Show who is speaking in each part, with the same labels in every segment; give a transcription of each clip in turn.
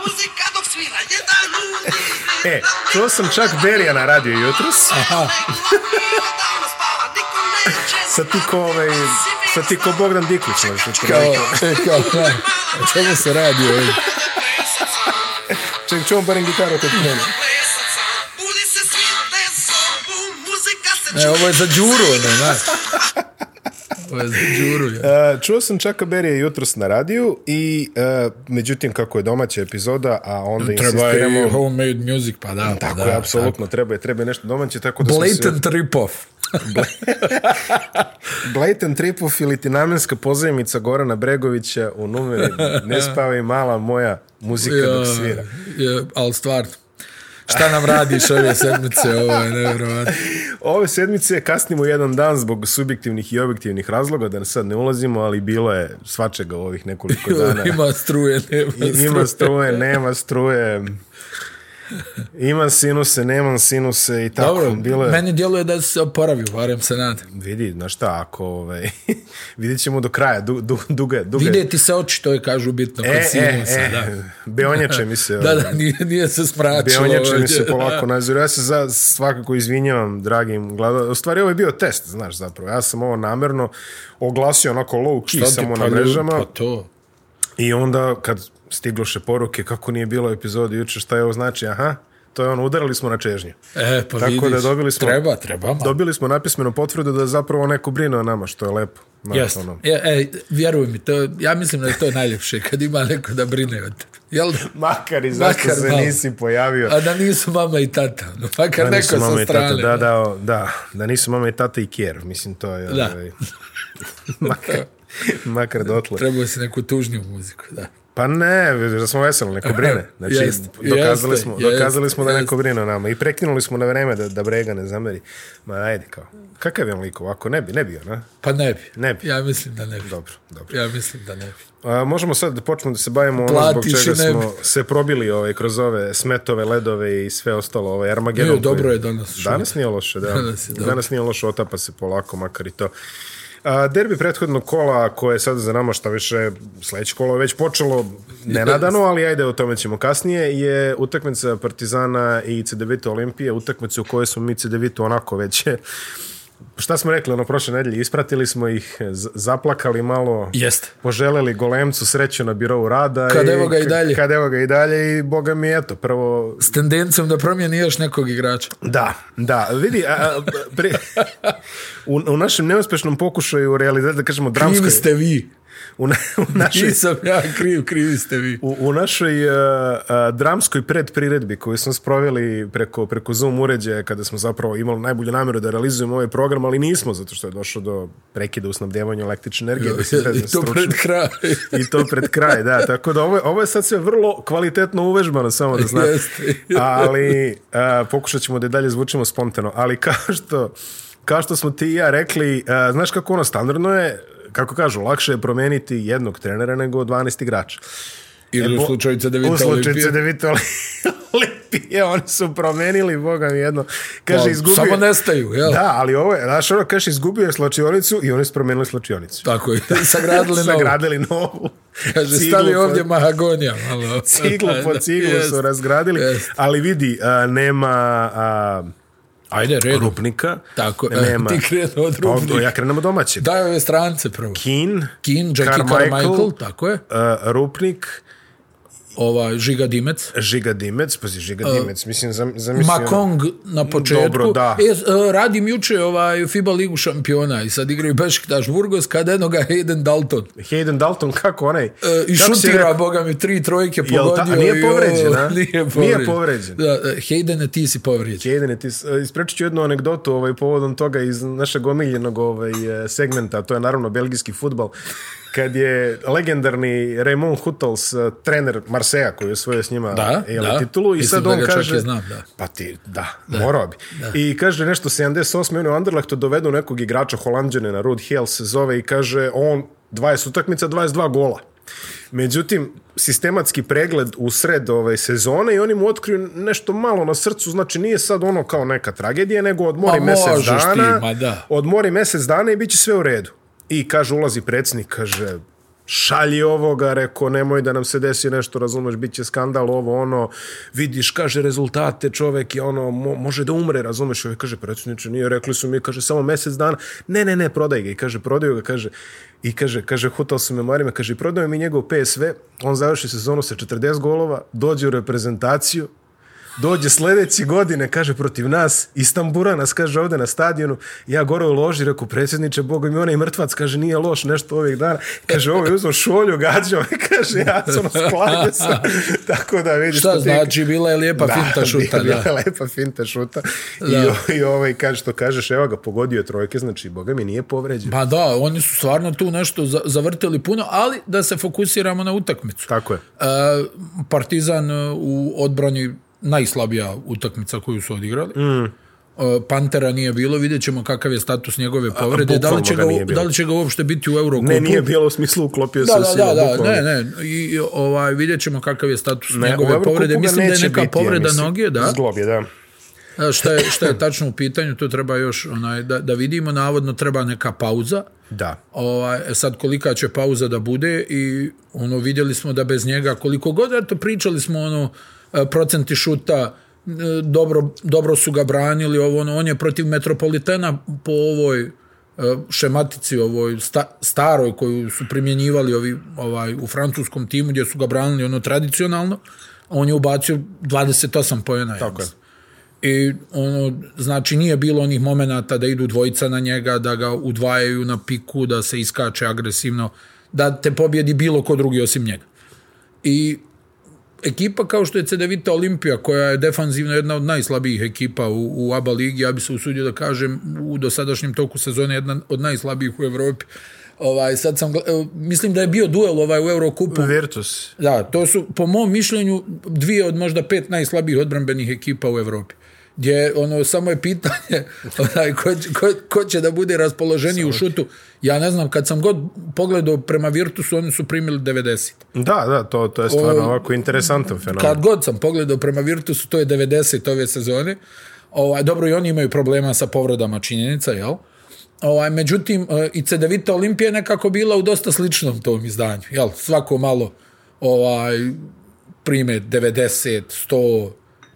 Speaker 1: muzika dok svira jedan ljudi.
Speaker 2: E, čuo sam čak Berija na radio jutros.
Speaker 1: Aha. Sad ti ko ovaj, sad ti ko Bogdan Diklić
Speaker 2: ovaj,
Speaker 1: možeš
Speaker 2: otprilike.
Speaker 3: Kao, e, kao, kao, o čemu se radi ovdje?
Speaker 2: Ček, čuvam barem gitaru kod mene.
Speaker 3: E, ovo je za džuru, ono, znaš. Ovo je za džuru, ja.
Speaker 2: E, čuo sam Čaka Berija jutros na radiju i e, međutim kako je domaća epizoda, a onda
Speaker 3: Treba
Speaker 2: insistiramo...
Speaker 3: i homemade music, pa da, pa
Speaker 2: E, Tako
Speaker 3: da.
Speaker 2: je, apsolutno, treba je, treba je nešto domaće, tako da
Speaker 3: tako.
Speaker 2: smo se...
Speaker 3: Blatant rip-off.
Speaker 2: Blatant Tripov ili ti namenska pozajmica Gorana Bregovića u numeri Ne spavaj mala moja muzika dok svira.
Speaker 3: je, ali stvarno. Šta nam radiš ove sedmice, ovo je nevjerovatno.
Speaker 2: Ove sedmice kasnimo jedan dan zbog subjektivnih i objektivnih razloga, da sad ne ulazimo, ali bilo je svačega u ovih nekoliko dana.
Speaker 3: Ima struje, nema
Speaker 2: I-
Speaker 3: struje.
Speaker 2: Ima struje, nema struje. Imam sinuse, nemam sinuse i tako.
Speaker 3: Dobro,
Speaker 2: bilo je...
Speaker 3: meni djeluje da si se oporavio, barem se nadam.
Speaker 2: Vidi, znaš šta, ako... Ovaj, vidjet ćemo do kraja, du, du, duga je. Duga je.
Speaker 3: Vide ti se oči, to je kažu bitno kod
Speaker 2: E, e,
Speaker 3: sinusa,
Speaker 2: e,
Speaker 3: da.
Speaker 2: beonjače mi se...
Speaker 3: Da,
Speaker 2: ovaj,
Speaker 3: da, nije, nije se smračilo.
Speaker 2: Beonjače mi
Speaker 3: ovdje.
Speaker 2: se polako naziru. Ja se za, svakako izvinjavam dragim gledalcima. U stvari ovo je bio test, znaš zapravo. Ja sam ovo namerno oglasio onako low key
Speaker 3: Šta ti,
Speaker 2: samo
Speaker 3: pa
Speaker 2: na
Speaker 3: ljudi,
Speaker 2: mrežama.
Speaker 3: Pa to.
Speaker 2: I onda kad stigloše poruke kako nije bilo epizodi juče, šta je ovo znači, aha, to je ono, udarili smo na čežnju.
Speaker 3: E, pa
Speaker 2: Tako
Speaker 3: vidiš,
Speaker 2: da dobili smo-
Speaker 3: treba, treba malo.
Speaker 2: Dobili smo napismenu potvrdu da zapravo neko brine o nama, što je lepo. Znaš,
Speaker 3: Jeste.
Speaker 2: ono.
Speaker 3: E, e, vjeruj mi, to, ja mislim da je to najljepše, kad ima neko da brine od tebe. Jel?
Speaker 2: Makar i zašto
Speaker 3: Makar
Speaker 2: se
Speaker 3: malo.
Speaker 2: nisi pojavio.
Speaker 3: A da nisu mama i tata, no, makar
Speaker 2: Da
Speaker 3: neko
Speaker 2: nisu mama
Speaker 3: sa
Speaker 2: i tata,
Speaker 3: strane.
Speaker 2: da, da, o, da, da nisu mama i tata i kjer, mislim to je,
Speaker 3: Da.
Speaker 2: ovaj, makar, makar dotle.
Speaker 3: Trebao si neku tužniju muziku, da.
Speaker 2: Pa ne, vidiš da smo veseli, neko brine. Znači,
Speaker 3: Jeste,
Speaker 2: dokazali,
Speaker 3: jeste,
Speaker 2: smo,
Speaker 3: jeste,
Speaker 2: dokazali smo da
Speaker 3: jeste.
Speaker 2: neko brine o nama i prekinuli smo na vreme da, da brega ne zameri. Ma ajde kao, kakav je on lik ovako? Ne bi, ne bi ona.
Speaker 3: Pa ne bi.
Speaker 2: Ne bi.
Speaker 3: Ja mislim da ne bi.
Speaker 2: Dobro, dobro.
Speaker 3: Ja mislim da ne bi.
Speaker 2: A, možemo sad da počnemo da se bavimo ono zbog
Speaker 3: Platiš
Speaker 2: čega
Speaker 3: i ne bi.
Speaker 2: smo se probili ovaj, kroz ove smetove, ledove i sve ostalo, ovaj Armageddon.
Speaker 3: Jo, dobro
Speaker 2: koji-
Speaker 3: je danas šut.
Speaker 2: Danas nije loše, da.
Speaker 3: Danas je dobro.
Speaker 2: danas nije loše, otapa se polako, makar i to. A, derbi prethodnog kola koje je sad za nama šta više sledeće kolo je već počelo nenadano, ali ajde o tome ćemo kasnije, je utakmica Partizana i CDVita Olimpije, utakmica u kojoj smo mi CDVitu onako već šta smo rekli ono prošle nedelje, ispratili smo ih, z- zaplakali malo,
Speaker 3: Jeste.
Speaker 2: poželeli golemcu sreću na birovu rada.
Speaker 3: Kad evo ga i dalje.
Speaker 2: Kad evo ga i dalje i boga mi eto, prvo...
Speaker 3: S tendencijom da promijeni još nekog igrača.
Speaker 2: Da, da, vidi, a, a, pri, u, u našem neuspešnom pokušaju realizacije, da kažemo,
Speaker 3: Krivi
Speaker 2: dramskoj...
Speaker 3: ste vi.
Speaker 2: U, na, u našoj
Speaker 3: Nisam ja kriv, krivi ste vi.
Speaker 2: U, u našoj uh, uh, dramskoj predpriredbi koju smo sproveli preko, preko Zoom uređaja kada smo zapravo imali najbolju namjeru da realizujemo ovaj program, ali nismo zato što je došlo do prekida u snabdevanju električne energije. da se izrazim
Speaker 3: I to
Speaker 2: stručno. E,
Speaker 3: pred kraj.
Speaker 2: I to pred kraj, da. Tako da ovo, je- ovo je sad sve vrlo kvalitetno uvežbano, samo da znate.
Speaker 3: Jeste.
Speaker 2: Ali a, pokušat ćemo da i dalje zvučimo spontano. Ali kao što, kao što smo ti i ja rekli, a, znaš kako ono standardno je, kako kažu, lakše je promeniti jednog trenera nego 12 igrača.
Speaker 3: Ili
Speaker 2: Bo-
Speaker 3: u slučaju
Speaker 2: U
Speaker 3: CDVita
Speaker 2: slučaju
Speaker 3: Olimpije.
Speaker 2: Cedevita Oli- Olimpije, oni su promenili, boga mi jedno. Kaže,
Speaker 3: Pa,
Speaker 2: izgubio...
Speaker 3: Samo nestaju, jel?
Speaker 2: Da, ali ovo je, znaš, ono, kaže, izgubio je slačionicu i oni su promenili slačionicu.
Speaker 3: Tako je, sagradili novo.
Speaker 2: Sagradili novu.
Speaker 3: Kaže,
Speaker 2: Ciglu
Speaker 3: stavi
Speaker 2: po-
Speaker 3: ovdje mahagonija. Malo.
Speaker 2: Ciglu po ciglu su
Speaker 3: Jest.
Speaker 2: razgradili.
Speaker 3: jest.
Speaker 2: Ali vidi, a, nema a,
Speaker 3: Ajde, redom.
Speaker 2: rupnika.
Speaker 3: Tako, e,
Speaker 2: nema.
Speaker 3: ti krenu od
Speaker 2: Ovdje,
Speaker 3: rupnika.
Speaker 2: ja krenemo domaće.
Speaker 3: Daj ove strance prvo.
Speaker 2: Kin,
Speaker 3: Kin, Jackie
Speaker 2: Carmichael,
Speaker 3: Carmichael, tako je.
Speaker 2: a, rupnik,
Speaker 3: Ova, Žiga Dimec.
Speaker 2: Žiga Dimec, pazi, Žiga Dimec, mislim, zam- zamislio...
Speaker 3: E,
Speaker 2: ono.
Speaker 3: Makong na početku.
Speaker 2: Dobro, da.
Speaker 3: E, s- e, radim juče ovaj FIBA ligu šampiona i sad igraju Bešiktaš Burgos, kad eno ga Hayden Dalton.
Speaker 2: Hayden Dalton, kako onaj...
Speaker 3: E, I
Speaker 2: kako si
Speaker 3: šutira,
Speaker 2: rekao?
Speaker 3: boga mi, tri trojke
Speaker 2: Jel ta-
Speaker 3: pogodio.
Speaker 2: a nije
Speaker 3: i ovo-
Speaker 2: povređen, a?
Speaker 3: Nije
Speaker 2: Nije
Speaker 3: povređen.
Speaker 2: povređen.
Speaker 3: Da, e, Haydene, ti si povređen.
Speaker 2: Hayden, E, ti, s- ispričat ću jednu anegdotu ovaj, povodom toga iz našeg omiljenog ovaj, eh, segmenta, a to je naravno belgijski futbal, kad je legendarni Raymond Huttels, eh, trener Marseja, koji je osvojio s njima e,
Speaker 3: Da,
Speaker 2: jel,
Speaker 3: da.
Speaker 2: titulu, i
Speaker 3: Mislim
Speaker 2: sad
Speaker 3: da
Speaker 2: on
Speaker 3: ga čak
Speaker 2: kaže...
Speaker 3: i znam, da.
Speaker 2: Pa ti, da, morao bi. I kaže nešto, 78. on je u Anderlechtu dovedu nekog igrača holandžanina, Rod Hill se zove, i kaže on 20 utakmica, 22 gola. Međutim, sistematski pregled u sred ove sezone i oni mu otkriju nešto malo na srcu, znači nije sad ono kao neka tragedija, nego odmori
Speaker 3: Ma
Speaker 2: mesec
Speaker 3: možeš ti,
Speaker 2: dana,
Speaker 3: ma da.
Speaker 2: odmori mesec dana i bit će sve u redu. I kaže, ulazi predsjednik, kaže, šalji ovoga, reko nemoj da nam se desi nešto, razumeš, bit će skandal ovo, ono, vidiš, kaže rezultate, čovek je ono, mo, može da umre, razumeš, ovaj kaže, predsjedniče, nije, rekli su mi, kaže, samo mesec dana, ne, ne, ne, prodaj ga, i kaže, prodaju ga, kaže, i kaže, kaže, hutao sam memoarima, kaže, prodaju mi njegov PSV, on završi sezonu sa 40 golova, dođe u reprezentaciju, dođe sledeće godine, kaže, protiv nas, Istambura nas, kaže, ovde na stadionu, ja gore u loži, reku, predsjedniče, boga mi onaj mrtvac, kaže, nije loš nešto ovih dana, kaže, ovo je uzmo šolju, gađao me, kaže, ja sam skladio sam, tako da vidiš.
Speaker 3: Šta znači, bila je lijepa da, finta šuta,
Speaker 2: bila, da. Bila je lepa finta šuta da. i, i ovaj, kaže, što kažeš, evo ga, pogodio je trojke, znači, boga mi nije povređen.
Speaker 3: Pa da, oni su stvarno tu nešto zavrtili puno, ali da se fokusiramo na utakmicu.
Speaker 2: Tako je.
Speaker 3: E, partizan e, u odbrani najslabija utakmica koju su odigrali. Mm. Pantera nije bilo, vidjet ćemo kakav je status njegove povrede, da li, će ga, ga da li će ga uopšte biti u Eurokupu.
Speaker 2: Ne, nije bilo u smislu uklopio
Speaker 3: da,
Speaker 2: se
Speaker 3: da,
Speaker 2: u silu.
Speaker 3: Da, da, bukvalno. ne, ne, I, ovaj, vidjet ćemo kakav je status ne, njegove povrede. Mislim da je neka biti, povreda ja, mislim, noge, da.
Speaker 2: Zglob je, da.
Speaker 3: Šta je, šta je tačno u pitanju, to treba još onaj, da, da vidimo, navodno treba neka pauza.
Speaker 2: Da.
Speaker 3: Ovaj, sad kolika će pauza da bude i ono vidjeli smo da bez njega koliko god, eto pričali smo ono, procenti šuta e, dobro, dobro su ga branili ovo ono, on je protiv Metropolitena po ovoj e, šematici ovoj sta, staroj koju su primjenjivali ovi ovaj u francuskom timu gdje su ga branili ono tradicionalno on je ubacio 28 poena
Speaker 2: tako je.
Speaker 3: i ono znači nije bilo onih momenata da idu dvojica na njega da ga udvajaju na piku da se iskače agresivno da te pobjedi bilo ko drugi osim njega i ekipa kao što je Cedevita Olimpija, koja je defanzivno jedna od najslabijih ekipa u, u ABA ligi, ja bi se usudio da kažem u dosadašnjem toku sezone jedna od najslabijih u Evropi. Ovaj, sad sam, mislim da je bio duel ovaj u Eurokupu.
Speaker 2: Virtus.
Speaker 3: Da, to su, po mom mišljenju, dvije od možda pet najslabijih odbranbenih ekipa u Evropi gdje ono samo je pitanje onaj, ko, ko, ko će da bude raspoloženiji u šutu. Ja ne znam, kad sam god pogledao prema Virtusu, oni su primili 90.
Speaker 2: Da, da, to, to je stvarno o, ovako interesantan fenomen.
Speaker 3: Kad god sam pogledao prema Virtusu, to je 90 ove sezone. Ovaj, dobro, i oni imaju problema sa povredama činjenica, jel? Ovaj, međutim, i Cedevita Olimpija je nekako bila u dosta sličnom tom izdanju, jel? Svako malo ovaj, prime 90, 100,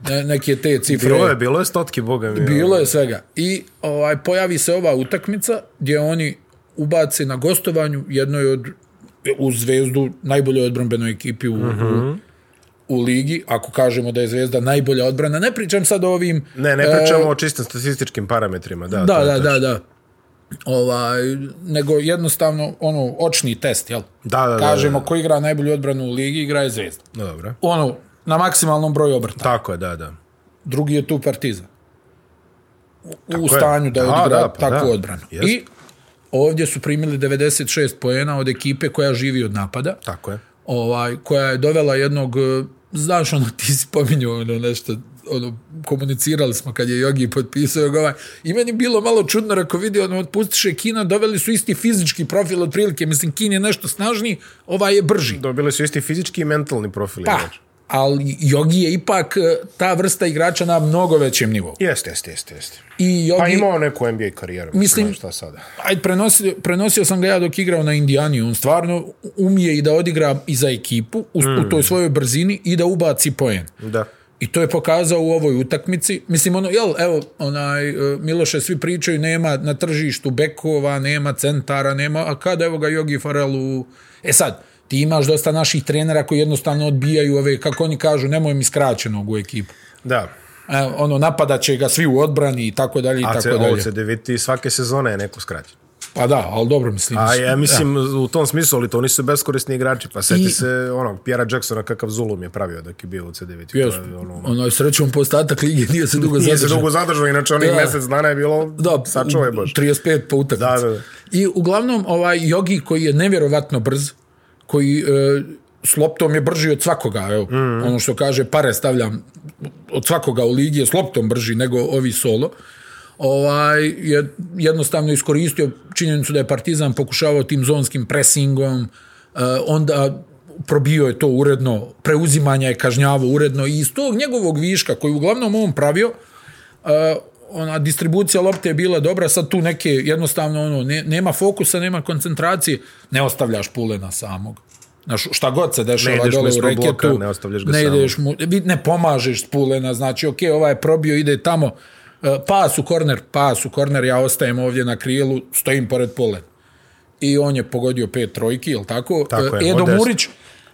Speaker 3: ne, neke te cifre.
Speaker 2: Bilo je, bilo je stotki, boga mi. ono.
Speaker 3: Bilo je svega. I ovaj, pojavi se ova utakmica gdje oni ubace na gostovanju jednoj od, u zvezdu, najboljoj odbranbenoj ekipi u, mm
Speaker 2: Mhm.
Speaker 3: -hmm. u, u ligi, ako kažemo da je zvezda najbolja odbrana. Ne pričam sad o ovim... eh,
Speaker 2: Ne, ne pričamo e, o čistim statističkim parametrima. Da,
Speaker 3: da, da, da, da. Ovaj, nego jednostavno ono očni test, jel?
Speaker 2: Da, da,
Speaker 3: Kažemo
Speaker 2: da, da.
Speaker 3: ko igra najbolju odbranu u ligi, igra je zvezda.
Speaker 2: Dobro.
Speaker 3: Ono, na maksimalnom broju obrta.
Speaker 2: Tako je, da, da.
Speaker 3: Drugi je tu Partizan. U, u stanju je. da odigra da, da, pa takvu da. odbranu. Yes. I ovdje su primili 96 poena od ekipe koja živi od napada.
Speaker 2: Tako je.
Speaker 3: Ovaj, koja je dovela jednog, znaš, ono, ti si pominjao ono, nešto, ono, komunicirali smo kad je Jogi potpisao ovaj, i meni bilo malo čudno, rako vidio, ono, otpustiše Kina, doveli su isti fizički profil otprilike, mislim, Kin je nešto snažniji, ovaj je brži.
Speaker 2: Dobili su isti fizički i mentalni znači. profil.
Speaker 3: Pa, ali Jogi je ipak e, ta vrsta igrača na mnogo većem nivou.
Speaker 2: Jeste, jeste, jeste. Jest.
Speaker 3: I Jogi,
Speaker 2: pa imao neku NBA karijeru,
Speaker 3: mislim,
Speaker 2: mislim šta sada.
Speaker 3: Ajde, prenosio, prenosio sam ga ja dok igrao na Indijani, on stvarno umije i da odigra i za ekipu u, mm. u toj svojoj brzini i da ubaci poen.
Speaker 2: Da.
Speaker 3: I to je pokazao u ovoj utakmici. Mislim, ono, jel, evo, onaj, e, Miloše, svi pričaju, nema na tržištu bekova, nema centara, nema, a kada, evo ga, Jogi Farel u... E sad, ti imaš dosta naših trenera koji jednostavno odbijaju ove, kako oni kažu, nemoj mi skraćenog u ekipu.
Speaker 2: Da.
Speaker 3: E, ono, napadaće ga svi u odbrani i tako dalje i tako dalje.
Speaker 2: A CDVT svake sezone je neko skraćen.
Speaker 3: Pa da, ali dobro mislim.
Speaker 2: A ja mislim da. u tom smislu, ali to nisu beskorisni igrači, pa seti I... se onog Pjera Jacksona kakav zulum je pravio dok je bio u C9.
Speaker 3: Jes, ono, ono srećom po ostatak lige nije se dugo zadržao.
Speaker 2: Nije se dugo zadržao, inače onih da. mjesec dana je bilo,
Speaker 3: da,
Speaker 2: sačuvaj Bože.
Speaker 3: 35 po utakmicu.
Speaker 2: Da, da, da.
Speaker 3: I uglavnom ovaj Jogi koji je nevjerovatno brz, koji e, s loptom je brži od svakoga, evo, mm. ono što kaže, pare stavljam od svakoga u ligi je s loptom brži nego ovi solo, ovaj, je jednostavno iskoristio činjenicu da je Partizan pokušavao tim zonskim presingom, e, onda probio je to uredno, preuzimanja je kažnjavo uredno i iz tog njegovog viška koji uglavnom on pravio, e, ona distribucija lopte je bila dobra, sad tu neke jednostavno ono ne, nema fokusa, nema koncentracije, ne ostavljaš Pulena samog. Znaš, šta god se
Speaker 2: Ne
Speaker 3: dešava
Speaker 2: ideš mu
Speaker 3: dole u
Speaker 2: ispod
Speaker 3: reketu,
Speaker 2: bloka, ne ostavljaš ga
Speaker 3: ne
Speaker 2: samog.
Speaker 3: ideš mu, vi ne pomažeš Pulena, znači ok, ovaj je probio, ide tamo, e, pas u korner, pas u korner, ja ostajem ovdje na krilu, stojim pored Pulena. I on je pogodio pet trojki, je li tako?
Speaker 2: Tako je,
Speaker 3: E, Edo
Speaker 2: od deset.
Speaker 3: Murić,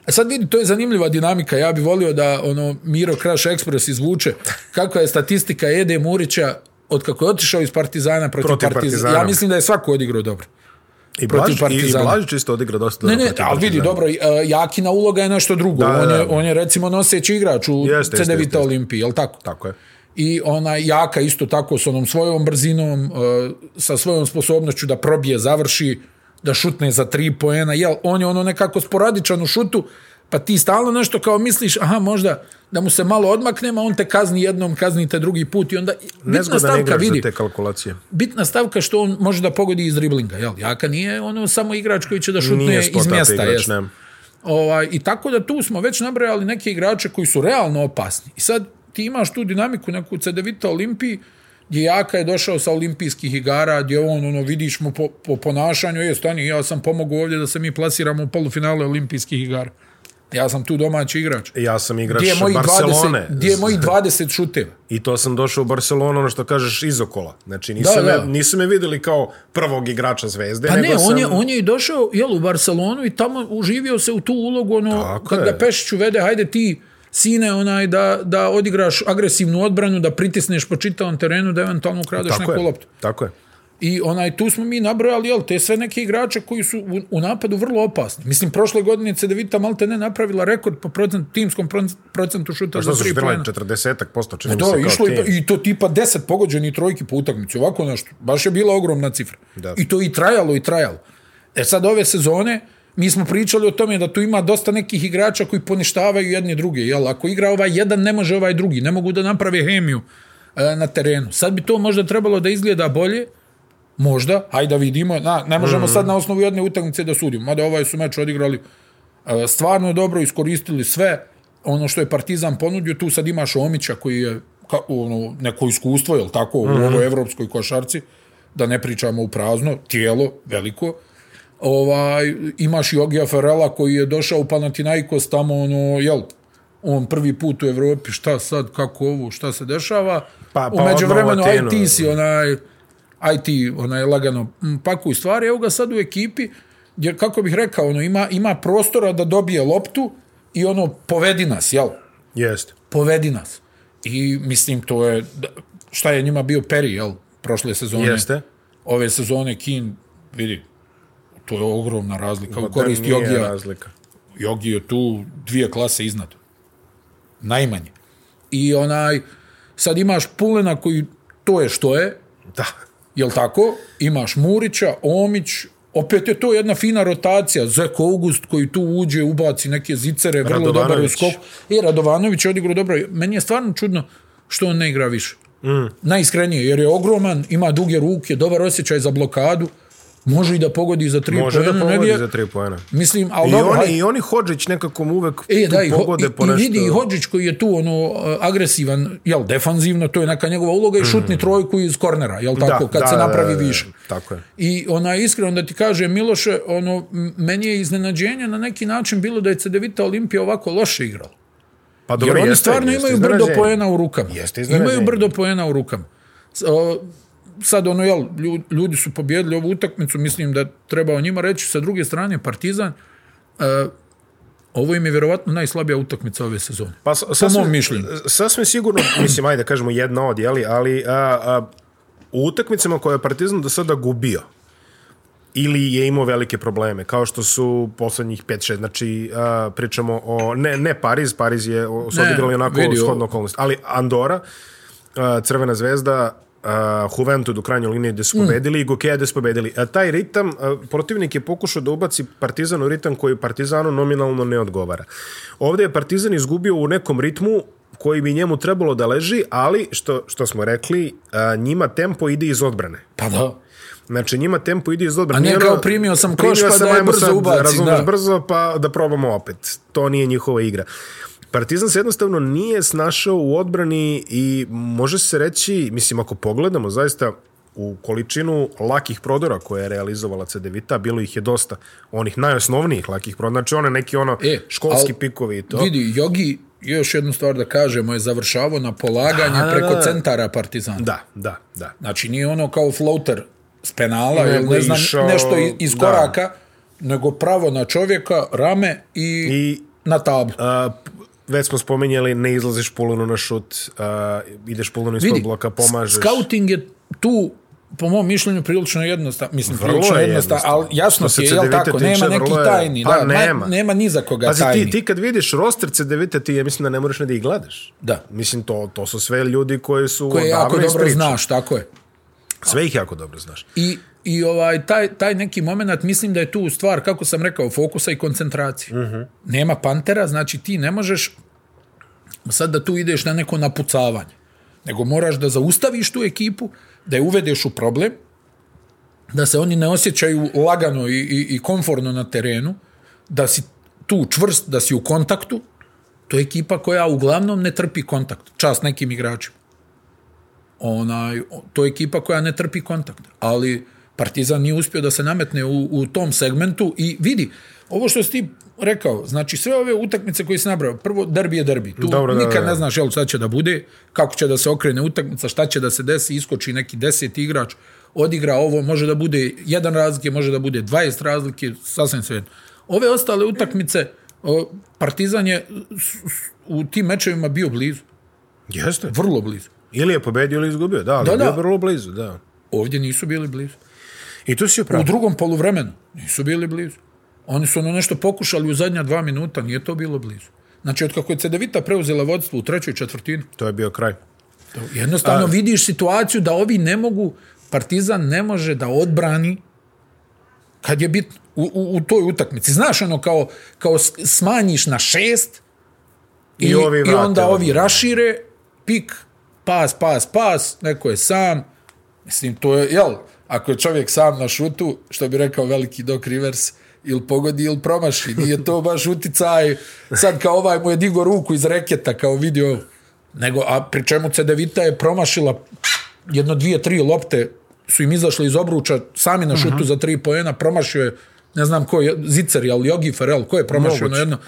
Speaker 3: A sad vidi, to je zanimljiva dinamika. Ja bih volio da ono Miro Crash Express izvuče kakva je statistika Ede Murića od kako je otišao iz Partizana protiv,
Speaker 2: Protiv
Speaker 3: protiv Partizana.
Speaker 2: Partizana.
Speaker 3: Ja mislim da je svako odigrao dobro.
Speaker 2: I
Speaker 3: protiv
Speaker 2: Blaž, i, i
Speaker 3: Partizana.
Speaker 2: Blaž čisto odigra dosta
Speaker 3: Ne,
Speaker 2: dobro
Speaker 3: ne,
Speaker 2: protiv
Speaker 3: ali vidi,
Speaker 2: Partizana.
Speaker 3: dobro, e, Jakina uloga je nešto drugo.
Speaker 2: Da,
Speaker 3: Da, on,
Speaker 2: da,
Speaker 3: je,
Speaker 2: da.
Speaker 3: on je recimo noseći igrač u
Speaker 2: Jeste,
Speaker 3: jeste,
Speaker 2: jeste,
Speaker 3: CDVita
Speaker 2: jeste, jeste.
Speaker 3: Olimpiji, je li tako?
Speaker 2: Tako je.
Speaker 3: I ona Jaka isto tako s onom svojom brzinom, e, sa svojom sposobnošću da probije, završi, da šutne za tri poena. Jel, on je ono nekako sporadičan u šutu, pa ti stalno nešto kao misliš, aha, možda da mu se malo odmaknemo, on te kazni jednom, kazni te drugi put i onda bitna
Speaker 2: Nezgodan
Speaker 3: stavka
Speaker 2: igrač
Speaker 3: vidi
Speaker 2: za te kalkulacije.
Speaker 3: bitna stavka što on može da pogodi iz driblinga, jel? Jaka nije ono samo igrač koji će da
Speaker 2: Nije
Speaker 3: šutne
Speaker 2: spot
Speaker 3: iz
Speaker 2: up
Speaker 3: mjesta,
Speaker 2: igrač,
Speaker 3: jest.
Speaker 2: ne.
Speaker 3: Ovaj, I tako da tu smo već nabrojali neke igrače koji su realno opasni. I sad ti imaš tu dinamiku neku CDVita Olimpiji, gdje Jaka je došao sa olimpijskih igara, gdje on, ono, vidiš mu po, po ponašanju, je, stani, ja sam pomogu ovdje da se mi plasiramo u polufinale olimpijskih igara. Ja sam tu domaći igrač.
Speaker 2: Ja sam igrač
Speaker 3: Gdje je mojih 20,
Speaker 2: Barcelone.
Speaker 3: gdje je mojih 20 šuteva?
Speaker 2: I to sam došao u Barcelonu, ono što kažeš, izokola. Znači, nisu,
Speaker 3: Da,
Speaker 2: me,
Speaker 3: da.
Speaker 2: nisu me videli kao prvog igrača zvezde,
Speaker 3: Pa
Speaker 2: nego
Speaker 3: ne,
Speaker 2: sam...
Speaker 3: on je, on je i došao jel, u Barcelonu i tamo uživio se u tu ulogu, ono,
Speaker 2: Tako
Speaker 3: kad
Speaker 2: je.
Speaker 3: ga Pešić uvede, hajde ti sine onaj da, da odigraš agresivnu odbranu, da pritisneš po čitavom terenu, da eventualno ukradeš
Speaker 2: Tako
Speaker 3: neku
Speaker 2: je,
Speaker 3: loptu. Pa
Speaker 2: tako je.
Speaker 3: I onaj, tu smo mi nabrojali, jel, te sve neke igrače koji su u, u napadu vrlo opasni. Mislim, prošle godine Cedevita malte ne napravila rekord po procent, timskom proc- procentu
Speaker 2: Što
Speaker 3: šuta za
Speaker 2: Pa su
Speaker 3: tri
Speaker 2: šutirali
Speaker 3: pojena.
Speaker 2: 40-ak posto, čini mi se
Speaker 3: Pa E, Da,
Speaker 2: kao
Speaker 3: išlo
Speaker 2: tim.
Speaker 3: je, i to tipa 10 pogođeni trojki po utakmici, ovako nešto. Baš je bila ogromna cifra.
Speaker 2: Da.
Speaker 3: I to i trajalo, i trajalo. E sad ove sezone, mi smo pričali o tome da tu ima dosta nekih igrača koji poništavaju jedni druge. Jel? Ako igra ovaj jedan, ne može ovaj drugi. Ne mogu da naprave hemiju e, na terenu. Sad bi to možda trebalo da izgleda bolje, Možda, hajde da vidimo. Na, ne možemo mm. sad na osnovu jedne utakmice da sudimo. Mada ovaj su meč odigrali e, stvarno dobro, iskoristili sve ono što je Partizan ponudio. Tu sad imaš Omića koji je ka, ono, neko iskustvo, je tako, u
Speaker 2: Mhm.
Speaker 3: ovoj evropskoj košarci, da ne pričamo u prazno, tijelo veliko. Ovaj, imaš Jogija Ferela koji je došao u Panathinaikos tamo, ono, jel, on prvi put u Evropi, šta sad, kako ovo, šta se dešava.
Speaker 2: Pa- pa
Speaker 3: u međuvremenu,
Speaker 2: odmah u
Speaker 3: aj
Speaker 2: Atenu.
Speaker 3: ti si onaj IT onaj lagano mm, pakuju stvari, evo ga sad u ekipi jer kako bih rekao, ono ima ima prostora da dobije loptu i ono povedi nas, jel?
Speaker 2: Jeste.
Speaker 3: Povedi nas. I mislim to je da- šta je njima bio Peri, jel? Prošle sezone.
Speaker 2: Jeste.
Speaker 3: Ove sezone Kin, vidi, to je ogromna razlika u
Speaker 2: Pa da,
Speaker 3: korist
Speaker 2: nije
Speaker 3: Jogija.
Speaker 2: razlika.
Speaker 3: Jogi je tu dvije klase iznad. Najmanje. I onaj, sad imaš Pulena koji to je što je,
Speaker 2: Da.
Speaker 3: Jel tako? Imaš Murića, Omić, opet je to jedna fina rotacija. Zeko August koji tu uđe, ubaci neke zicere, vrlo dobar u
Speaker 2: Radovanović.
Speaker 3: skoku. E, Radovanović je odigrao dobro. Meni je stvarno čudno što on ne igra više. Mm. Najiskrenije, jer je ogroman, ima duge ruke, dobar osjećaj za blokadu, može i da pogodi za tri
Speaker 2: Može da
Speaker 3: poena, ne bi
Speaker 2: pogodi
Speaker 3: je-
Speaker 2: za tri pojena.
Speaker 3: Mislim, ali
Speaker 2: I,
Speaker 3: dobro,
Speaker 2: oni,
Speaker 3: hajde.
Speaker 2: I oni Hođić nekako mu uvek
Speaker 3: E, da, i, ho,
Speaker 2: pogode po
Speaker 3: i, i
Speaker 2: nešto.
Speaker 3: vidi i Hođić koji je tu ono agresivan, jel, defanzivno, to je neka njegova uloga i šutni
Speaker 2: Mm.
Speaker 3: trojku iz kornera, jel tako, kad se napravi više.
Speaker 2: Tako je.
Speaker 3: I ona iskreno da ti kaže Miloše, ono m- meni je iznenađenje na neki način bilo da je Cedevita Olimpija ovako loše igrala.
Speaker 2: Pa
Speaker 3: Jer
Speaker 2: dobro,
Speaker 3: oni
Speaker 2: jeste,
Speaker 3: stvarno
Speaker 2: jeste
Speaker 3: imaju brdo
Speaker 2: iznenađenje.
Speaker 3: poena u rukama.
Speaker 2: Jeste iznenađenje.
Speaker 3: imaju brdo poena u rukama. S- o, Sad ono jel lju- ljudi su pobjedili ovu utakmicu, mislim da treba o njima reći sa druge strane Partizan e, ovo im je vjerovatno najslabija utakmica ove sezone.
Speaker 2: Pa, s- sasvim,
Speaker 3: mom mišljenju.
Speaker 2: Sasvim sigurno, mislim, ajde, kažemo jedna od, jeli, ali a, a, u utakmicama koje je Partizan do sada gubio, ili je imao velike probleme, kao što su poslednjih 5-6, znači a, pričamo o, ne, ne Pariz, Pariz je o- su
Speaker 3: Ne,
Speaker 2: odigrali onako
Speaker 3: vidi, o-
Speaker 2: shodno okolnost, ali Andora, a, Crvena zvezda, a, Juventud u krajnjoj liniji gde su pobedili i Gokeja gde su pobedili. A, taj ritam, a, protivnik je pokušao da ubaci Partizan u ritam koji Partizanu nominalno ne odgovara. Ovde je Partizan izgubio u nekom ritmu koji bi njemu trebalo da leži, ali što, što smo rekli, a, njima tempo ide iz odbrane.
Speaker 3: Pa da.
Speaker 2: Znači njima tempo ide iz odbrane.
Speaker 3: A nije
Speaker 2: Nije
Speaker 3: kao
Speaker 2: ono,
Speaker 3: primio sam
Speaker 2: primio
Speaker 3: koš, pa
Speaker 2: sam,
Speaker 3: daj
Speaker 2: ajmo
Speaker 3: brzo
Speaker 2: sad,
Speaker 3: ubacim,
Speaker 2: Razumeš
Speaker 3: da.
Speaker 2: brzo pa da probamo opet. To nije njihova igra. Partizan se jednostavno nije snašao u odbrani i može se reći, mislim, ako pogledamo zaista u količinu lakih prodora koje je realizovala CDVita, bilo ih je dosta. Onih najosnovnijih lakih prodora, znači one neki ono e, školski
Speaker 3: al
Speaker 2: pikovi i to.
Speaker 3: Vidi, Jogi, još jednu stvar da kažemo, je završavao na polaganje
Speaker 2: Da, da,
Speaker 3: preko
Speaker 2: da.
Speaker 3: centara Partizana.
Speaker 2: Da, da, da.
Speaker 3: Znači, nije ono kao floater s penala ili
Speaker 2: Nego
Speaker 3: ne znam,
Speaker 2: išao-
Speaker 3: nešto i- iz
Speaker 2: da.
Speaker 3: koraka, nego pravo na čovjeka, rame i,
Speaker 2: I-
Speaker 3: na tablu.
Speaker 2: Uh, već smo spominjali, ne izlaziš pulonu na šut, uh, ideš pulonu ispod
Speaker 3: Vidi,
Speaker 2: bloka, pomažeš.
Speaker 3: Scouting je tu po mom mišljenju prilično jednostavno, mislim
Speaker 2: Vrlo
Speaker 3: prilično
Speaker 2: je
Speaker 3: jednostavno,
Speaker 2: jednostavan.
Speaker 3: ali jasno
Speaker 2: Što
Speaker 3: ti je,
Speaker 2: se
Speaker 3: jel
Speaker 2: CDVita
Speaker 3: tako,
Speaker 2: tiče,
Speaker 3: nema
Speaker 2: vrlo
Speaker 3: neki
Speaker 2: je-
Speaker 3: tajni,
Speaker 2: pa
Speaker 3: da, ma-
Speaker 2: nema.
Speaker 3: nema ni za koga
Speaker 2: Pazi,
Speaker 3: tajni.
Speaker 2: ti, ti kad vidiš roster CDVita, ti ja mislim da ne moraš ni da ih gledaš.
Speaker 3: Da.
Speaker 2: Mislim, to, to su sve ljudi koji su
Speaker 3: koje jako
Speaker 2: odavno iz
Speaker 3: dobro
Speaker 2: priče.
Speaker 3: znaš, tako je.
Speaker 2: Sve ih jako dobro znaš.
Speaker 3: I, i ovaj, taj, taj neki moment, mislim da je tu stvar, kako sam rekao, fokusa i koncentracije. Uh -huh. Nema pantera, znači ti ne možeš sad da tu ideš na neko napucavanje, nego moraš da zaustaviš tu ekipu, da je uvedeš u problem, da se oni ne osjećaju lagano i, i, i konforno na terenu, da si tu čvrst, da si u kontaktu, to je ekipa koja uglavnom ne trpi kontakt, čast nekim igračima onaj, to je ekipa koja ne trpi kontakt. Ali Partizan nije uspio da se nametne u, u tom segmentu i vidi, ovo što si ti rekao, znači sve ove utakmice koje si nabrao, prvo derbi je derbi. Tu
Speaker 2: Dobro,
Speaker 3: Dobro,
Speaker 2: da,
Speaker 3: nikad
Speaker 2: da,
Speaker 3: ne
Speaker 2: da.
Speaker 3: znaš jel, šta će da bude, kako će da se okrene utakmica, šta će da se desi, iskoči neki deset igrač, odigra ovo, može da bude jedan razlike, može da bude 20 razlike, sasvim sve. Ove ostale utakmice, o, Partizan je s- s- u tim mečevima bio blizu,
Speaker 2: Jeste.
Speaker 3: vrlo blizu.
Speaker 2: Ili je pobedio ili izgubio, da, ali
Speaker 3: Da,
Speaker 2: da, da. je
Speaker 3: da.
Speaker 2: bio vrlo blizu, da.
Speaker 3: Ovdje nisu bili blizu.
Speaker 2: I tu si upravo.
Speaker 3: U drugom poluvremenu nisu bili blizu. Oni su ono nešto pokušali u zadnja dva minuta, nije to bilo blizu. Znači, od kako je Cedevita preuzela vodstvo u trećoj četvrtini,
Speaker 2: To je bio kraj.
Speaker 3: to jednostavno A... vidiš situaciju da ovi ne mogu, Partizan ne može da odbrani kad je bitno u, u, u toj utakmici. Znaš, ono kao, kao s- smanjiš na šest i,
Speaker 2: I ovi
Speaker 3: i
Speaker 2: vrate
Speaker 3: onda ovi
Speaker 2: odmah.
Speaker 3: rašire, pik, pas, pas, pas, neko je sam. Mislim, to je, jel, ako je čovjek sam na šutu, što bi rekao veliki Doc Rivers, ili pogodi ili promaši, nije to baš uticaj, sad kao ovaj mu je digo ruku iz reketa, kao vidio, nego, a pri čemu Cedevita je promašila jedno, dvije, tri lopte su im izašle iz obruča, sami na šutu za tri pojena, promašio je, ne znam ko je, Zicer, jel, Jogi Ferel, ko je promašio na
Speaker 2: Moguće.
Speaker 3: jedno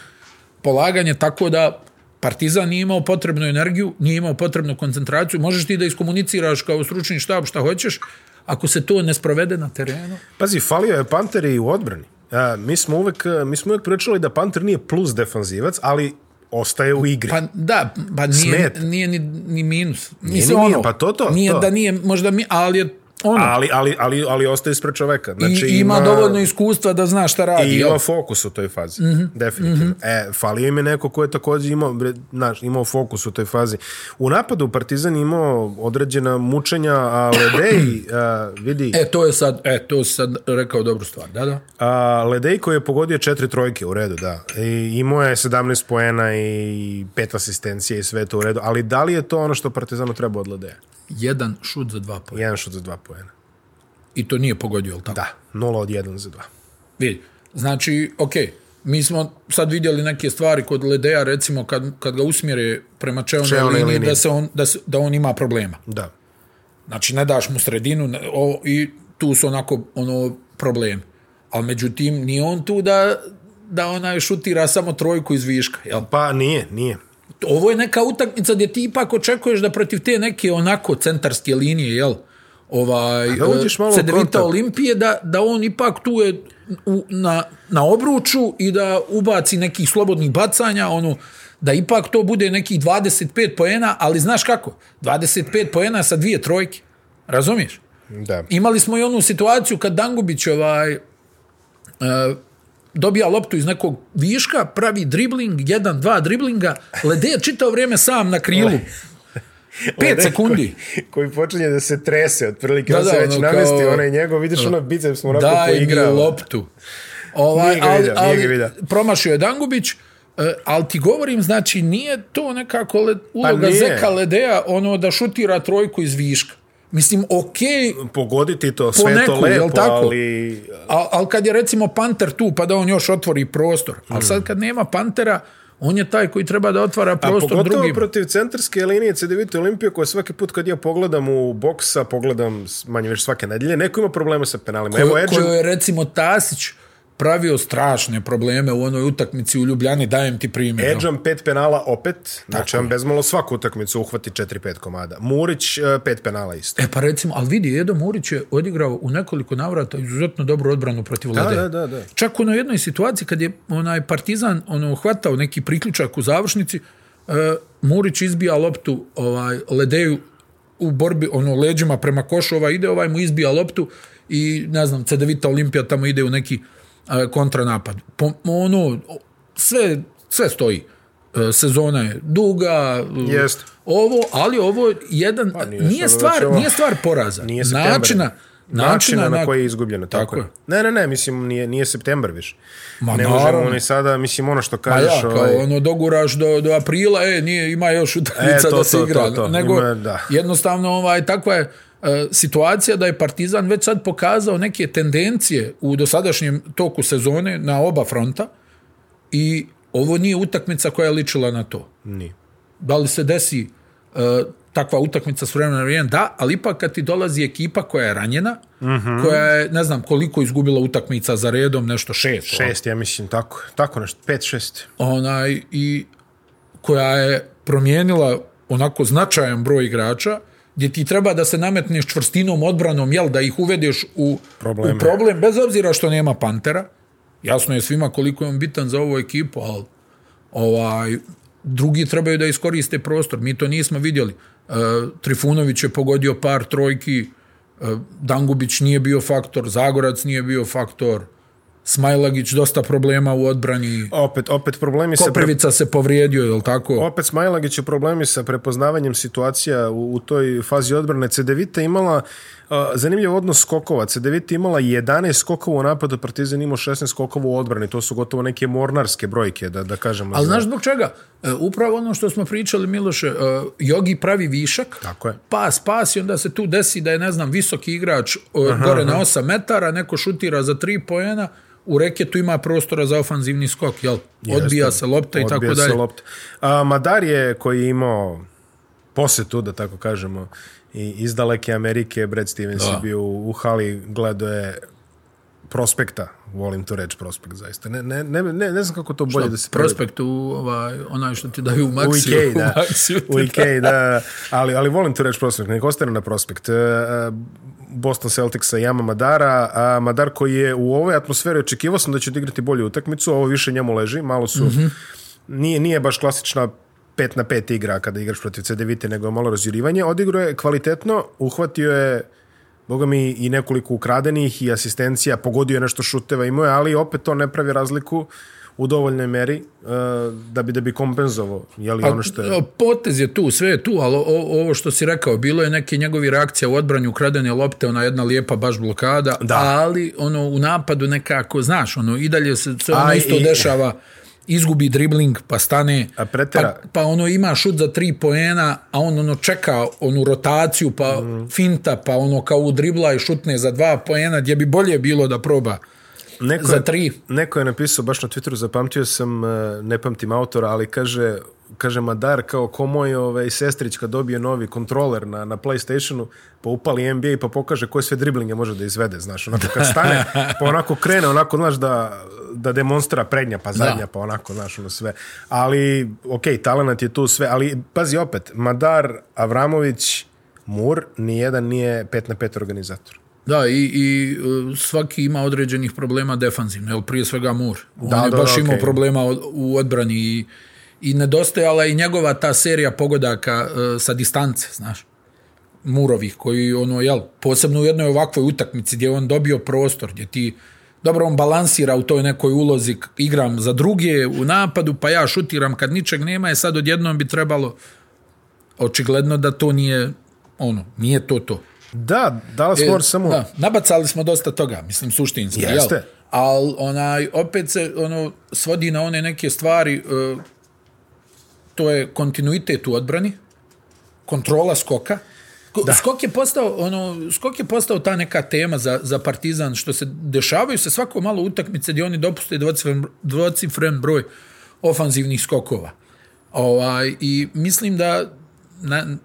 Speaker 3: polaganje, tako da Partizan nije imao potrebnu energiju, nije imao potrebnu koncentraciju, možeš ti da iskomuniciraš kao stručni štab šta hoćeš, ako se to ne sprovede na terenu.
Speaker 2: Pazi, falio je Panter i u odbrani. A, mi, smo uvek, mi smo uvek pričali da Panter nije plus defanzivac, ali ostaje u igri.
Speaker 3: Pa da, pa nije,
Speaker 2: Smeta.
Speaker 3: nije ni, ni minus. Nije, ono.
Speaker 2: ni minus, pa to, to,
Speaker 3: Nije
Speaker 2: to.
Speaker 3: da nije, možda mi, ali je ono,
Speaker 2: Ali, ali, ali, ali ostaje ispred čoveka. Znači,
Speaker 3: znači, i, ima, dovoljno iskustva da zna šta radi.
Speaker 2: I
Speaker 3: jel?
Speaker 2: ima fokus u toj fazi, mm -hmm. definitivno. Mm -hmm. E, falio im je neko ko je također imao, bre, znaš, imao fokus u toj fazi. U napadu Partizan je imao određena mučenja, a Ledej, a, vidi,
Speaker 3: E, to je sad, e, to si sad rekao dobru stvar, da, da.
Speaker 2: a, Ledej koji je pogodio četiri trojke u redu, da. I imao je 17 poena i pet asistencije i sve to u redu, ali da li je to ono što Partizanu treba od Ledeja?
Speaker 3: Jedan šut za dva pojena.
Speaker 2: Jedan šut za dva poena.
Speaker 3: I to nije pogodio, jel tako?
Speaker 2: Da, 0 od 1 za 2.
Speaker 3: Vidi, znači, ok, mi smo sad vidjeli neke stvari kod Ledeja, recimo, kad, kad ga usmjere prema čeonoj
Speaker 2: Čeonoj
Speaker 3: liniji,
Speaker 2: liniji.
Speaker 3: da, se on, da, se, da on ima problema.
Speaker 2: Da.
Speaker 3: Znači, ne daš mu sredinu ne, o, i tu su onako ono, problem. Ali međutim, nije on tu da, da ona šutira samo trojku iz viška. Jel?
Speaker 2: Pa nije, nije.
Speaker 3: Ovo je neka utakmica gdje ti ipak očekuješ da protiv te neke onako centarske linije, jel? Ovaj,
Speaker 2: da uđeš malo u kontakt.
Speaker 3: Cedevita Olimpije, da, da on ipak tu je u, na, na obruču i da ubaci nekih slobodnih bacanja, ono, da ipak to bude nekih 25 poena, ali znaš kako? 25 poena sa dvije trojke. Razumiješ?
Speaker 2: Da.
Speaker 3: Imali smo i onu situaciju kad Dangubić ovaj, e, dobija loptu iz nekog viška, pravi dribling, jedan, dva driblinga, Lede je čitao vrijeme sam na krilu. Pet
Speaker 2: Onaj
Speaker 3: sekundi.
Speaker 2: Ovaj. Koji, koji počinje da se trese, otprilike
Speaker 3: Da,
Speaker 2: da, on se
Speaker 3: da,
Speaker 2: već
Speaker 3: ono
Speaker 2: namesti,
Speaker 3: kao-
Speaker 2: onaj njegov, vidiš ono biceps mu onako
Speaker 3: Daj mi
Speaker 2: poigrava.
Speaker 3: loptu. Ovaj,
Speaker 2: Nije ga vidio, nije ga vidio.
Speaker 3: promašio je Dangubić, e, ali ti govorim, znači, nije to nekako le, uloga
Speaker 2: Pa nije.
Speaker 3: Zeka Ledeja, ono da šutira trojku iz viška. Mislim, okej,
Speaker 2: Pogoditi to, sve to
Speaker 3: neku, jel
Speaker 2: lepo,
Speaker 3: tako?
Speaker 2: ali...
Speaker 3: Ali al kad je recimo Panter tu, pa da on još otvori prostor. Ali sad kad nema Pantera, On je taj koji treba da otvara
Speaker 2: A
Speaker 3: prostor
Speaker 2: pogotovo
Speaker 3: drugim.
Speaker 2: protiv centarske linije CDVT Olimpije koja svaki put kad ja pogledam u boksa, pogledam s- manje više svake nedelje, neko ima problema sa penalima. Evo
Speaker 3: Koju, koju
Speaker 2: Edžan,
Speaker 3: je recimo Tasić pravio strašne probleme u onoj utakmici u Ljubljani, dajem ti primjer. no.
Speaker 2: Edžan pet penala opet, znači on bezmalo svaku utakmicu uhvati 4-5 komada. Murić e, pet penala isto.
Speaker 3: E pa recimo, ali vidi, Edo Murić je odigrao u nekoliko navrata izuzetno dobru odbranu protiv Lede.
Speaker 2: da, da, da.
Speaker 3: Čak u onoj jednoj situaciji kad je onaj Partizan ono, hvatao neki priključak u završnici, e, Murić izbija loptu ovaj, Ledeju u borbi, ono, leđima prema košu, ovaj ide, ovaj mu izbija loptu i, ne znam, Cedevita Olimpija tamo ide u neki e, kontranapad. Po, ono, sve, sve stoji. E, sezona je duga, e,
Speaker 2: Jeste.
Speaker 3: ovo, ali ovo je jedan, pa,
Speaker 2: nije
Speaker 3: nije, nije,
Speaker 2: sad
Speaker 3: stvar,
Speaker 2: već ovo-
Speaker 3: nije stvar poraza.
Speaker 2: Nije septembar.
Speaker 3: načina,
Speaker 2: načina na koji je
Speaker 3: koji...
Speaker 2: izgubljeno. Tako,
Speaker 3: Tako
Speaker 2: je. Ne, ne, ne, mislim, nije, nije septembar više.
Speaker 3: Ma,
Speaker 2: ne možemo
Speaker 3: naravno.
Speaker 2: ni sada, mislim, ono što
Speaker 3: A
Speaker 2: kažeš...
Speaker 3: ja, kao ono, doguraš do, do aprila, e, nije, ima još utakmica
Speaker 2: E, to,
Speaker 3: da se
Speaker 2: to,
Speaker 3: igra.
Speaker 2: to, to.
Speaker 3: Nego,
Speaker 2: Ima, da.
Speaker 3: jednostavno, ovaj, takva je e, situacija da je Partizan već sad pokazao neke tendencije u dosadašnjem toku sezone na oba fronta i ovo nije utakmica koja je ličila na to.
Speaker 2: Nije.
Speaker 3: da li se desi e, takva utakmica s vremena na vrijeme, da, ali ipak kad ti dolazi ekipa koja je ranjena,
Speaker 2: Mhm.
Speaker 3: koja je, ne znam koliko izgubila utakmica za redom, nešto šest,
Speaker 2: Šest, ja mislim, tako, tako nešto, pet, šest.
Speaker 3: onaj, i koja je promijenila onako značajan broj igrača, gdje ti treba da se nametneš čvrstinom, odbranom, jel, da ih uvedeš u,
Speaker 2: Probleme.
Speaker 3: u problem, bez obzira što nema Pantera, jasno je svima koliko je on bitan za ovu ekipu, ali ovaj, drugi trebaju da iskoriste prostor, mi to nismo vidjeli. E, Trifunović je pogodio par trojki, e, Dangubić nije bio faktor, Zagorac nije bio faktor, Smajlagić dosta problema u odbrani.
Speaker 2: Opet, opet problemi sa... pre-
Speaker 3: Koprivica se povrijedio, je li tako?
Speaker 2: Opet Smajlagić je problemi sa prepoznavanjem situacija u, u toj fazi odbrane. Cedevita je imala uh, zanimljiv odnos skokova. Cedevita je imala 11 skokova u napadu, Partizan imao 16 skokova u odbrani. To su gotovo neke mornarske brojke, da, da kažemo.
Speaker 3: Ali
Speaker 2: za-
Speaker 3: znaš zbog čega? E, upravo ono što smo pričali, Miloše, e, Jogi pravi višak,
Speaker 2: Tako je.
Speaker 3: pas, pas i onda se tu desi da je, ne znam, visoki igrač e, gore na 8 metara, neko šutira za 3 poena, u reketu ima prostora za ofanzivni skok, jel? Odbija
Speaker 2: Jeste.
Speaker 3: se lopta i tako
Speaker 2: Odbija se
Speaker 3: dalje.
Speaker 2: lopta. A, Madar je koji je imao posetu, da tako kažemo, i iz daleke Amerike, Brad Stevens je bio u, u hali, gledao je prospekta, volim to reći prospekt zaista. Ne, ne, ne, ne, ne znam kako to bolje da se prevede.
Speaker 3: Prospekt u ovaj, onaj što ti daju u
Speaker 2: U
Speaker 3: Maxiju.
Speaker 2: Ikeji, da.
Speaker 3: Maxiju ti
Speaker 2: U Ikeji, da. Ali, ali volim tu reći prospekt, nek ostane na prospekt. E, e, Boston Celticsa i Jama Madara. A Madar koji je u ovoj atmosferi očekivao sam da će odigrati bolju utakmicu, ovo više njemu leži, malo su... Mm -hmm. nije, nije baš klasična 5 na 5 igra kada igraš protiv CDVite, nego je malo razjurivanje. Odigrao je kvalitetno, uhvatio je Boga mi i nekoliko ukradenih i asistencija, pogodio je nešto šuteva imao je, ali opet to ne pravi razliku u dovoljnoj meri e, da bi da bi kompenzovao jeli, ono što je...
Speaker 3: Potez je tu, sve je tu, ali o, ovo što si rekao, bilo je neke njegovi reakcija u odbranju, ukradene lopte, ona jedna lijepa baš blokada, da. ali ono u napadu nekako, znaš, ono i dalje se sve ono
Speaker 2: Aj,
Speaker 3: isto
Speaker 2: i-
Speaker 3: dešava, izgubi dribling, pa stane,
Speaker 2: A pretera.
Speaker 3: pa, pa ono ima šut za tri poena, a on ono čeka onu rotaciju, pa
Speaker 2: Mm.
Speaker 3: finta, pa ono kao u dribla i šutne za dva poena, gdje bi bolje bilo da proba.
Speaker 2: Neko
Speaker 3: Za
Speaker 2: je,
Speaker 3: tri.
Speaker 2: Neko je napisao baš na Twitteru, zapamtio sam, e, ne pamtim autora, ali kaže, kaže Madar kao ko moj ovaj, sestrić kad dobije novi kontroler na, na Playstationu, pa upali NBA pa pokaže koje sve driblinge može da izvede, znaš, onako kad stane, pa onako krene, onako, znaš, da, da demonstrira prednja pa zadnja, pa onako, znaš, ono sve. Ali, okej, okay, talent je tu sve, ali pazi opet, Madar, Avramović, Mur, nijedan nije 5 na 5 organizator.
Speaker 3: Da, i, i e, svaki ima određenih problema defanzivno, jel prije svega Mur. On
Speaker 2: Da,
Speaker 3: je
Speaker 2: da,
Speaker 3: baš
Speaker 2: da,
Speaker 3: imao
Speaker 2: okej.
Speaker 3: problema od- u odbrani i, i nedostajala je i njegova ta serija pogodaka e, sa distance, znaš. Murovih, koji ono, jel, posebno u jednoj ovakvoj utakmici gdje je on dobio prostor, gdje ti dobro on balansira u toj nekoj ulozi, k- igram za druge u napadu, pa ja šutiram kad ničeg nema, je sad odjednom bi trebalo očigledno da to nije ono, nije to to.
Speaker 2: Da, Dallas e, Moore samo...
Speaker 3: Da, nabacali smo dosta toga, mislim, suštinski.
Speaker 2: Jeste.
Speaker 3: Jel? Ali onaj, opet se ono, svodi na one neke stvari, e, to je kontinuitet u odbrani, kontrola skoka. Ko- Skok je postao ono skok je postao ta neka tema za, za Partizan što se dešavaju se svako malo utakmice gdje oni dopuste dvocifren, dvocifren broj ofanzivnih skokova. Ovaj, I mislim da, na,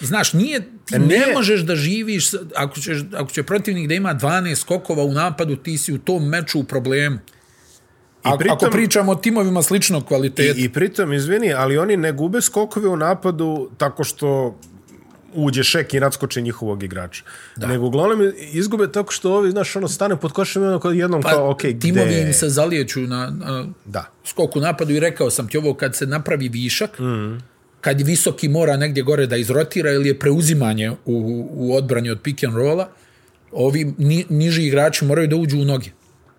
Speaker 3: znaš, nije,
Speaker 2: E,
Speaker 3: ti ne
Speaker 2: Nije.
Speaker 3: možeš da živiš, sa- ako, ćeš, ako će protivnik da ima 12 skokova u napadu, ti si u tom meču u problemu. A,
Speaker 2: pritom-
Speaker 3: ako pričamo o timovima sličnog kvaliteta,
Speaker 2: I, I pritom, izvini, ali oni ne gube skokove u napadu tako što uđe šek i nadskoče njihovog igrača. Da. Nego uglavnom izgube tako što ovi, znaš, ono stane pod košem i ono kao jednom pa, kao, ok,
Speaker 3: timovi
Speaker 2: gde...
Speaker 3: im se zalijeću na, na
Speaker 2: Da.
Speaker 3: skoku napadu i rekao sam ti ovo kad se napravi višak, mm. kad visoki mora negdje gore da izrotira ili je preuzimanje u, u odbrani od pick and rolla, ovi ni, niži igrači moraju da uđu u noge.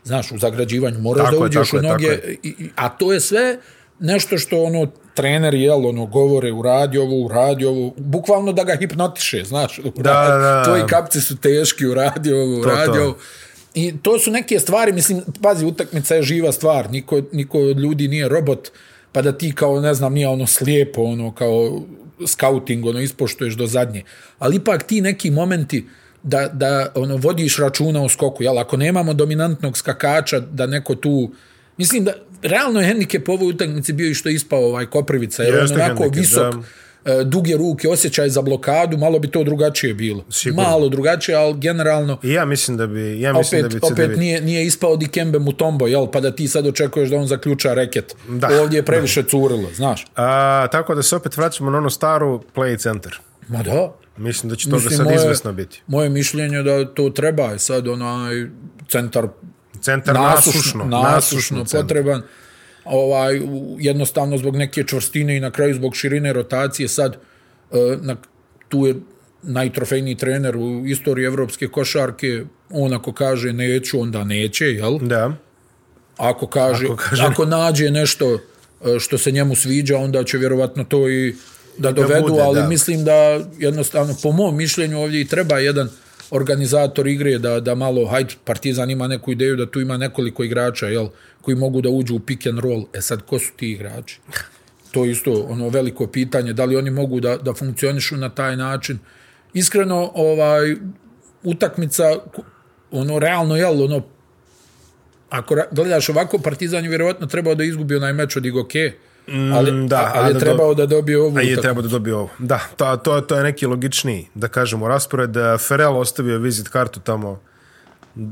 Speaker 3: Znaš, u zagrađivanju moraš
Speaker 2: Tako
Speaker 3: da
Speaker 2: je,
Speaker 3: uđeš
Speaker 2: tako
Speaker 3: u
Speaker 2: je, tako
Speaker 3: noge, i, i- a to je sve nešto što ono trener jel ono govore uradi ovo uradi ovo bukvalno da ga hipnotiše znaš
Speaker 2: da, da.
Speaker 3: tvoji kapci su teški uradi ovo
Speaker 2: to.
Speaker 3: uradi ovo I to su neke stvari, mislim, pazi, utakmica je živa stvar, niko, niko od ljudi nije robot, pa da ti kao, ne znam, nije ono slijepo, ono kao scouting, ono ispoštuješ do zadnje. Ali ipak ti neki momenti da, da ono, vodiš računa o skoku, jel, ako nemamo dominantnog skakača, da neko tu, mislim da, realno je hendikep u ovoj utakmici bio i što je ispao ovaj Koprivica, jer on
Speaker 2: Jeste
Speaker 3: je onako
Speaker 2: hendikep,
Speaker 3: visok,
Speaker 2: da.
Speaker 3: e, duge ruke, osjećaj za blokadu, malo bi to drugačije bilo.
Speaker 2: Sigurno.
Speaker 3: Malo drugačije, ali generalno
Speaker 2: I ja mislim da bi, ja mislim
Speaker 3: opet,
Speaker 2: da bi
Speaker 3: opet
Speaker 2: CDV...
Speaker 3: nije, nije ispao Dikembe Mutombo, jel? Pa da ti sad očekuješ da on zaključa reket. Da,
Speaker 2: Da.
Speaker 3: Ovdje je previše curilo, znaš.
Speaker 2: A, tako da se opet vraćamo na ono staru play center.
Speaker 3: Ma da.
Speaker 2: Mislim da će toga sad izvesno biti.
Speaker 3: Moje mišljenje da to treba je sad onaj centar
Speaker 2: Centar nasušno.
Speaker 3: nasušno,
Speaker 2: centar.
Speaker 3: nasušno potreban. Ovaj, u- jednostavno zbog neke čvrstine i na kraju zbog širine rotacije sad e, na, tu je najtrofejniji trener u istoriji evropske košarke on ako kaže neću, onda neće, jel?
Speaker 2: Da.
Speaker 3: Ako kaže, ako,
Speaker 2: Ako
Speaker 3: kaže...
Speaker 2: kaže-
Speaker 3: ako nađe nešto e, što se njemu sviđa, onda će vjerovatno to i da dovedu,
Speaker 2: bude,
Speaker 3: ali
Speaker 2: da.
Speaker 3: mislim da jednostavno, po mom mišljenju, ovdje i treba jedan organizator igre da, da malo, hajde, Partizan ima neku ideju da tu ima nekoliko igrača, jel, koji mogu da uđu u pick and roll. E sad, ko su ti igrači? To je isto ono veliko pitanje, da li oni mogu da, da funkcionišu na taj način. Iskreno, ovaj, utakmica, ku- ono, realno, jel, ono, ako ra- gledaš ovako, Partizan je vjerovatno trebao da izgubi onaj meč od Igoke, ali, mm,
Speaker 2: da,
Speaker 3: da,
Speaker 2: a
Speaker 3: ali je
Speaker 2: da
Speaker 3: trebao da dobije ovu
Speaker 2: A je
Speaker 3: utakmicu.
Speaker 2: treba da dobije ovo. Da, to, to, to je neki logičniji, da kažemo, raspored. Ferel ostavio vizit kartu tamo.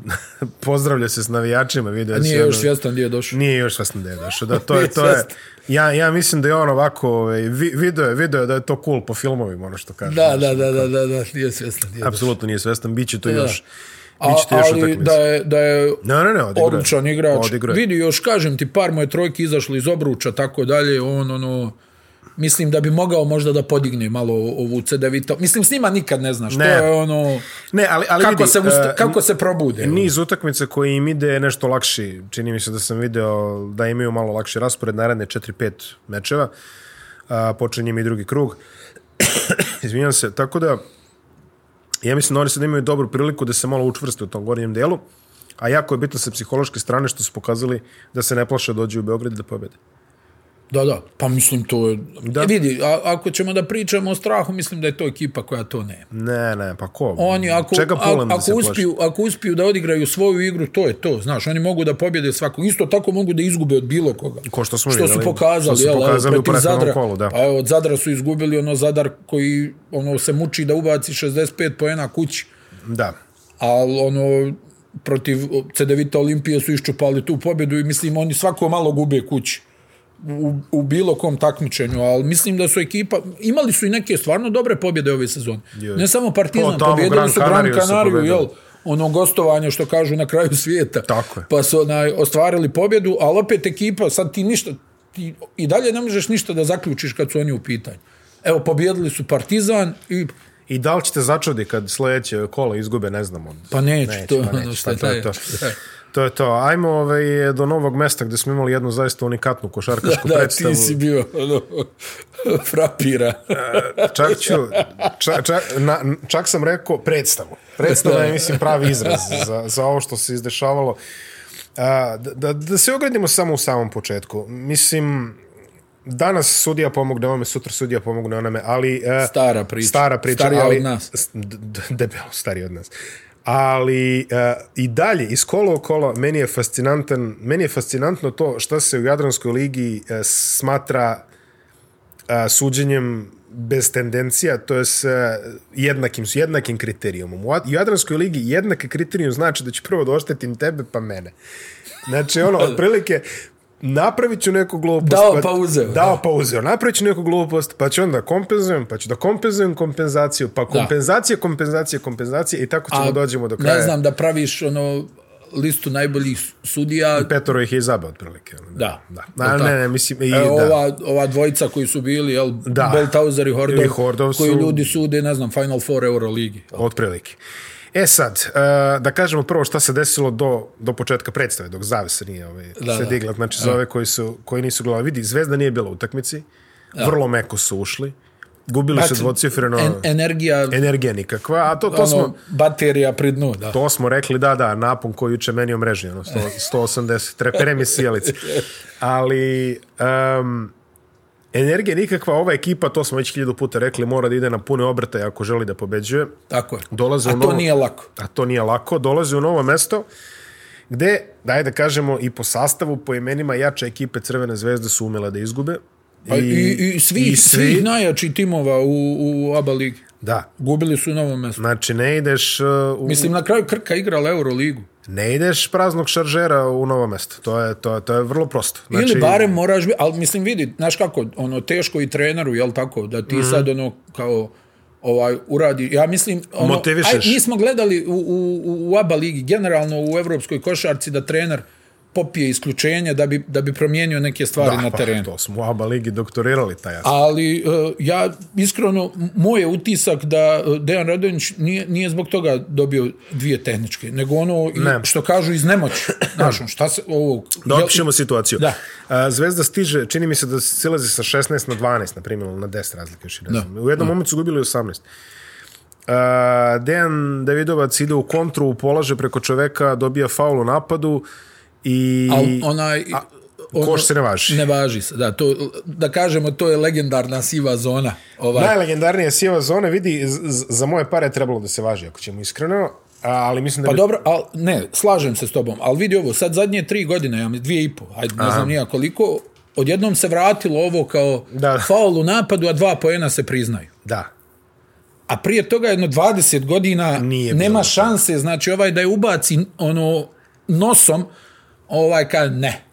Speaker 2: Pozdravlja se s navijačima. Vidio
Speaker 3: Nije
Speaker 2: se
Speaker 3: još svjestan gdje je došao.
Speaker 2: Nije još svestan da je došao. Da, to je,
Speaker 3: Nije
Speaker 2: to je,
Speaker 3: svjestan.
Speaker 2: ja, ja mislim da je on ovako, ovaj, vi- video je, video je da je to cool po filmovima, ono što kaže.
Speaker 3: Da, da, da, da, da, da, nije svjestan. Nije.
Speaker 2: Apsolutno nije svestan, bit će to još.
Speaker 3: A,
Speaker 2: Bit će to još
Speaker 3: ali
Speaker 2: utakmice.
Speaker 3: da je, da je
Speaker 2: Ne, ne, ne, odigrao je.
Speaker 3: odličan igrač.
Speaker 2: Odigrao je.
Speaker 3: Vidi, još kažem ti, par moje trojke izašli iz obruča, tako dalje, on, ono, mislim da bi mogao možda da podigne malo ovu CDVita. Mislim, s njima nikad ne znaš, ne.
Speaker 2: Ne.
Speaker 3: to je ono,
Speaker 2: Ne, ali, ali
Speaker 3: kako,
Speaker 2: vidi,
Speaker 3: se, usta,
Speaker 2: e,
Speaker 3: kako se probude. ono.
Speaker 2: Niz utakmica koji im ide je nešto lakši. Čini mi se da sam video da imaju malo lakši raspored naredne 4-5 mečeva. A, počinje im i drugi krug. Izvinjam se. Tako da, ja mislim da oni sad imaju dobru priliku da se malo učvrste u tom gornjem delu. A jako je bitno sa psihološke strane što su pokazali da se ne plaše da dođu u Beograd i da pobede.
Speaker 3: Da, da, pa mislim to je... Da.
Speaker 2: Da.
Speaker 3: Vidi, a, ako ćemo da pričamo o strahu, mislim da je to ekipa koja to nema.
Speaker 2: Ne, ne, pa ko?
Speaker 3: Oni ako,
Speaker 2: Čega
Speaker 3: a, ako,
Speaker 2: Pulan da se plaši?
Speaker 3: uspiju, ako uspiju da odigraju svoju igru, to je to. Znaš, oni mogu da pobjede svakog. Isto tako mogu da izgube od bilo koga.
Speaker 2: Ko što smo
Speaker 3: što
Speaker 2: vidjeli.
Speaker 3: su pokazali,
Speaker 2: Što su
Speaker 3: jel, evo,
Speaker 2: pokazali u
Speaker 3: protiv
Speaker 2: prethodnom
Speaker 3: Zadra.
Speaker 2: kolu, da.
Speaker 3: Pa evo, od Zadra su izgubili ono Zadar koji ono se muči da ubaci 65 poena kući,
Speaker 2: Da.
Speaker 3: ali ono protiv CDVita Olimpije su iščupali tu pobjedu i mislim oni svako malo gube kući u, u bilo kom takmičenju, ali mislim da su ekipa, imali su i neke stvarno dobre pobjede ove sezone.
Speaker 2: Je.
Speaker 3: Ne samo
Speaker 2: O,
Speaker 3: Partizan,
Speaker 2: tamo
Speaker 3: pobjedili
Speaker 2: Gran
Speaker 3: su Gran
Speaker 2: Canariju su
Speaker 3: Canariju,
Speaker 2: pobedili.
Speaker 3: jel? ono gostovanje što kažu na kraju svijeta.
Speaker 2: Tako je.
Speaker 3: Pa su onaj, ostvarili pobjedu, ali opet ekipa, sad ti ništa, ti i dalje ne možeš ništa da zaključiš kad su oni u pitanju. Evo, pobjedili su Partizan i
Speaker 2: I da li ćete začudi kad sledeće kolo izgube, ne znam. Od...
Speaker 3: pa neću, neću to,
Speaker 2: pa
Speaker 3: pa
Speaker 2: neću,
Speaker 3: ono što
Speaker 2: pa
Speaker 3: je
Speaker 2: to je
Speaker 3: taj-
Speaker 2: to. To je to. Ajmo ovaj, do novog mesta gde smo imali jednu zaista unikatnu košarkašku
Speaker 3: Da,
Speaker 2: predstavu. E,
Speaker 3: ti si bio ono, frapira.
Speaker 2: Čak, ću, čak, čak, na, čak sam rekao predstavu. Predstava je, mislim, pravi izraz za, za ovo što se izdešavalo. A, da- da, da se ogradimo samo u samom početku. Mislim, danas sudija pomogne ovome, sutra sudija pomogne onome, ali... e,
Speaker 3: Stara priča.
Speaker 2: Stara priča,
Speaker 3: Starija
Speaker 2: ali...
Speaker 3: od nas.
Speaker 2: s- d- d- Debelo stariji od nas. Ali e, i dalje, iz kola u kola, meni je, fascinantan, meni je fascinantno to šta se u Jadranskoj ligi e, smatra e, suđenjem bez tendencija, to je s e, jednakim, s jednakim kriterijumom. U Ad- u Jadranskoj ligi jednaki kriterijum znači da ću prvo da oštetim tebe pa mene. Znači, ono, otprilike, napravit ću neku glupost.
Speaker 3: Dao pa uzeo.
Speaker 2: Dao pa uzeo. Napravit ću neku glupost, pa ću onda kompenzujem, pa ću da kompenzujem kompenzaciju, pa kompenzacija, kompenzacija, kompenzacija i tako ćemo dođemo do kraja.
Speaker 3: Ne znam, da praviš ono listu najboljih sudija,
Speaker 2: Petoro ih je izabao, otprilike. ono,
Speaker 3: Da.
Speaker 2: da. Na,
Speaker 3: Jel
Speaker 2: ne,
Speaker 3: tako?
Speaker 2: ne, mislim, i,
Speaker 3: E,
Speaker 2: da.
Speaker 3: ova, ova dvojica koji su bili, jel,
Speaker 2: Da.
Speaker 3: Beltauser i Hordov,
Speaker 2: I Hordov su-
Speaker 3: koji ljudi sude, ne znam, Final Four Euroligi.
Speaker 2: Otprilike. E sad, e, da kažemo prvo šta se desilo do, do početka predstave, dok zavesa nije ovaj,
Speaker 3: Da, E.
Speaker 2: se
Speaker 3: da.
Speaker 2: digla. Znači, za ove koji, su, koji nisu gledali. Vidi, Zvezda nije bila u utakmici, vrlo meko su ušli, gubili su dvocifreno,
Speaker 3: Znači, En, energija,
Speaker 2: energija nikakva, a E, to, to
Speaker 3: ono,
Speaker 2: smo...
Speaker 3: baterija pri dnu, da.
Speaker 2: To smo rekli, da, da, napon koji juče meni omrežio, ono, 100, 180, trepere mi sjelice. Ali, um, energija nikakva, ova ekipa, to smo već hiljadu puta rekli, mora da ide na pune obrtaje ako želi da pobeđuje.
Speaker 3: Tako je.
Speaker 2: Dolaze
Speaker 3: A
Speaker 2: u
Speaker 3: to
Speaker 2: novo-
Speaker 3: nije lako.
Speaker 2: A to nije lako, dolaze u novo mesto gde, daj da kažemo, i po sastavu, po imenima jače ekipe Crvene zvezde su umjela da izgube.
Speaker 3: I, i, i svih, svih najjačih timova u, u ABA ligi.
Speaker 2: Da,
Speaker 3: Gubili su u novom mestu.
Speaker 2: znači ne ideš, uh, u,
Speaker 3: Mislim, na kraju Krka igrala Euroligu.
Speaker 2: ne ideš praznog šaržera u novo mesto. To je, to, je- to je vrlo prosto.
Speaker 3: Znači... Ili barem moraš biti, ali mislim vidi, znaš kako, ono teško i treneru, jel tako, da ti
Speaker 2: Mhm.
Speaker 3: mm -hmm. sad ono kao ovaj uradi, ja mislim ono,
Speaker 2: Motivišeš.
Speaker 3: aj, mi smo gledali u, u, u- u ABA ligi, generalno u evropskoj košarci da trener popije isključenje da bi, da bi promijenio neke stvari
Speaker 2: da,
Speaker 3: na
Speaker 2: pa,
Speaker 3: terenu.
Speaker 2: To smo u ABA ligi doktorirali taj jasno.
Speaker 3: Ali uh, ja iskreno m- moj je utisak da e, Dejan Radonjić nije, nije zbog toga dobio dvije tehničke, nego ono i-
Speaker 2: Ne.
Speaker 3: što kažu iz nemoći. Znaš, ono, šta se ovo
Speaker 2: Da opišemo situaciju.
Speaker 3: Da.
Speaker 2: A, Zvezda stiže, čini mi se da silazi sa 16 na 12, na primjer, ili na 10 razlike. Još, i ne
Speaker 3: Da.
Speaker 2: znam. U jednom momentu su gubili 18. A, Dejan Davidovac ide u kontru, polaže preko čoveka, dobija faul u napadu i...
Speaker 3: Al onaj... A,
Speaker 2: koš se ne važi.
Speaker 3: Ne važi se, da. To, da kažemo, to je legendarna siva zona. Ovaj.
Speaker 2: Najlegendarnija sjeva zone, vidi, z- z- za moje pare je trebalo da se važi, ako ćemo iskreno, a, ali mislim da
Speaker 3: Pa
Speaker 2: bi...
Speaker 3: dobro, al, ne, slažem se s tobom, ali vidi ovo, sad zadnje tri godine, ja mi dvije i po, ajde, ne znam nija koliko, odjednom se vratilo ovo kao
Speaker 2: Da.
Speaker 3: da. faul u napadu, a dva poena se priznaju.
Speaker 2: Da.
Speaker 3: A prije toga jedno 20 godina
Speaker 2: Nije bilo
Speaker 3: nema
Speaker 2: tako.
Speaker 3: šanse, znači ovaj da je ubaci ono nosom, ovaj ka ne,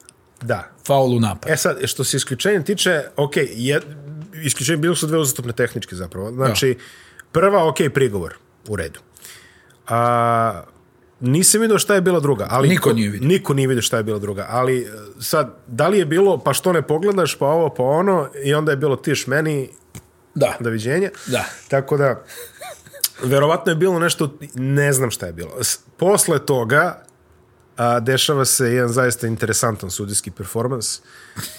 Speaker 2: Da.
Speaker 3: faul u napadu.
Speaker 2: E sad, što se isključenja tiče, ok, je, isključenje bilo su dve uzastopne tehničke zapravo. Znači, prva, ok, prigovor, u redu. A, nisam vidio šta je bila druga. Ali,
Speaker 3: Niko nije vidio.
Speaker 2: Niko nije vidio šta je bila druga. Ali e, sad, da li je bilo, pa što ne pogledaš, pa ovo, pa ono, i onda je bilo tiš meni,
Speaker 3: Da.
Speaker 2: doviđenja.
Speaker 3: Da.
Speaker 2: Tako da, verovatno je bilo nešto, ne znam šta je bilo. S- Posle toga, a, dešava se jedan zaista interesantan sudijski performans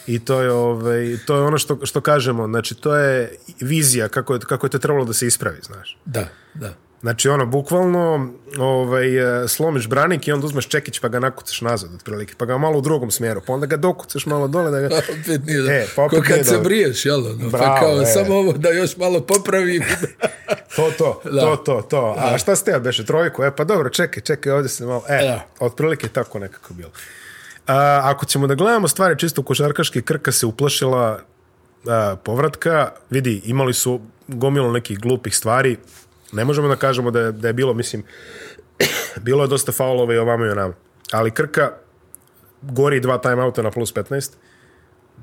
Speaker 2: i to je, ovaj, to je ono što, što kažemo, znači to je vizija kako je, kako je to trebalo da se ispravi, znaš.
Speaker 3: Da, da.
Speaker 2: Znači ono, bukvalno ovaj, e, slomiš branik i onda uzmeš čekić pa ga nakucaš nazad, otprilike, pa ga malo u drugom smjeru, pa onda ga dokucaš malo dole da ga...
Speaker 3: opet nije da.
Speaker 2: E,
Speaker 3: E,
Speaker 2: pa opet
Speaker 3: Ko kad
Speaker 2: nije
Speaker 3: se
Speaker 2: dobro.
Speaker 3: briješ, jel? ono,
Speaker 2: Bravo,
Speaker 3: pa kao,
Speaker 2: e.
Speaker 3: samo ovo da još malo popravim.
Speaker 2: To, to,
Speaker 3: Da.
Speaker 2: to, to, to. A šta ste ja beše, trojku? E, pa dobro, čekaj, čekaj, ovdje se malo... E,
Speaker 3: Da.
Speaker 2: otprilike tako nekako bilo. A, ako ćemo da gledamo stvari čisto košarkaški, Krka se uplašila a, povratka. Vidi, imali su gomilo nekih glupih stvari. Ne možemo da kažemo da je, da je bilo, mislim, bilo je dosta faulova i ovamo i onamo. Ali Krka gori dva timeouta na plus 15.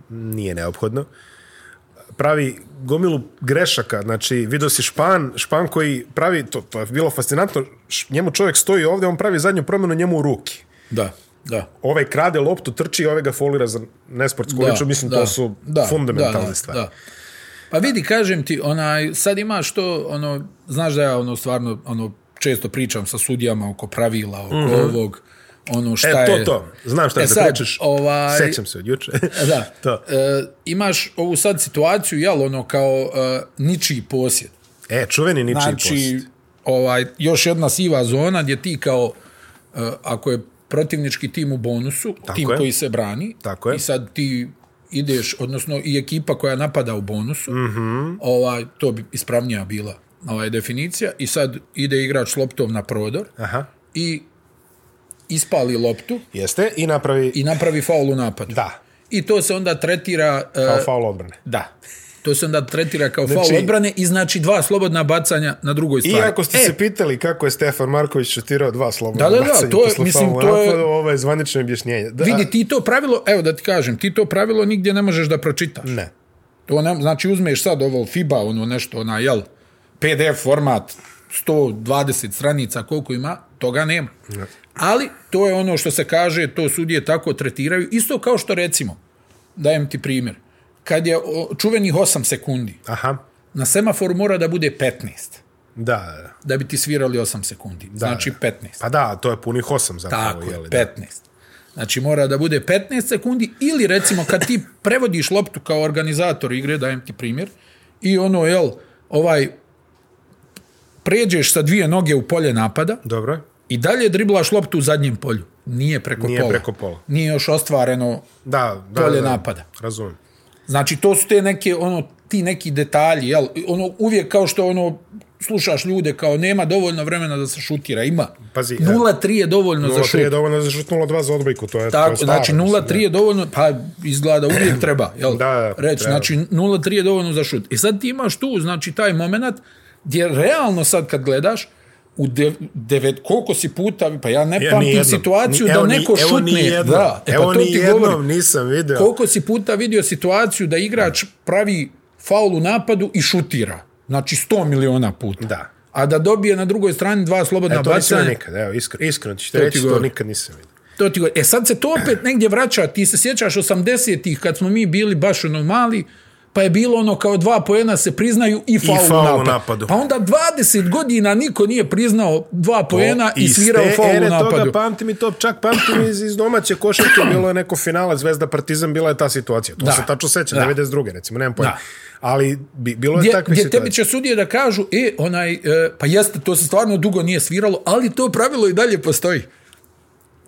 Speaker 2: Nije neophodno pravi gomilu grešaka, znači vidio si Špan, Špan koji pravi, to, to je bilo fascinantno, š- njemu čovjek stoji ovdje, on pravi zadnju promjenu njemu u ruki.
Speaker 3: da, da.
Speaker 2: Ovaj krade loptu, trči i ovaj ga folira za nesportsku liču, mislim to su fundamentalne stvari.
Speaker 3: Da. Pa vidi, kažem ti, onaj, sad imaš to, ono, znaš da ja ono, stvarno ono, često pričam sa sudijama oko pravila, oko mm -hmm. ovog, ono šta
Speaker 2: Mhm. E, to,
Speaker 3: je...
Speaker 2: to, znam šta
Speaker 3: E
Speaker 2: e, da
Speaker 3: sad,
Speaker 2: pričaš,
Speaker 3: ovaj-
Speaker 2: sećam se od juče.
Speaker 3: Da.
Speaker 2: to.
Speaker 3: E, imaš ovu sad situaciju, jel, ono, kao e, ničiji posjed.
Speaker 2: E, čuveni ničiji
Speaker 3: Znači,
Speaker 2: post.
Speaker 3: ovaj, još jedna siva zona gdje ti kao, uh, ako je protivnički tim u bonusu, Tako tim
Speaker 2: je.
Speaker 3: je. koji se brani,
Speaker 2: Tako je.
Speaker 3: i sad ti
Speaker 2: Mhm.
Speaker 3: ideš, odnosno i ekipa koja napada u bonusu, mm -hmm. ovaj, to bi ispravnija bila ovaj, definicija i sad ide igrač s loptom na prodor
Speaker 2: Aha.
Speaker 3: i ispali loptu
Speaker 2: Jeste, i napravi...
Speaker 3: i napravi faul u napadu.
Speaker 2: Da.
Speaker 3: I to se onda tretira... e,
Speaker 2: Kao faul odbrane.
Speaker 3: Da. To se onda tretira kao znači,
Speaker 2: Znači-
Speaker 3: faul odbrane i znači dva slobodna bacanja na drugoj strani.
Speaker 2: Iako ste
Speaker 3: e,
Speaker 2: se pitali kako je Stefan Marković šutirao dva slobodna
Speaker 3: Da, da, da,
Speaker 2: bacanja
Speaker 3: to je-
Speaker 2: posle
Speaker 3: mislim,
Speaker 2: faula,
Speaker 3: to je-
Speaker 2: onako, ovo je zvanično objašnjenje. Da,
Speaker 3: Vidi, ti to pravilo, evo da ti kažem, ti to pravilo nigdje ne možeš da pročitaš.
Speaker 2: Ne.
Speaker 3: To ne, znači uzmeš sad ovo FIBA, ono nešto, ona, jel, PDF format, 120 stranica, koliko ima, toga nema. Ne. Ali to je ono što se kaže, to sudije tako tretiraju, isto kao što recimo, dajem ti primjer, kad je o, čuvenih 8 sekundi,
Speaker 2: Aha.
Speaker 3: na semaforu mora da bude 15,
Speaker 2: Da, da, da.
Speaker 3: da bi ti svirali 8 sekundi, da, znači 15.
Speaker 2: Pa da, to je punih osam zapravo.
Speaker 3: Tako je,
Speaker 2: da.
Speaker 3: 15. Znači mora da bude 15 sekundi ili recimo kad ti prevodiš loptu kao organizator igre, dajem ti primjer, i ono, jel, ovaj, pređeš sa dvije noge u polje napada
Speaker 2: Dobro.
Speaker 3: i dalje driblaš loptu u zadnjem polju. Nije preko
Speaker 2: Nije
Speaker 3: pola.
Speaker 2: preko pola.
Speaker 3: Nije još ostvareno.
Speaker 2: Da, da,
Speaker 3: Polje
Speaker 2: da, da.
Speaker 3: napada.
Speaker 2: Razumem.
Speaker 3: Znači to su te neke, ono, ti neki detalji, jel, ono, uvijek kao što ono, slušaš ljude kao nema dovoljno vremena da se šutira, ima.
Speaker 2: Pazi, e,
Speaker 3: 0-3 je dovoljno za
Speaker 2: 0-3
Speaker 3: šut.
Speaker 2: je dovoljno za šut 0-2 za odbojku, to je, to
Speaker 3: Tako,
Speaker 2: je staro,
Speaker 3: znači
Speaker 2: mislim,
Speaker 3: 0-3 je dovoljno, pa izgleda uvijek treba, jel?
Speaker 2: Da, da,
Speaker 3: Reći,
Speaker 2: treba.
Speaker 3: znači 0-3 je dovoljno za šut. I sad ti imaš tu, znači, taj moment gdje realno sad kad gledaš, u de, devet, koliko si puta, pa ja ne
Speaker 2: Ja,
Speaker 3: pamtim
Speaker 2: nijednom.
Speaker 3: situaciju
Speaker 2: Ni-
Speaker 3: da
Speaker 2: evo, ni-
Speaker 3: neko
Speaker 2: evo,
Speaker 3: šutne.
Speaker 2: nijednom.
Speaker 3: da, e,
Speaker 2: evo
Speaker 3: pa to ti
Speaker 2: nijednom
Speaker 3: govorim.
Speaker 2: nisam video.
Speaker 3: Koliko si puta vidio situaciju da igrač pravi faul u napadu i šutira? Znači 100 miliona puta.
Speaker 2: Da.
Speaker 3: A da dobije na drugoj strani dva slobodna
Speaker 2: E, to nisam
Speaker 3: bacanja.
Speaker 2: vidio nikad, evo, iskreno, iskreno ću ti
Speaker 3: ti
Speaker 2: reći, to
Speaker 3: govorim.
Speaker 2: nikad nisam vidio.
Speaker 3: To ti govorim. E sad se to opet negdje vraća, ti se sjećaš 80-ih kad smo mi bili baš ono mali, pa je bilo ono kao dva pojena se priznaju i faul,
Speaker 2: faul u
Speaker 3: napad.
Speaker 2: napadu.
Speaker 3: Pa onda 20 godina niko nije priznao dva pojena i
Speaker 2: iz
Speaker 3: svirao
Speaker 2: te
Speaker 3: faul
Speaker 2: ere
Speaker 3: u napadu.
Speaker 2: toga pa pamtim i to, čak pamtim iz, iz domaće košarke, bilo je neko finala Zvezda Partizan, bila je ta situacija. To
Speaker 3: Da.
Speaker 2: se tačno seća,
Speaker 3: Da.
Speaker 2: 92. recimo, nemam pojma.
Speaker 3: Da.
Speaker 2: Ali bi, bilo je
Speaker 3: Gdje,
Speaker 2: Pa takve
Speaker 3: gdje
Speaker 2: situacije.
Speaker 3: tebi će sudije da kažu, e, onaj, e, pa jeste, to se stvarno dugo nije sviralo, ali to pravilo i dalje postoji.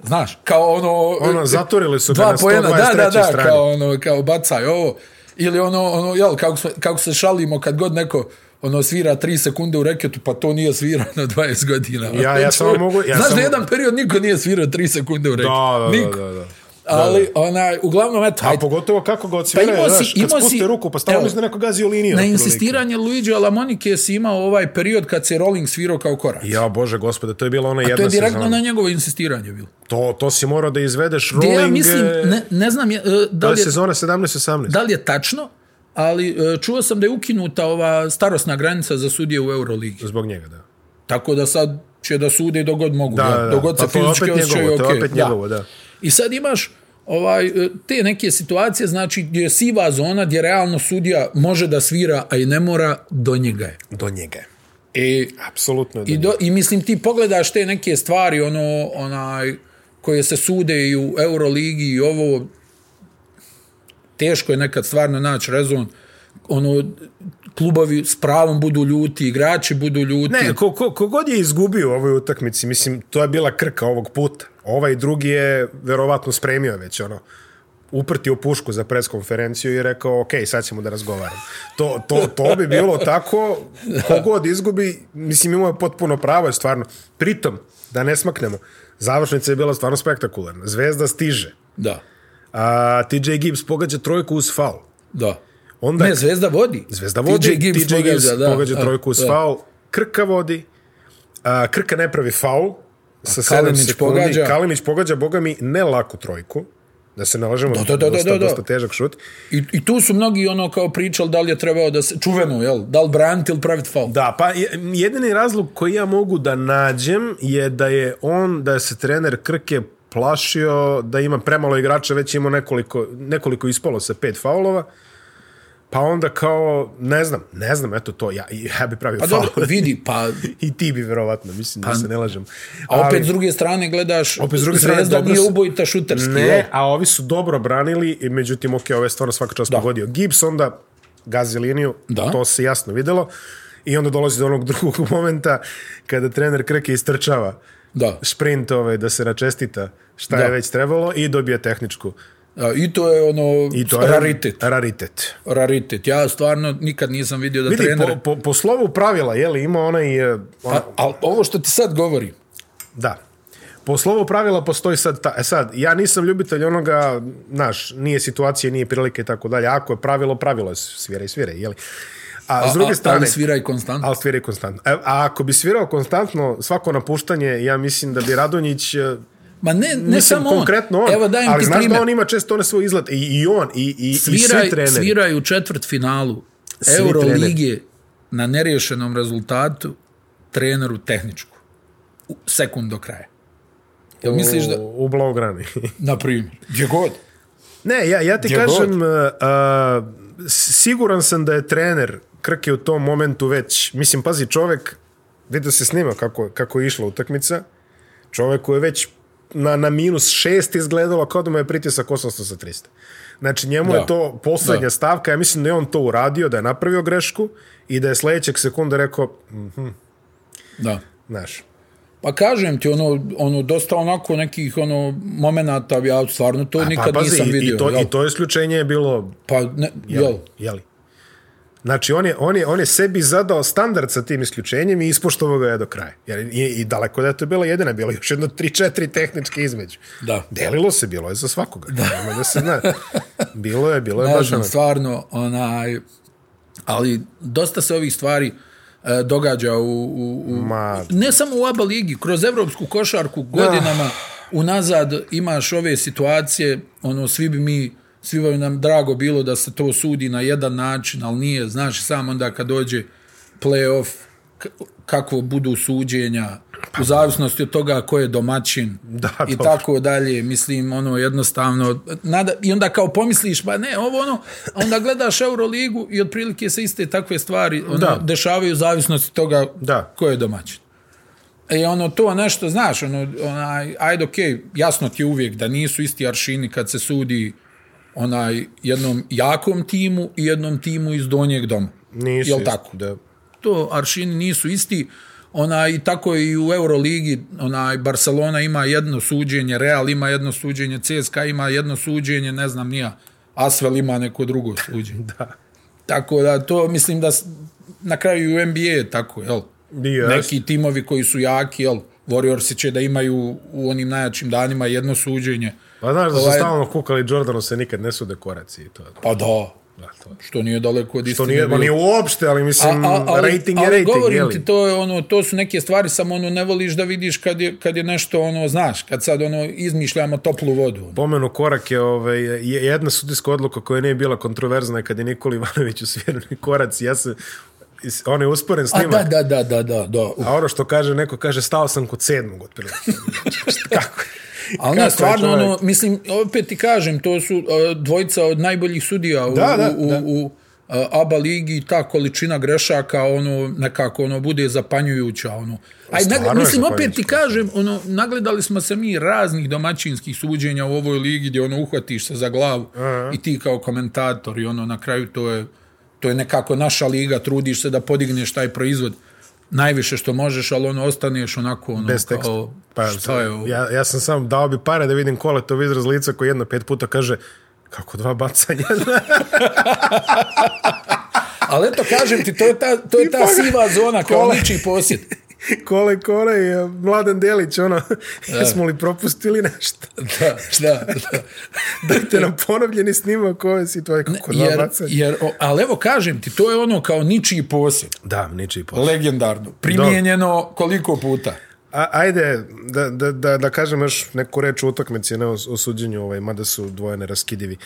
Speaker 3: Znaš, kao ono...
Speaker 2: Ono, zaturili su ga
Speaker 3: dva
Speaker 2: na
Speaker 3: poena, da, da,
Speaker 2: 123.
Speaker 3: da,
Speaker 2: strani.
Speaker 3: kao ono, kao bacaj ovo. Ili ono, ono jel, kako, smo, kako se šalimo kad god neko ono svira 3 sekunde u reketu, pa to nije svirao na 20 godina. Znači,
Speaker 2: Ja- ja samo mogu- ja
Speaker 3: Znaš da
Speaker 2: samo-
Speaker 3: jedan period niko nije svirao 3 sekunde u reketu.
Speaker 2: Da, da,
Speaker 3: niko.
Speaker 2: da, da, da.
Speaker 3: Ali, onaj, uglavnom, eto,
Speaker 2: A pogotovo kako ga odsviraju,
Speaker 3: Pa imao si-
Speaker 2: znaš, kad
Speaker 3: imao si-
Speaker 2: spuste ruku, pa stalo
Speaker 3: evo,
Speaker 2: mislim da neko gazi u liniju.
Speaker 3: na
Speaker 2: otprilike.
Speaker 3: insistiranje Luigi Alamonike si imao ovaj period kad se Rolling svirao kao korak.
Speaker 2: Ja, bože, gospode, to je bila ona jedna
Speaker 3: to je direktno
Speaker 2: sezona.
Speaker 3: na njegovo insistiranje bilo.
Speaker 2: To, to si morao da izvedeš
Speaker 3: Gdje
Speaker 2: rolling...
Speaker 3: ja mislim,
Speaker 2: e,
Speaker 3: ne, ne znam je, e, da
Speaker 2: Da li
Speaker 3: li je,
Speaker 2: sezona 17-18?
Speaker 3: da li je tačno, ali e, čuo sam da je ukinuta ova starosna granica za sudije u Euroligi.
Speaker 2: Zbog njega, da.
Speaker 3: Tako da sad će da sude dogod mogu.
Speaker 2: Da,
Speaker 3: jel?
Speaker 2: da, da.
Speaker 3: Dogod
Speaker 2: Pa
Speaker 3: se
Speaker 2: to je
Speaker 3: fizički
Speaker 2: opet
Speaker 3: osjećaju,
Speaker 2: njegovo, to je
Speaker 3: okej,
Speaker 2: opet njegovo, da.
Speaker 3: I sad imaš ovaj, e, te neke situacije, znači gdje je siva zona, gdje realno sudija može da svira, a i ne mora, do njega je.
Speaker 2: Do njega je.
Speaker 3: E,
Speaker 2: Apsolutno je do
Speaker 3: I,
Speaker 2: njega.
Speaker 3: do, I mislim ti pogledaš te neke stvari ono onaj koje se sude i u Euroligi i ovo teško je nekad stvarno naći rezon ono klubovi s pravom budu ljuti, igrači budu ljuti.
Speaker 2: Ne, ko, ko, kogod je izgubio u ovoj utakmici, mislim, to je bila krka ovog puta. Ovaj drugi je verovatno spremio već, ono, uprtio pušku za preskonferenciju i rekao, ok, sad ćemo da razgovaram. To, to, to bi bilo tako, kogod izgubi, mislim, imao je potpuno pravo, stvarno. Pritom, da ne smaknemo, završnica je bila stvarno spektakularna. Zvezda stiže.
Speaker 3: Da,
Speaker 2: A, TJ Gibbs pogađa trojku uz faul.
Speaker 3: da.
Speaker 2: Onda
Speaker 3: Ne, Zvezda vodi.
Speaker 2: Zvezda vodi,
Speaker 3: TJ Gibbs,
Speaker 2: pogađa,
Speaker 3: pogađa, da.
Speaker 2: pogađa trojku uz
Speaker 3: Da.
Speaker 2: faul, Krka vodi, a, Krka ne pravi faul, sa
Speaker 3: Kalinić
Speaker 2: 7 sekundi,
Speaker 3: pogađa.
Speaker 2: Kalinić pogađa, boga mi, ne laku trojku, da se nalažemo,
Speaker 3: da, da,
Speaker 2: dosta,
Speaker 3: da, da.
Speaker 2: dosta težak šut.
Speaker 3: I, I tu su mnogi ono kao pričali da li je trebao da se, čuveno, jel, da li braniti ili praviti faul.
Speaker 2: Da, pa je- jedini razlog koji ja mogu da nađem je da je on, da se trener Krke plašio da ima premalo igrača, već je imao nekoliko, nekoliko ispalo sa pet faulova, pa onda kao, ne znam, ne znam, eto to, ja, ja bi pravio
Speaker 3: Pa
Speaker 2: faul.
Speaker 3: dobro, vidi, pa
Speaker 2: I ti bi verovatno, mislim, da se ne lažem.
Speaker 3: A opet
Speaker 2: Ali-
Speaker 3: s druge strane gledaš,
Speaker 2: Opet s druge strane,
Speaker 3: Zvezda
Speaker 2: dobro
Speaker 3: nije
Speaker 2: su-
Speaker 3: ubojita šuterski. jel?
Speaker 2: Ne, a ovi su dobro branili, i međutim, ok, ovo je stvarno svaka čast pogodio. Gibbs onda gazi liniju,
Speaker 3: Da.
Speaker 2: to se jasno videlo. I onda dolazi do onog drugog momenta kada trener Krke istrčava ovaj
Speaker 3: Da.
Speaker 2: šprint ove, da se načestita šta da. je već trebalo i dobije tehničku
Speaker 3: A, I to je ono
Speaker 2: I to je
Speaker 3: raritet.
Speaker 2: Raritet.
Speaker 3: Raritet. Ja stvarno nikad nisam vidio da
Speaker 2: Vidi,
Speaker 3: trener...
Speaker 2: po, po, po slovu pravila, je li, ima onaj... e, Ona,
Speaker 3: A, ali ovo što ti sad govori,
Speaker 2: Da. Po slovu pravila postoji sad, ta, e sad, ja nisam ljubitelj onoga, znaš, nije situacije, nije prilike i tako dalje. Ako je pravilo, pravilo je svira i svira, jeli? A, a s druge strane...
Speaker 3: ali sviraj konstantno.
Speaker 2: Ali svira i konstantno. E, a ako bi svirao konstantno svako napuštanje, ja mislim da bi Radonjić... e,
Speaker 3: Ma ne, ne
Speaker 2: mislim,
Speaker 3: samo on.
Speaker 2: konkretno on.
Speaker 3: Evo dajem
Speaker 2: ali
Speaker 3: ti
Speaker 2: znaš
Speaker 3: primjer.
Speaker 2: da on ima često onaj svoj izlet. I, i on, i, i, i svi
Speaker 3: sviraj,
Speaker 2: treneri.
Speaker 3: sviraj u četvrt finalu
Speaker 2: Svi
Speaker 3: Euroligije na nerješenom rezultatu treneru tehničku. U sekund do kraja. Jel misliš da...
Speaker 2: U, u Blaugrani.
Speaker 3: Na primjer. Gdje god.
Speaker 2: Ne, ja, ja ti
Speaker 3: Gdje
Speaker 2: kažem, uh, uh, siguran sam da je trener Krke u tom momentu već, mislim, pazi, čovek, vidio se snima kako, kako je išla utakmica, čoveku je već na, na minus šest izgledalo kao da mu je pritisak 800 sa 300. Znači, njemu
Speaker 3: Da.
Speaker 2: je to poslednja
Speaker 3: Da.
Speaker 2: stavka, ja mislim da je on to uradio, da je napravio grešku i da je sledećeg sekunda rekao, mhm,
Speaker 3: Da.
Speaker 2: znaš,
Speaker 3: Pa kažem ti, ono, ono dosta onako nekih ono momenata, ja stvarno to
Speaker 2: pa
Speaker 3: nikad
Speaker 2: pazi,
Speaker 3: nisam
Speaker 2: i,
Speaker 3: vidio.
Speaker 2: i, to,
Speaker 3: jel?
Speaker 2: i to isključenje je bilo
Speaker 3: Pa ne, jel?
Speaker 2: jel? jeli? Znači, on je, on, je, on je sebi zadao standard sa tim isključenjem i ispoštovao ga je do kraja. Jer i, i daleko da je to bila jedina, bilo je još jedno 3-4 tehničke između.
Speaker 3: Da.
Speaker 2: Delilo se, bilo je za svakoga. Da. Nema da se zna. Bilo je, bilo je
Speaker 3: Ne
Speaker 2: baš
Speaker 3: znam,
Speaker 2: ono.
Speaker 3: stvarno, onaj, ali dosta se ovih stvari e, događa u, u, u
Speaker 2: Ma,
Speaker 3: ne samo u ABA ligi, kroz evropsku košarku godinama
Speaker 2: Ah.
Speaker 3: unazad imaš ove situacije, ono, svi bi mi, svi bi nam drago bilo da se to sudi na jedan način, ali nije, znaš, sam onda kad dođe playoff, k- kako budu suđenja, u zavisnosti od toga ko je domaćin
Speaker 2: Da,
Speaker 3: i
Speaker 2: dobro.
Speaker 3: tako dalje, mislim, ono, jednostavno, nada, i onda kao pomisliš, pa ne, ovo ono, a onda gledaš Euroligu i otprilike se iste takve stvari ono,
Speaker 2: Da.
Speaker 3: dešavaju u zavisnosti od toga
Speaker 2: Da.
Speaker 3: ko je domaćin. E, ono, to nešto, znaš, ono, onaj, ajde, okej, okay, jasno ti je uvijek da nisu isti aršini kad se sudi onaj jednom jakom timu i jednom timu iz donjeg doma.
Speaker 2: nisu.
Speaker 3: Jel
Speaker 2: isto,
Speaker 3: tako?
Speaker 2: Da.
Speaker 3: To aršini nisu isti, onaj, i tako i u Euroligi, onaj, Barcelona ima jedno suđenje, Real ima jedno suđenje, CSKA ima jedno suđenje, ne znam, nija, Asvel ima neko drugo suđenje. da. Tako da, to mislim da s- na kraju i u NBA je tako, jel?
Speaker 2: Bio je.
Speaker 3: neki timovi koji su jaki, jel? Warriorsi će da imaju u onim najjačim danima jedno suđenje.
Speaker 2: Pa znaš da su
Speaker 3: Ovaj-
Speaker 2: stalno kukali Jordanu se nikad ne sude koraci i to.
Speaker 3: Pa da,
Speaker 2: Da, to.
Speaker 3: što nije daleko od
Speaker 2: To
Speaker 3: istine.
Speaker 2: nije, ma
Speaker 3: bilo.
Speaker 2: nije uopšte, ali mislim, rating je
Speaker 3: ali
Speaker 2: rating,
Speaker 3: govorim
Speaker 2: jeli?
Speaker 3: ti, to, je ono, to su neke stvari, samo ono, ne voliš da vidiš kad je, kad je nešto, ono, znaš, kad sad ono, izmišljamo toplu vodu. Ono.
Speaker 2: pomenu korak je ovaj, je- jedna sudijska odluka koja nije bila kontroverzna je kad je Nikola Ivanović usvjerni korac. Ja se, is- on je usporen
Speaker 3: A da,
Speaker 2: snimak.
Speaker 3: da, da, da, da, da. U,
Speaker 2: A ono što kaže, neko kaže, stao sam kod sedmog otprilike. Kako?
Speaker 3: Ali
Speaker 2: kako je
Speaker 3: ne, stvarno,
Speaker 2: čovjek?
Speaker 3: ono, mislim, opet ti kažem, to su uh, dvojica od najboljih sudija u,
Speaker 2: Da, da,
Speaker 3: u, u,
Speaker 2: da.
Speaker 3: u uh, ABA ligi i ta količina grešaka, ono, nekako, ono, bude zapanjujuća, ono. Aj,
Speaker 2: Stvarno
Speaker 3: nagle,
Speaker 2: je
Speaker 3: mislim, opet ti
Speaker 2: zapanjujuća.
Speaker 3: kažem, ono, nagledali smo se mi raznih domaćinskih suđenja u ovoj ligi gdje, ono, uhvatiš se za glavu i ti kao komentator i, ono, na kraju to je, to je nekako naša liga, trudiš se da podigneš taj proizvod najviše što možeš, ali ono, ostaneš onako, ono,
Speaker 2: Bez teksta.
Speaker 3: kao,
Speaker 2: Pa,
Speaker 3: šta je ovo?
Speaker 2: Ja, ja sam sam dao bi pare da vidim kola to izraz lica koji jedno pet puta kaže, kako dva bacanja.
Speaker 3: Ali eto, kažem ti, to je ta, to je ta siva zona kao
Speaker 2: Kola.
Speaker 3: liči posjed.
Speaker 2: kole, kole i e, Mladen Delić, ono, jesmo li propustili nešto?
Speaker 3: Da, da, da.
Speaker 2: Dajte nam ponovljeni snimak ove situacije, kako dva
Speaker 3: Jer,
Speaker 2: bacanja.
Speaker 3: jer, o, ali evo, kažem ti, to je ono kao ničiji posjed.
Speaker 2: Da, ničiji posao.
Speaker 3: Legendarno. Primijenjeno koliko puta?
Speaker 2: A, ajde, da, da, da, da kažem još neku reč o utakmici, ne o, o suđenju, ovaj, mada su dvoje neraskidivi.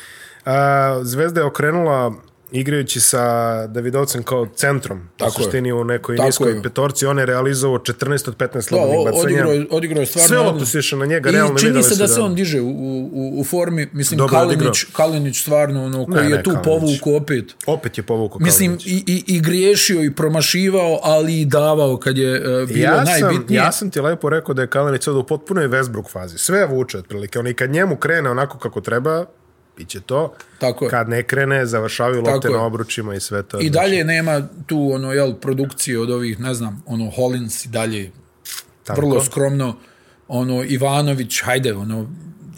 Speaker 2: A, Zvezda je okrenula igrajući sa Davidovcem kao centrom, Tako u
Speaker 3: Tako je.
Speaker 2: suštini u nekoj
Speaker 3: Tako
Speaker 2: niskoj
Speaker 3: je.
Speaker 2: petorci, on je realizovao 14 od 15
Speaker 3: Da,
Speaker 2: slobodnih
Speaker 3: o-
Speaker 2: bacanja.
Speaker 3: odigrao, je- odigrao je stvarno...
Speaker 2: Sve
Speaker 3: ono-
Speaker 2: loptu si išao na njega, realno
Speaker 3: I čini
Speaker 2: videli
Speaker 3: se
Speaker 2: su
Speaker 3: da se on diže u, u, u formi. Mislim,
Speaker 2: Dobro je odigrao.
Speaker 3: Kalinić, Kalinić stvarno, ono, koji
Speaker 2: Ne, ne,
Speaker 3: je tu
Speaker 2: Kalinić.
Speaker 3: povuku opet.
Speaker 2: Opet je povukao
Speaker 3: Mislim,
Speaker 2: Kalinić.
Speaker 3: i, i, i griješio i promašivao, ali i davao kad je uh, bilo
Speaker 2: Ja sam,
Speaker 3: najbitnije.
Speaker 2: ja sam ti lepo rekao da je Kalinić sad u potpunoj Westbrook fazi. Sve vuče otprilike. On i kad njemu krene onako kako treba, biće to.
Speaker 3: Tako je.
Speaker 2: Kad ne krene, završavaju lopte
Speaker 3: Tako je.
Speaker 2: na obručima i sve to.
Speaker 3: I
Speaker 2: Znači,
Speaker 3: dalje nema tu ono jel produkcije od ovih ne znam ono Hollins i dalje Tako. vrlo skromno ono Ivanović hajde ono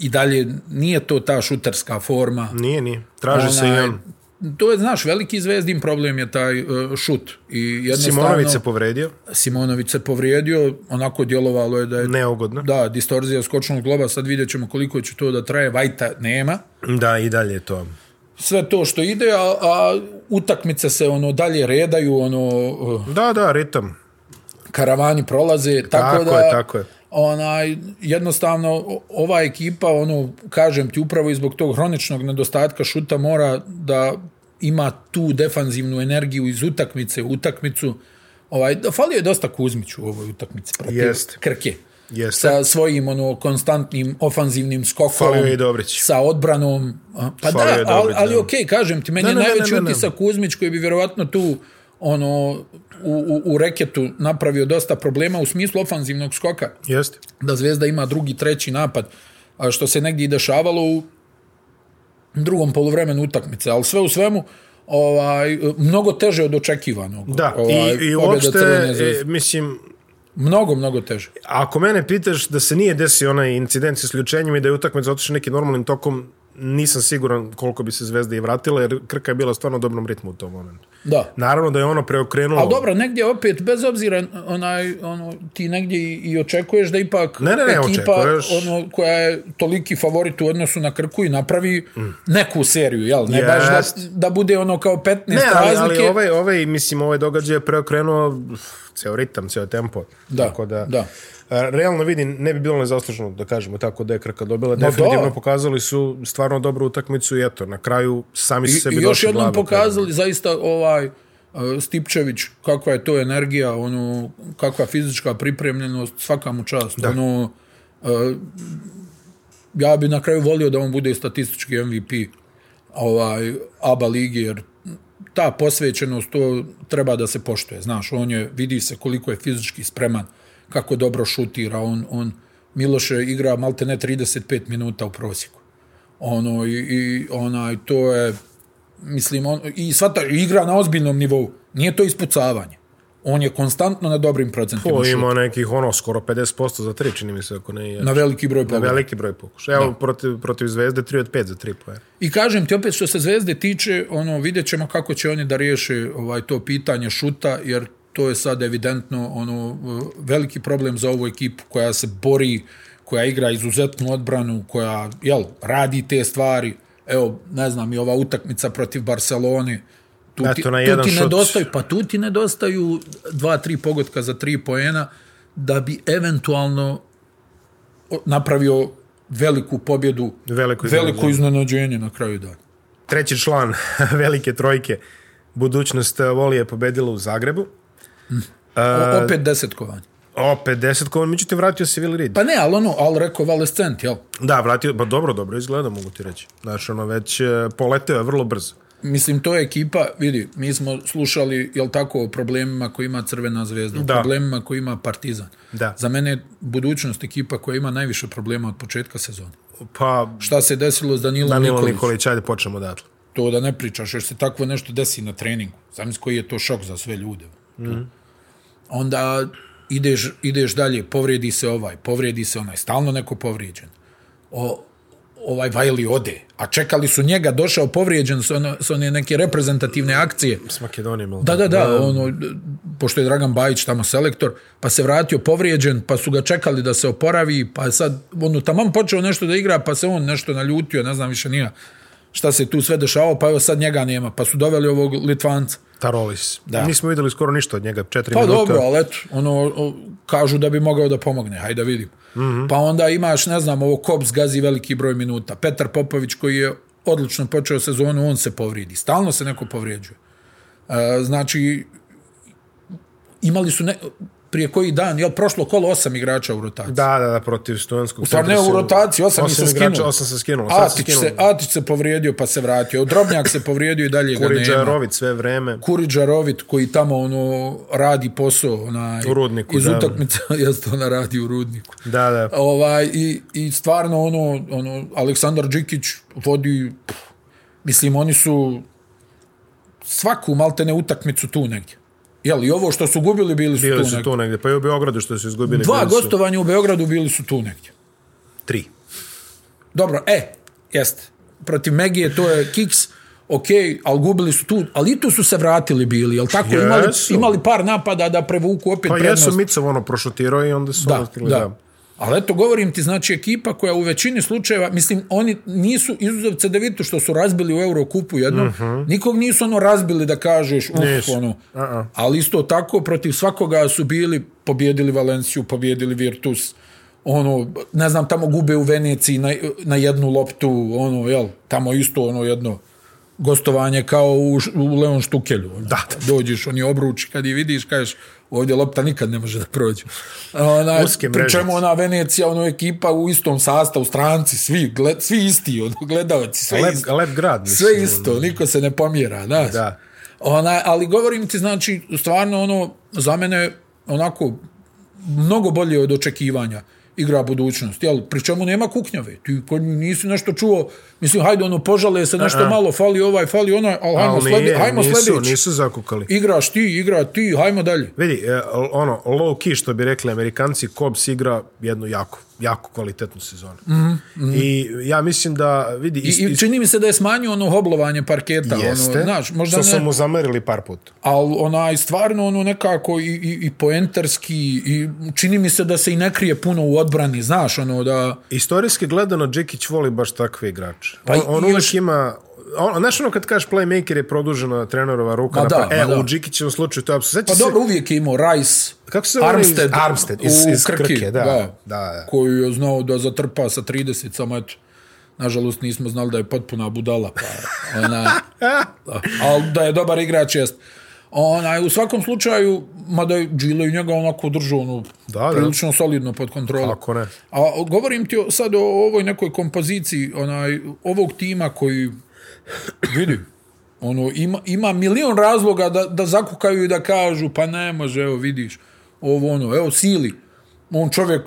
Speaker 3: i dalje nije to ta šutarska forma.
Speaker 2: Nije, nije. Traži se i
Speaker 3: Onaj,
Speaker 2: on.
Speaker 3: To je, znaš, veliki zvezdin problem je taj uh, šut. I jednostavno,
Speaker 2: Simonović se povredio,
Speaker 3: Simonović se povrijedio, onako djelovalo je da je...
Speaker 2: neugodno.
Speaker 3: Da, distorzija skočnog globa, sad vidjet ćemo koliko će to da traje, Vajta nema.
Speaker 2: Da, i dalje je to.
Speaker 3: Sve to što ide, a, a utakmice se ono dalje redaju, ono uh,
Speaker 2: Da, da, ritam.
Speaker 3: karavani prolaze, tako,
Speaker 2: Tako
Speaker 3: da...
Speaker 2: je, tako je.
Speaker 3: Onaj, jednostavno, o- ova ekipa, ono, kažem ti, upravo i zbog tog hroničnog nedostatka šuta mora da ima tu defanzivnu energiju iz utakmice u utakmicu. Ovaj, da falio je dosta Kuzmiću u ovoj utakmici protiv
Speaker 2: Jeste.
Speaker 3: Krke.
Speaker 2: Jeste.
Speaker 3: Sa svojim ono konstantnim ofanzivnim skokom.
Speaker 2: Falio je i Dobrić.
Speaker 3: Sa odbranom. a, Pa
Speaker 2: Falio je
Speaker 3: da, ali,
Speaker 2: Dobrić,
Speaker 3: ali
Speaker 2: da.
Speaker 3: okej, kažem ti, meni
Speaker 2: Ne,
Speaker 3: je
Speaker 2: ne, ne,
Speaker 3: najveći
Speaker 2: ne, ne, ne.
Speaker 3: utisak Kuzmić koji bi vjerovatno tu ono u, u, u reketu napravio dosta problema u smislu ofanzivnog skoka
Speaker 2: Jeste.
Speaker 3: da Zvezda ima drugi, treći napad, a što se negdje i dešavalo u drugom poluvremenu utakmice, ali sve u svemu ovaj mnogo teže od očekivanog.
Speaker 2: Da,
Speaker 3: ovaj,
Speaker 2: i, i
Speaker 3: pobjeda
Speaker 2: uopšte,
Speaker 3: Crvene
Speaker 2: e,
Speaker 3: zvezde.
Speaker 2: mislim,
Speaker 3: mnogo mnogo teže.
Speaker 2: ako mene pitaš da se nije desio onaj incident s isključenjem i da je utakmica otišla nekim normalnim tokom, nisam siguran koliko bi se Zvezda i vratila, jer Krka je bila stvarno u dobrom ritmu u tom momentu.
Speaker 3: Da.
Speaker 2: Naravno da je ono preokrenulo...
Speaker 3: Ali dobro, negdje opet, bez obzira, onaj, ono, ti negdje i, i očekuješ da ipak
Speaker 2: Ne, ne, ne,
Speaker 3: ekipa
Speaker 2: očekuješ.
Speaker 3: ono, koja je toliki favorit u odnosu na Krku i napravi mm. neku seriju, jel? Ne baš
Speaker 2: Jest.
Speaker 3: da, da bude ono kao 15
Speaker 2: Ne, ali,
Speaker 3: razlike.
Speaker 2: ali ovaj, ovaj, mislim, ovaj događaj je preokrenuo uf, ceo ritam, ceo tempo.
Speaker 3: Da,
Speaker 2: tako da,
Speaker 3: da.
Speaker 2: A, Realno vidim, ne bi bilo nezasluženo da kažemo tako da je Krka dobila. Definitivno
Speaker 3: da.
Speaker 2: pokazali su stvarno dobru utakmicu i eto, na kraju sami su
Speaker 3: I,
Speaker 2: sebi
Speaker 3: i još
Speaker 2: došli
Speaker 3: jednom
Speaker 2: glave.
Speaker 3: pokazali zaista ovaj e, Stipčević kakva je to energija, ono kakva fizička pripremljenost, svaka mu čast. Da. Ono e, ja bi na kraju volio da on bude statistički MVP ovaj ABA ligi jer ta posvećenost to treba da se poštuje, znaš, on je vidi se koliko je fizički spreman, kako dobro šutira, on on Miloše igra maltene 35 minuta u prosjeku ono i, i onaj to je mislim on i sva ta igra na ozbiljnom nivou nije to ispucavanje on je konstantno na dobrim procentima
Speaker 2: Po,
Speaker 3: šuta,
Speaker 2: ima nekih ono skoro 50% za tri, čini mi se, ako ne je.
Speaker 3: na veliki broj
Speaker 2: Na
Speaker 3: pogoda
Speaker 2: veliki broj pokušaja. Evo, protiv, protiv Zvezde 3 od 5 za 3 pojena.
Speaker 3: i kažem ti opet što se Zvezde tiče ono vidjet ćemo kako će oni da riješe ovaj to pitanje šuta jer to je sad evidentno ono veliki problem za ovu ekipu koja se bori koja igra izuzetnu odbranu koja jel radi te stvari evo ne znam i ova utakmica protiv Barcelone tu ti,
Speaker 2: Eto, na
Speaker 3: tu
Speaker 2: jedan
Speaker 3: ti
Speaker 2: šut.
Speaker 3: nedostaju pa tu ti nedostaju dva tri pogotka za tri poena da bi eventualno o- napravio veliku pobjedu
Speaker 2: Veliko
Speaker 3: veliko
Speaker 2: iznenađenje.
Speaker 3: iznenađenje na kraju dana.
Speaker 2: treći član velike trojke budućnost e, Voli je pobedila u Zagrebu.
Speaker 3: O, opet desetkovanje.
Speaker 2: Opet 10 kovan, međutim vratio se Vili Reed.
Speaker 3: Pa ne, ali ono, ali rekao Valescent, jel?
Speaker 2: Da, vratio, pa dobro, dobro izgleda, mogu ti reći. Znaš, ono, već e, poleteo je vrlo brzo.
Speaker 3: Mislim, to je ekipa, vidi, mi smo slušali, jel tako, o problemima koji ima Crvena zvezda, o
Speaker 2: Da.
Speaker 3: problemima koji ima Partizan.
Speaker 2: Da.
Speaker 3: Za mene je budućnost ekipa koja ima najviše problema od početka sezone.
Speaker 2: Pa,
Speaker 3: Šta se desilo s Danilom
Speaker 2: Danilo
Speaker 3: Nikolićem?
Speaker 2: Nikolić, ajde počnemo odatle.
Speaker 3: To da ne pričaš, jer se takvo nešto desi na treningu. Znam koji je to šok za sve ljude. Mm. Onda ideš, ideš dalje, povrijedi se ovaj, povrijedi se onaj, stalno neko povrijeđen. O, ovaj Vajli ode, a čekali su njega, došao povrijeđen s, ono, s one neke reprezentativne akcije.
Speaker 2: S Makedonijom, ili
Speaker 3: Da,
Speaker 2: tako?
Speaker 3: da, da, ono, d- pošto je Dragan Bajić tamo selektor, pa se vratio povrijeđen, pa su ga čekali da se oporavi, pa je sad, ono, taman počeo nešto da igra, pa se on nešto naljutio, ne znam više nija šta se tu sve dešavao, pa evo sad njega nema, pa su doveli ovog Litvanca.
Speaker 2: Tarolis.
Speaker 3: Da.
Speaker 2: Nismo videli skoro ništa od njega, 4
Speaker 3: Pa
Speaker 2: minuta.
Speaker 3: dobro, ali eto, ono, o, kažu da bi mogao da pomogne, hajde da vidim. Mm
Speaker 2: Mhm.
Speaker 3: -hmm. Pa onda imaš, ne znam, ovo Kops gazi veliki broj minuta. Petar Popović koji je odlično počeo sezonu, on se povrijedi. Stalno se neko povrijeđuje. E, znači, imali su ne, prije koji dan, jel, prošlo kolo osam igrača u rotaciji.
Speaker 2: Da, da, da, protiv Stojanskog.
Speaker 3: Stvar ne u rotaciji, osam, ih se skinulo.
Speaker 2: Osam se skinulo. sad
Speaker 3: Atić se, Atić se povrijedio pa se vratio. Drobnjak se povrijedio i dalje ga
Speaker 2: Kuriđa
Speaker 3: nema.
Speaker 2: Rović sve vreme.
Speaker 3: Kuriđa Rovit koji tamo ono radi posao onaj,
Speaker 2: U rudniku,
Speaker 3: iz
Speaker 2: da.
Speaker 3: utakmica, jeste ona radi u rudniku.
Speaker 2: Da, da.
Speaker 3: Ovaj, i, I stvarno ono, ono Aleksandar Đikić vodi, pff, mislim oni su svaku maltene utakmicu tu negdje. Jel, i ovo što su gubili bili su
Speaker 2: Bili
Speaker 3: tu
Speaker 2: su
Speaker 3: negdje.
Speaker 2: tu negde. Pa i u Beogradu što su izgubili.
Speaker 3: Dva
Speaker 2: bili su-
Speaker 3: gostovanja u Beogradu bili su tu negdje.
Speaker 2: Tri.
Speaker 3: Dobro, e, jeste. Protiv Megije to je kiks, ok, ali gubili su tu, ali i tu su se vratili bili, jel tako? Imali,
Speaker 2: Jesu.
Speaker 3: imali par napada da prevuku opet
Speaker 2: Pa
Speaker 3: prednost.
Speaker 2: jesu Micov ono prošutirao i onda su
Speaker 3: da,
Speaker 2: otkrili
Speaker 3: da. Ali eto, govorim ti, znači, ekipa koja u većini slučajeva, mislim, oni nisu izuzev Cedevitu što su razbili u Eurokupu jednom, mm -hmm. nikog nisu ono razbili da kažeš, uf,
Speaker 2: Mhm. Nisu.
Speaker 3: ono. Ali isto tako, protiv svakoga su bili, pobjedili Valenciju, pobjedili Virtus, ono, ne znam, tamo gube u Veneciji na, na jednu loptu, ono, jel, tamo isto ono jedno gostovanje kao u, Š- u Leon Štukelju. Ono. Da, Dođeš, oni obruči, kad je vidiš, kažeš, ovdje lopta nikad ne može da prođe. A Ona,
Speaker 2: Uske mreže.
Speaker 3: pri čemu ona Venecija, ono ekipa u istom sastavu, stranci, svi, gled, svi isti, ono, gledalci, sve
Speaker 2: Lep,
Speaker 3: isto.
Speaker 2: lep grad, mislim.
Speaker 3: Sve isto, niko se ne pomjera, da.
Speaker 2: Da.
Speaker 3: Ona, ali govorim ti, znači, stvarno, ono, za mene, onako, mnogo bolje od očekivanja igra budućnost, jel? Pri čemu nema kuknjave. Ti ko nisi nešto čuo, mislim, hajde, ono, požale se nešto malo, fali ovaj, fali onaj, ali hajmo,
Speaker 2: ono. Ali
Speaker 3: ali sledi,
Speaker 2: nije,
Speaker 3: hajmo
Speaker 2: nisu,
Speaker 3: sljedeći.
Speaker 2: nisu zakukali.
Speaker 3: Igraš ti, igra ti, hajmo dalje.
Speaker 2: Vidi, e, l- ono, low key, što bi rekli amerikanci, Cobbs igra jednu jako, jako kvalitetnu sezonu. Mm -hmm. I ja mislim da, vidi,
Speaker 3: Mhm, I, I čini mi se da je smanjio ono hoblovanje parketa. Ono, znaš, možda
Speaker 2: što
Speaker 3: ne...
Speaker 2: su mu zamerili par puta.
Speaker 3: ali onaj stvarno ono nekako i, i, i poentarski i čini mi se da se i ne krije puno u odbrani, znaš, ono da
Speaker 2: Istorijski gledano, Džekić voli baš takve igrače.
Speaker 3: Pa
Speaker 2: Pa on,
Speaker 3: i-
Speaker 2: on
Speaker 3: i
Speaker 2: uvijek
Speaker 3: još-
Speaker 2: ima... On, znaš ono kad kažeš playmaker je produžena trenerova ruka.
Speaker 3: Ma
Speaker 2: na-
Speaker 3: da,
Speaker 2: e,
Speaker 3: ma da.
Speaker 2: u Džikićevom slučaju to je apsolutno. Sjeća
Speaker 3: pa
Speaker 2: se-
Speaker 3: dobro uvijek je imao Rice
Speaker 2: Kako se zove onaj iz-
Speaker 3: Armstead,
Speaker 2: Armstead, iz-
Speaker 3: u
Speaker 2: iz
Speaker 3: Krki,
Speaker 2: Krke, da,
Speaker 3: da,
Speaker 2: da, da.
Speaker 3: koju je znao da zatrpa sa 30 samo eto nažalost nismo znali da je potpuna budala pa ona ali da je dobar igrač jest Onaj, u svakom slučaju, mada je Gile i njega onako držao ono,
Speaker 2: Da, da.
Speaker 3: prilično solidno pod kontrolom.
Speaker 2: Kako ne?
Speaker 3: A govorim ti o- sad o ovoj nekoj kompoziciji onaj, ovog tima koji vidi, ono, ima, ima milion razloga da, da zakukaju i da kažu pa ne može, evo vidiš, ovo ono, evo sili, on čovjek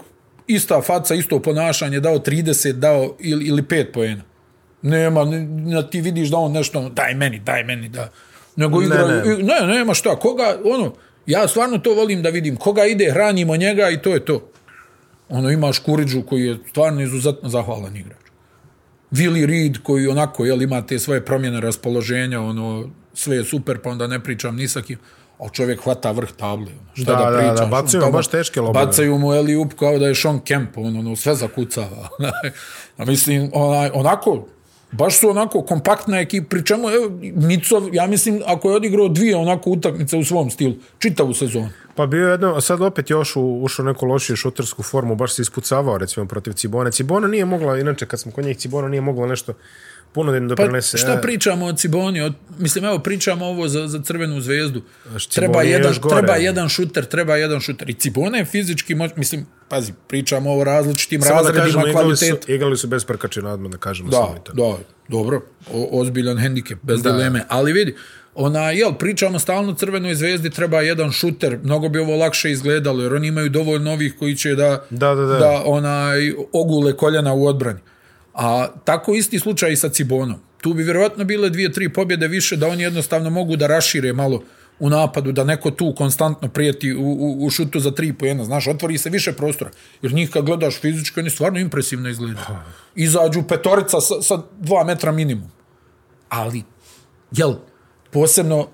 Speaker 3: ista faca, isto ponašanje, dao 30, dao ili, ili 5 poena. Nema, ne- ne, ti vidiš da on nešto, ono, daj meni, daj meni, da. Nego igra,
Speaker 2: ne.
Speaker 3: ne, ne. ne, nema šta, koga, ono, ja stvarno to volim da vidim, koga ide, hranimo njega i to je to ono imaš Kuriđu koji je stvarno izuzetno zahvalan igrač. Willi Reed koji onako jel, ima te svoje promjene raspoloženja, ono, sve je super, pa onda ne pričam ni sa kim, ali čovjek hvata vrh table. Ono, šta
Speaker 2: Da,
Speaker 3: da,
Speaker 2: da,
Speaker 3: pričaš?
Speaker 2: da, bacaju
Speaker 3: On tamo-
Speaker 2: baš teške lobove.
Speaker 3: Bacaju mu Eli Up kao da je Sean Kemp, ono, ono sve zakucava. onaj. A mislim, onaj, onako, baš su onako kompaktna ekipa, pri čemu, evo, Micov, ja mislim, ako je odigrao dvije onako utakmice u svom stilu, čitavu sezonu.
Speaker 2: Pa bio je jedno, a sad opet je ošu, ušao u neku lošiju šutersku formu, baš se ispucavao recimo protiv Cibone. Cibona nije mogla, inače kad smo kod njih, Cibona nije mogla nešto puno da im doprinese.
Speaker 3: Pa šta
Speaker 2: E,
Speaker 3: pričamo o Ciboni? O, mislim, evo, pričamo ovo za, za Crvenu zvezdu.
Speaker 2: Znaš, Ciboni
Speaker 3: Treba
Speaker 2: je
Speaker 3: jedan,
Speaker 2: još gore.
Speaker 3: treba jedan šuter, treba jedan šuter. I Cibona je fizički, moć, mislim, pazi, pričamo o različitim
Speaker 2: Samo da
Speaker 3: razredima
Speaker 2: kažemo, igrali su,
Speaker 3: kvaliteta.
Speaker 2: igrali su bez prkačina odmah, da kažemo samo
Speaker 3: Da,
Speaker 2: i to.
Speaker 3: da, dobro, o, ozbiljan hendikep, bez da. dileme. Ali vidi, ona, jel, pričamo stalno Crvenoj zvezdi, treba jedan šuter, mnogo bi ovo lakše izgledalo, jer oni imaju dovoljno ovih koji će da,
Speaker 2: Da, da, da.
Speaker 3: da onaj, ogule koljena u odbrani. A tako isti slučaj i sa Cibonom. Tu bi vjerovatno bile dvije, tri pobjede više da oni jednostavno mogu da rašire malo u napadu, da neko tu konstantno prijeti u, u, u šutu za tri po jedna. Znaš, otvori se više prostora. Jer njih kad gledaš fizički, oni stvarno impresivno izgledaju. Izađu petorica sa, sa dva metra minimum. Ali, jel, posebno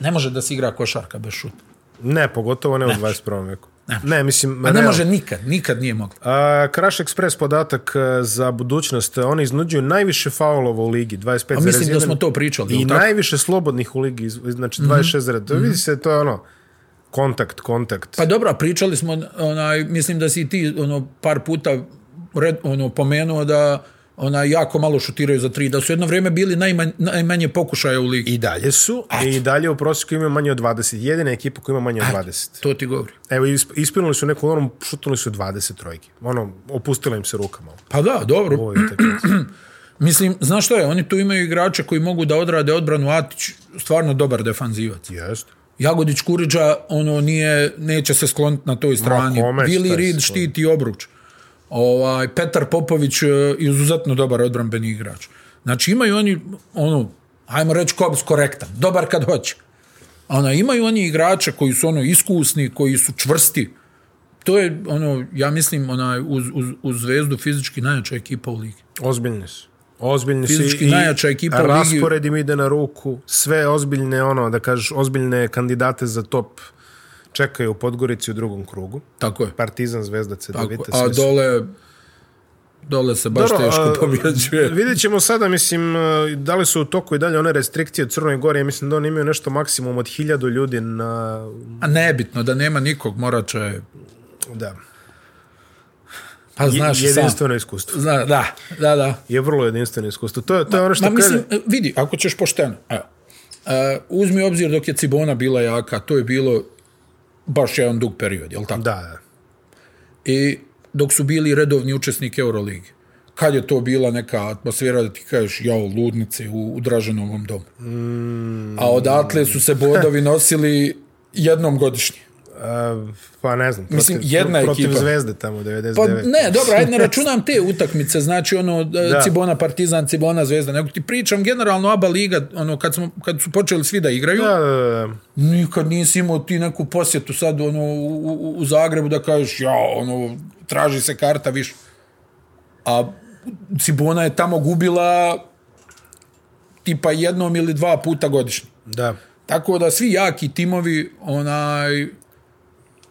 Speaker 3: ne može da se igra košarka bez šuta.
Speaker 2: Ne, pogotovo ne u 21. veku. Ne, mislim,
Speaker 3: A ne
Speaker 2: realno.
Speaker 3: može nikad, nikad nije mogla.
Speaker 2: A, Crash Express podatak e, za budućnost, oni iznuđuju najviše faulova u ligi, 25,1.
Speaker 3: A mislim da smo to pričali.
Speaker 2: I
Speaker 3: jel tako? Mhm.
Speaker 2: najviše slobodnih u ligi, iz- znači 26 zarad. Vidi se, to je ono, kontakt, kontakt.
Speaker 3: Pa dobro, a pričali smo, onaj, mislim da si ti ono, par puta red, ono, pomenuo da ona jako malo šutiraju za tri, da su jedno vrijeme bili najmanj, najmanje pokušaja u ligi.
Speaker 2: I dalje su, i dalje u prosjeku imaju manje od 20. Jedina je ekipa koja ima manje od 20.
Speaker 3: To ti govori.
Speaker 2: Evo, isp- ispinuli su neku normu, šutnuli su 20 trojki. Ono, opustila im se ruka malo.
Speaker 3: Pa da, dobro.
Speaker 2: Ovo je utakmica.
Speaker 3: Mislim, znaš što je, oni tu imaju igrače koji mogu da odrade odbranu Atić, stvarno dobar defanzivac.
Speaker 2: Jeste.
Speaker 3: Jagodić Kuriđa, ono, nije, neće se skloniti na toj strani.
Speaker 2: kome će
Speaker 3: Vili
Speaker 2: taj
Speaker 3: Reed
Speaker 2: sklonit?
Speaker 3: štiti obruč. Ovaj, Petar Popović e, izuzetno dobar odbranbeni igrač. Znači, imaju oni, ono, ajmo reći, Kobs korektan. Dobar kad ono, hoće. Ona, imaju oni igrača koji su ono iskusni, koji su čvrsti, to je, ono, ja mislim, onaj, uz, uz, uz zvezdu fizički najjača ekipa u ligi.
Speaker 2: Ozbiljni su. Ozbiljni
Speaker 3: Fizički
Speaker 2: su i
Speaker 3: najjača ekipa u ligi.
Speaker 2: raspored im ide na ruku. Sve ozbiljne, ono, da kažeš, ozbiljne kandidate za top čekaju u Podgorici u drugom krugu.
Speaker 3: Tako je.
Speaker 2: Partizan, Zvezda, Cedevita,
Speaker 3: Tako, a
Speaker 2: sve su-
Speaker 3: dole, dole se baš
Speaker 2: Dobro,
Speaker 3: teško
Speaker 2: a,
Speaker 3: pobjeđuje.
Speaker 2: Vidjet ćemo sada, mislim, e, da li su u toku i dalje one restrikcije Crnoj Gori, ja mislim da oni imaju nešto maksimum od hiljadu ljudi na...
Speaker 3: A nebitno, da nema nikog, Morača je,
Speaker 2: Da,
Speaker 3: pa
Speaker 2: je,
Speaker 3: znaš sam.
Speaker 2: jedinstveno iskustvo.
Speaker 3: Zna, da, da, da.
Speaker 2: Je vrlo jedinstveno iskustvo. To je, to je ono što
Speaker 3: Ma,
Speaker 2: kaže...
Speaker 3: mislim, vidi, ako ćeš pošteno, evo, uh, uzmi u obzir dok je Cibona bila jaka, to je bilo baš jedan dug period, jel tako?
Speaker 2: Da, da.
Speaker 3: I dok su bili redovni učesnik Euroligi. Kad je to bila neka atmosfera da ti kažeš, jao, ludnice u, u Draženovom domu. Mm. A odatle su se bodovi nosili jednom godišnje.
Speaker 2: A, pa ne znam, protiv,
Speaker 3: Mislim, jedna
Speaker 2: protiv
Speaker 3: ekipa.
Speaker 2: Zvezde tamo, 99.
Speaker 3: Pa ne, dobro, ajde ne računam te utakmice, znači ono da. Cibona Partizan, Cibona Zvezda, nego ti pričam generalno ABA liga, ono kad smo kad su počeli svi da igraju,
Speaker 2: Da, da, da.
Speaker 3: nikad nisi imao ti neku posjetu sad ono, u, u- u Zagrebu da kažeš ja, ono, traži se karta više. A Cibona je tamo gubila tipa jednom ili dva puta godišnje.
Speaker 2: da.
Speaker 3: Tako da svi jaki timovi onaj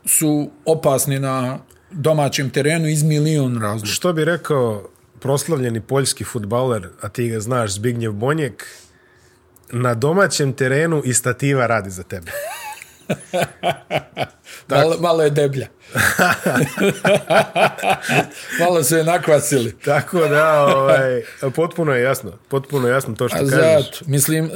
Speaker 3: su opasni na domaćem terenu iz milion razloga.
Speaker 2: Što bi rekao proslavljeni poljski futbaler, a ti ga znaš, Zbignjev Bonjek, na domaćem terenu i stativa radi za tebe.
Speaker 3: Malo, malo je deblja. malo su je nakvasili.
Speaker 2: Tako da, ovaj, potpuno je jasno. Potpuno je jasno to što
Speaker 3: A
Speaker 2: kažeš.
Speaker 3: Zato, mislim,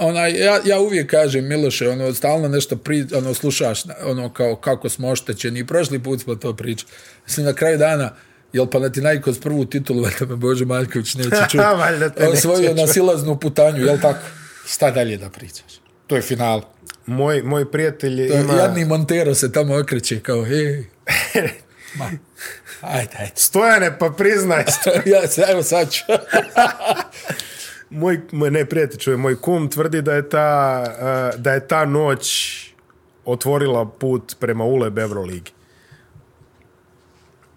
Speaker 3: onaj, ja, ja uvijek kažem, Miloše, ono, stalno nešto pri, ono, slušaš, ono, kao kako smo oštećeni. I prošli put smo to pričali. Mislim, na kraju dana, jel pa na ti najkoz prvu titulu, valjda me Bože Maljković neće čuti.
Speaker 2: Valjda te neće
Speaker 3: Osvojio na silaznu putanju, jel tako? Šta dalje da pričaš? To je final.
Speaker 2: Moj, moj prijatelj je ima
Speaker 3: Ima... Jadni Montero se tamo okreće kao, hej, ma, ajde, ajde.
Speaker 2: Stojane, pa priznaj.
Speaker 3: ja, se- evo sad ću.
Speaker 2: moj, moj, ne, prijatelj, čuje, moj kum tvrdi da je ta, eh, da je ta noć otvorila put prema Uleb Euroligi.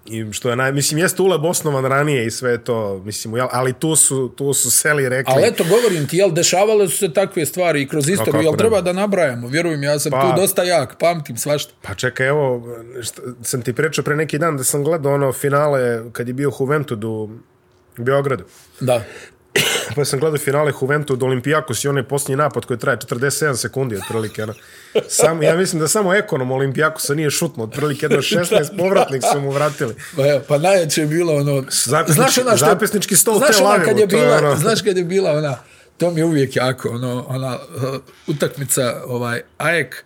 Speaker 2: I što je naj, mislim, jeste Uleb osnovan ranije i sve je to, mislim, jel- ali tu su, tu su seli rekli.
Speaker 3: Ali eto, govorim ti, jel, dešavale su se takve stvari i kroz
Speaker 2: kako
Speaker 3: istoriju, jel
Speaker 2: ne?
Speaker 3: treba da nabrajamo? Vjerujem, ja sam
Speaker 2: Pa-
Speaker 3: tu dosta jak, pamtim svašta.
Speaker 2: Pa čekaj, evo, šta, sam ti pričao pre neki dan da sam gledao ono finale kad je bio Juventud u Beogradu.
Speaker 3: Da.
Speaker 2: Pa sam gledao finale Juventud Olimpijakos i onaj posljednji napad koji traje 47 sekundi otprilike. Ono. Sam, ja mislim da samo ekonom Olimpijakosa nije šutno, otprilike do 16 povratnik su mu vratili.
Speaker 3: Pa, evo, pa najjače je bilo ono...
Speaker 2: Zapisnički- zapisnički stol
Speaker 3: znaš
Speaker 2: Tel
Speaker 3: ona
Speaker 2: Avivu,
Speaker 3: kad je
Speaker 2: to je
Speaker 3: bila,
Speaker 2: ono.
Speaker 3: Znaš kad je bila ona, to mi je uvijek jako, ono, ona uh, utakmica, ovaj, Ajek,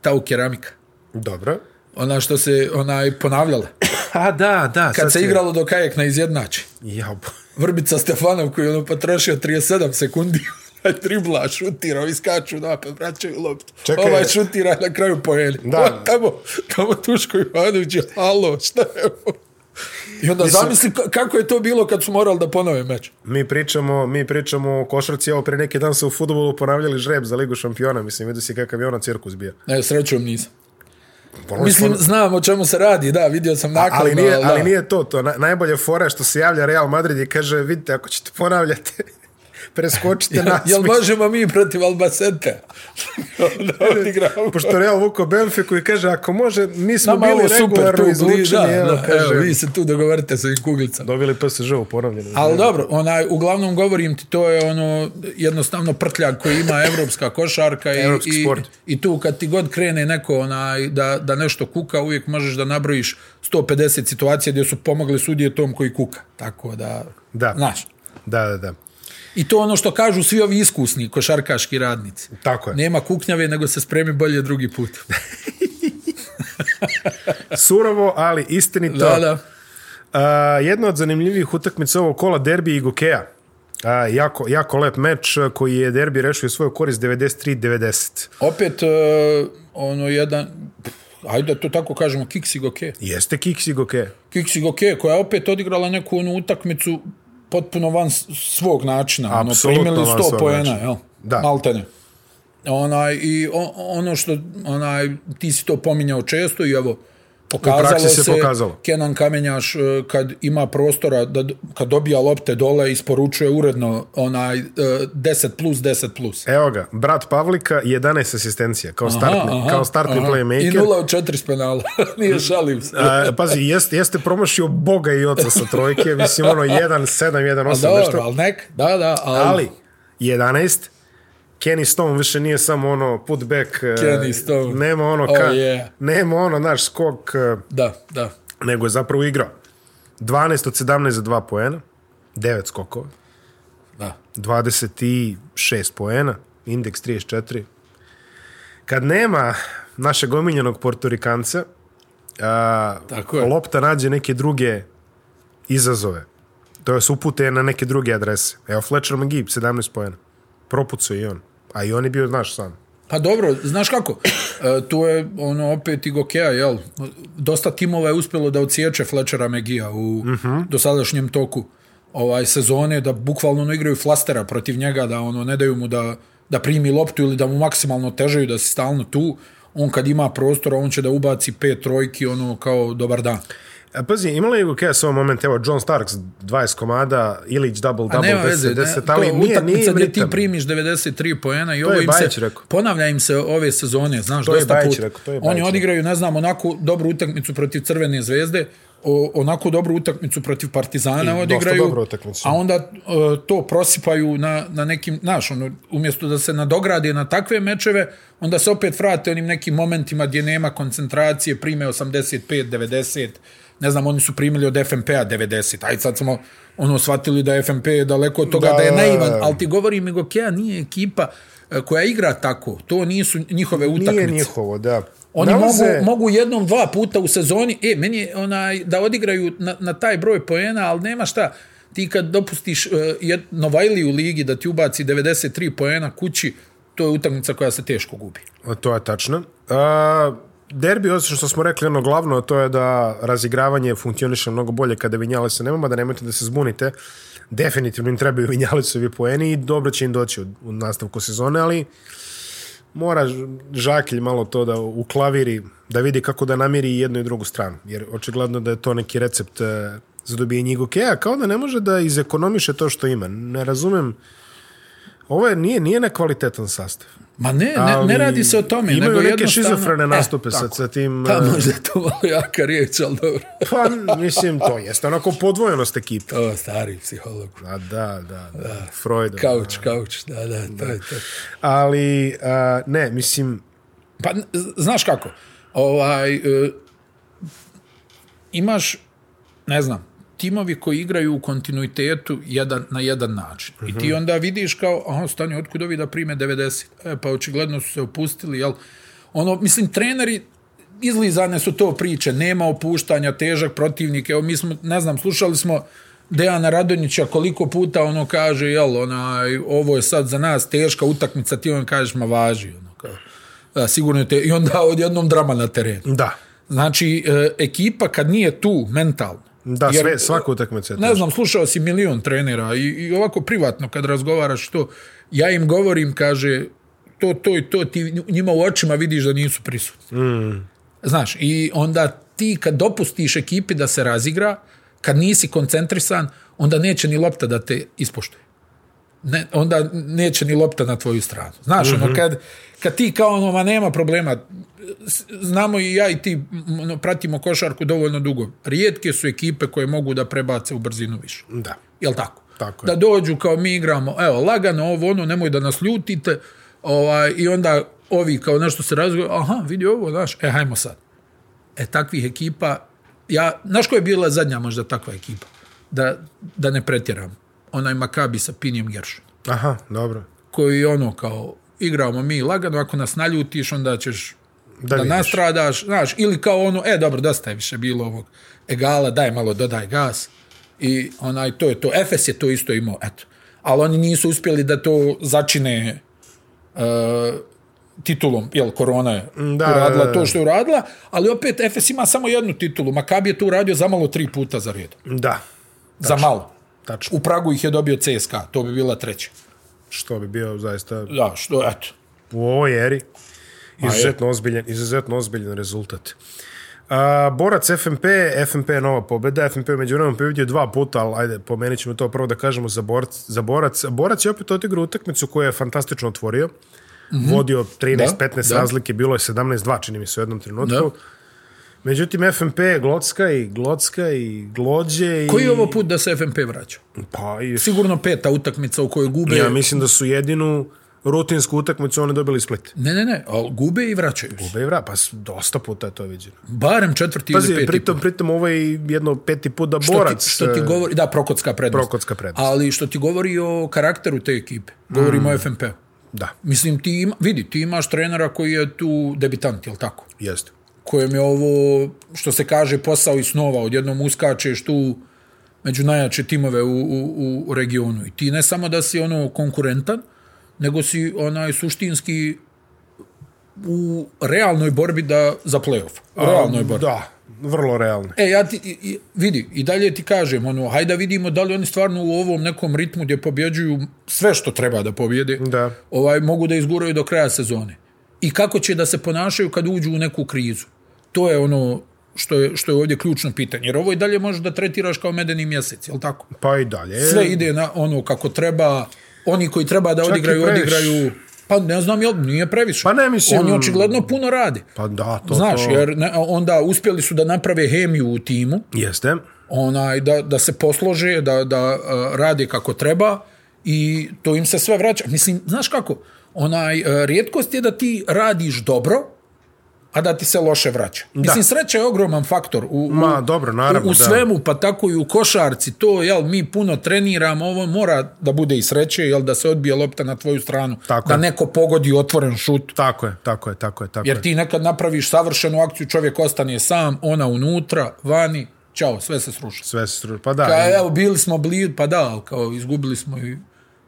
Speaker 3: ta u keramika.
Speaker 2: Dobro.
Speaker 3: Ona što se onaj ponavljala.
Speaker 2: A da, da.
Speaker 3: Kad se igralo dok Ajek ne izjednači.
Speaker 2: Ja, bo-
Speaker 3: Vrbica Stefanov koji je ono potrošio 37 sekundi na tribla, šutira, ovi skaču napad, vraćaju loptu.
Speaker 2: Čekaj.
Speaker 3: Ovaj šutira na kraju poeli.
Speaker 2: Da.
Speaker 3: Da. O, tamo, tamo Tuško Ivanović je, alo, šta je ovo? I onda Mislim... zamisli ka- kako je to bilo kad su morali da ponove meč.
Speaker 2: mi pričamo, mi pričamo o košarci, evo pre neki dan su u futbolu ponavljali žreb za Ligu šampiona, mislim, vidio si kakav je ona cirkus bio. Ono
Speaker 3: Ne, srećom nisam.
Speaker 2: Ponavljali
Speaker 3: Mislim, znam o čemu se radi, da, vidio sam nakon.
Speaker 2: Ali nije,
Speaker 3: da.
Speaker 2: ali nije to to. Na, najbolja fora je što se javlja Real Madrid i kaže, vidite, ako ćete ponavljati, preskočite nas.
Speaker 3: Jel možemo mi protiv Albacete? da odigramo.
Speaker 2: Pošto Real vuko Benfiku i kaže, ako može, mi smo
Speaker 3: Nama je ovo
Speaker 2: bili
Speaker 3: super, tu
Speaker 2: regularno
Speaker 3: bliže. Da,
Speaker 2: izlučeni, evo,
Speaker 3: da,
Speaker 2: kaže.
Speaker 3: evo, vi se tu dogovorite sa ovim kuglicama.
Speaker 2: Dobili PSG u ponovljenu.
Speaker 3: Ali dobro, onaj, uglavnom govorim ti, to je ono jednostavno prtljak koji ima evropska košarka i,
Speaker 2: Evropski
Speaker 3: i,
Speaker 2: sport.
Speaker 3: i tu kad ti god krene neko onaj, da, da nešto kuka, uvijek možeš da nabrojiš 150 situacija gdje su pomogli sudije tom koji kuka. Tako da,
Speaker 2: Da.
Speaker 3: znaš.
Speaker 2: Da, da, da.
Speaker 3: I to ono što kažu svi ovi iskusni košarkaški radnici.
Speaker 2: Tako je.
Speaker 3: Nema kuknjave, nego se spremi bolje drugi put.
Speaker 2: Surovo, ali istinito.
Speaker 3: Da, da.
Speaker 2: A, jedna od zanimljivih utakmica ovog kola, derbi i Gokeja. A, jako, jako lep meč a, koji je derbi rešio svoju korist 93-90.
Speaker 3: Opet, e, ono, jedan, pff, ajde da to tako kažemo, kiksi goke.
Speaker 2: Jeste Kiksi Gokeja.
Speaker 3: Kiksi Goke, koja je opet odigrala neku onu utakmicu potpuno van s- svog načina. Ono,
Speaker 2: Apsolutno
Speaker 3: primili
Speaker 2: van
Speaker 3: 100
Speaker 2: svog
Speaker 3: poena,
Speaker 2: načina.
Speaker 3: jel?
Speaker 2: Da.
Speaker 3: Maltene. Onaj, I o- ono što, onaj, ti si to pominjao često i evo, Pokazalo
Speaker 2: praksi se pokazalo.
Speaker 3: Kenan Kamenjaš e, kad ima prostora, da, d- kad dobija lopte dole, isporučuje uredno onaj e, 10 plus, 10 plus.
Speaker 2: Evo ga, brat Pavlika, 11 asistencija, kao startni, aha, kao startni aha.
Speaker 3: I
Speaker 2: playmaker. E,
Speaker 3: 0 od 4 s penala, nije šalim se.
Speaker 2: A, pazi, jeste, jeste promašio Boga i oca sa trojke, mislim ono 1, 7, 1, 8,
Speaker 3: Dobro,
Speaker 2: nešto.
Speaker 3: ali nek, da, da, ali...
Speaker 2: Ali, 11, Kenny Stone više nije samo ono put back, eh,
Speaker 3: Kenny Stone.
Speaker 2: nema ono, ka,
Speaker 3: Oh, yeah.
Speaker 2: nema ono naš skok, eh,
Speaker 3: Da, da.
Speaker 2: nego je zapravo igrao. 12 od 17 za 2 poena, 9 skokova,
Speaker 3: da.
Speaker 2: 26 poena, indeks 34. Kad nema našeg omiljenog portorikanca, a,
Speaker 3: Tako je.
Speaker 2: lopta nađe neke druge izazove. To je upute na neke druge adrese. Evo Fletcher McGee, 17 poena. Propucao je i on. A i on je bio, znaš, sam.
Speaker 3: Pa dobro, znaš kako, e, tu je ono opet i Gokea, jel? Dosta timova je uspjelo da ociječe Fletchera Megija u uh -huh. dosadašnjem toku ovaj sezone, da bukvalno ono igraju flastera protiv njega, da ono ne daju mu da, da primi loptu ili da mu maksimalno težaju, da si stalno tu. On kad ima prostora, on će da ubaci pet trojki, ono kao dobar dan.
Speaker 2: A, E, pazi, imala je Gokea s ovom moment, evo, John Starks, 20 komada, Ilić double-double, 10-10, ali nije,
Speaker 3: to
Speaker 2: nije
Speaker 3: utakmica
Speaker 2: im
Speaker 3: gdje ti
Speaker 2: ritam.
Speaker 3: primiš 93 poena i
Speaker 2: je
Speaker 3: ovo im
Speaker 2: Bajić
Speaker 3: se,
Speaker 2: rekao.
Speaker 3: ponavlja im se ove sezone, znaš,
Speaker 2: je
Speaker 3: dosta
Speaker 2: Bajić
Speaker 3: put.
Speaker 2: rekao, to je Bajić
Speaker 3: Oni
Speaker 2: rekao.
Speaker 3: odigraju, ne znam, onako dobru utakmicu protiv Crvene zvezde, o, onako dobru utakmicu protiv Partizana
Speaker 2: dosta
Speaker 3: odigraju,
Speaker 2: dobru utakmicu.
Speaker 3: a onda e, to prosipaju na, na nekim, znaš, ono, umjesto da se nadograde na takve mečeve, onda se opet vrate onim nekim momentima gdje nema koncentracije, prime 85, 90, ne znam, oni su primili od FNP-a 90, aj sad smo ono shvatili da je FNP daleko od toga da, da je
Speaker 2: Da.
Speaker 3: naivan, ali ti govorim, Igokea nije ekipa e, koja igra tako, to nisu njihove utakmice.
Speaker 2: Nije njihovo, da.
Speaker 3: Oni
Speaker 2: Nalaze-
Speaker 3: mogu, mogu jednom, dva puta u sezoni, e, meni je onaj, da odigraju na, na taj broj poena, ali nema šta, ti kad dopustiš uh, jed, Novajli u ligi da ti ubaci 93 poena kući, to je utakmica koja se teško gubi.
Speaker 2: To je tačno. A, derbi, osim što smo rekli, ono glavno, to je da razigravanje funkcioniše mnogo bolje kada Vinjalesa nemamo, da nemojte da se zbunite. Definitivno im trebaju Vinjalesovi poeni i dobro će im doći u, u nastavku sezone, ali mora Ž- Žakilj malo to da uklaviri, da vidi kako da namiri i jednu i drugu stranu. Jer očigledno da je to neki recept e, za dobijenje Igokeja, kao da ne može da izekonomiše to što ima. Ne razumem, ovo je, nije, nije nekvalitetan sastav.
Speaker 3: Ma ne, ne,
Speaker 2: Ali
Speaker 3: ne radi se o tome.
Speaker 2: imaju
Speaker 3: nego
Speaker 2: neke
Speaker 3: jednostavno-
Speaker 2: šizofrene nastupe
Speaker 3: e,
Speaker 2: sa-
Speaker 3: tako.
Speaker 2: sa tim,
Speaker 3: Pa
Speaker 2: e,
Speaker 3: možda je to malo jaka riječ, ali dobro.
Speaker 2: Pa, mislim, to jeste onako podvojenost ekipe.
Speaker 3: O, stari psiholog.
Speaker 2: A da, da, da, Freud.
Speaker 3: Kauč, kauč, da, da, to je to.
Speaker 2: Ali, a, ne, mislim,
Speaker 3: Pa, n- znaš kako, ovaj, e, imaš, ne znam, timovi koji igraju u kontinuitetu jedan, na jedan način. Mm -hmm. I ti onda vidiš kao, aha, stani, otkud ovi da prime 90? E, pa očigledno su se opustili, jel? Ono, mislim, treneri, izlizane su to priče, nema opuštanja, težak protivnik, evo, mi smo, ne znam, slušali smo Dejana Radonjića koliko puta ono kaže, jel, onaj, ovo je sad za nas teška utakmica, ti on kažeš, ma važi, ono, kao, da, sigurno je te, i onda odjednom drama na terenu.
Speaker 2: da,
Speaker 3: Znači, e, ekipa kad nije tu mentalno,
Speaker 2: da,
Speaker 3: Jer-
Speaker 2: sve, svaku utakmicu je
Speaker 3: ne
Speaker 2: teško.
Speaker 3: znam, slušao si milion trenera i, i ovako privatno kad razgovaraš to, ja im govorim, kaže, to, to i to, ti njima u očima vidiš da nisu prisutni. Mm. Znaš, i onda ti kad dopustiš ekipi da se razigra, kad nisi koncentrisan, onda neće ni lopta da te ispoštuje ne, onda neće ni lopta na tvoju stranu. Znaš, mm -hmm. ono, kad, kad ti kao ono, ma nema problema, s- znamo i ja i ti m, ono, pratimo košarku dovoljno dugo. Rijetke su ekipe koje mogu da prebace u brzinu više.
Speaker 2: Da.
Speaker 3: Jel tako?
Speaker 2: Tako je.
Speaker 3: da dođu kao mi igramo, evo, lagano ovo, ono, nemoj da nas ljutite, ovaj, i onda ovi kao nešto se razgoju, aha, vidi ovo, znaš, e, hajmo sad. E, takvih ekipa, ja, znaš koja je bila zadnja možda takva ekipa? Da, da ne pretjeram. Onaj Makabi sa Pinjem Geršom
Speaker 2: Aha, dobro.
Speaker 3: koji je ono kao igramo mi lagano, ako nas naljutiš onda ćeš
Speaker 2: Da
Speaker 3: da, da
Speaker 2: vidiš.
Speaker 3: nastradaš, znaš, ili kao ono, e dobro, dosta je više bilo ovog egala, daj malo, dodaj gas i onaj, to je to, Efes je to isto imao, eto, ali oni nisu uspjeli da to začine uh, titulom, jel, korona je
Speaker 2: Mm, da,
Speaker 3: da, uradila
Speaker 2: da, da.
Speaker 3: to što je uradila, ali opet Efes ima samo jednu titulu, Makabi je to uradio zamalo tri puta za redom,
Speaker 2: Da,
Speaker 3: za malo.
Speaker 2: tačno.
Speaker 3: U Pragu ih je dobio CSKA, to bi bila treća.
Speaker 2: Što bi bio zaista
Speaker 3: Da, što, eto,
Speaker 2: u ovoj eri izuzetno ozbiljan, izuzetno ozbiljan rezultat. A, borac FMP, FMP je nova pobjeda, FMP je među vremenom pobjedio dva puta, ali ajde, pomenit ćemo to prvo da kažemo za borac. Za borac. borac je opet odigrao utakmicu koju je fantastično otvorio. Mm -hmm. Vodio 13-15
Speaker 3: Mhm. da.
Speaker 2: razlike, bilo je 17-2, čini mi se u jednom trenutku.
Speaker 3: Da.
Speaker 2: Međutim, FMP je glocka i glocka i glođe i...
Speaker 3: Koji je ovo put da se FMP vraća?
Speaker 2: Pa, i...
Speaker 3: Sigurno peta utakmica u kojoj gube.
Speaker 2: Ja mislim da su jedinu rutinsku utakmicu oni dobili split.
Speaker 3: Ne, ne, ne, ali gube i vraćaju se.
Speaker 2: Gube i vra, pa s- dosta puta je to viđeno.
Speaker 3: Barem četvrti ili
Speaker 2: Pazi,
Speaker 3: peti
Speaker 2: pritom, pritom ovo je i jedno peti put da borac...
Speaker 3: Što ti, što ti
Speaker 2: e,
Speaker 3: govori, da, Prokotska prednost.
Speaker 2: Prokotska prednost. Mm.
Speaker 3: Ali što ti govori o karakteru te ekipe. Govorimo o FNP.
Speaker 2: Da,
Speaker 3: Mislim, ti ima, vidi, ti imaš trenera koji je tu debitant, jel tako?
Speaker 2: jeste.
Speaker 3: Kojem je ovo, što se kaže, posao i snova. Odjednom uskačeš tu među najjače timove u, u, u regionu. I ti ne samo da si ono konkurentan, nego si onaj suštinski u realnoj borbi da za play-off. U realnoj borbi.
Speaker 2: Da, vrlo realno.
Speaker 3: E, ja ti, i- i- vidi, i dalje ti kažem, ono, hajde da vidimo da li oni stvarno u ovom nekom ritmu gdje pobjeđuju sve što treba da pobjede,
Speaker 2: Da.
Speaker 3: ovaj, mogu da izguraju do kraja sezone. I kako će da se ponašaju kad uđu u neku krizu. To je ono što je, što je ovdje ključno pitanje. Jer ovo i dalje možeš da tretiraš kao medeni mjesec, jel tako?
Speaker 2: Pa i dalje.
Speaker 3: Sve ide na ono kako treba, oni koji treba da
Speaker 2: i
Speaker 3: odigraju,
Speaker 2: previše.
Speaker 3: odigraju. Pa ne znam, jel, nije previše.
Speaker 2: Pa ne, mislim-
Speaker 3: Oni očigledno puno rade.
Speaker 2: Pa da, to...
Speaker 3: Znaš,
Speaker 2: to...
Speaker 3: jer ne, onda uspjeli su da naprave hemiju u timu,
Speaker 2: Jeste.
Speaker 3: onaj, da, da se poslože, da, da uh, radi kako treba i to im se sve vraća. Mislim, znaš kako, onaj, uh, rijetkost je da ti radiš dobro, a da ti se loše vraća. Da. Mislim, sreća je ogroman faktor u, u,
Speaker 2: Ma, dobro, naravno,
Speaker 3: u, u
Speaker 2: da.
Speaker 3: svemu, pa tako i u košarci. To, jel, mi puno treniramo, ovo mora da bude i sreće, jel, da se odbije lopta na tvoju stranu,
Speaker 2: Tako
Speaker 3: da
Speaker 2: je.
Speaker 3: neko pogodi otvoren šut,
Speaker 2: Tako je, tako je, tako je, tako
Speaker 3: Jer
Speaker 2: je.
Speaker 3: ti nekad napraviš savršenu akciju, čovjek ostane sam, ona unutra, vani, čao, sve se sruši.
Speaker 2: Sve se stru... Pa da,
Speaker 3: Ka,
Speaker 2: i-
Speaker 3: evo, bili smo blizu, pa da, ali kao izgubili smo i,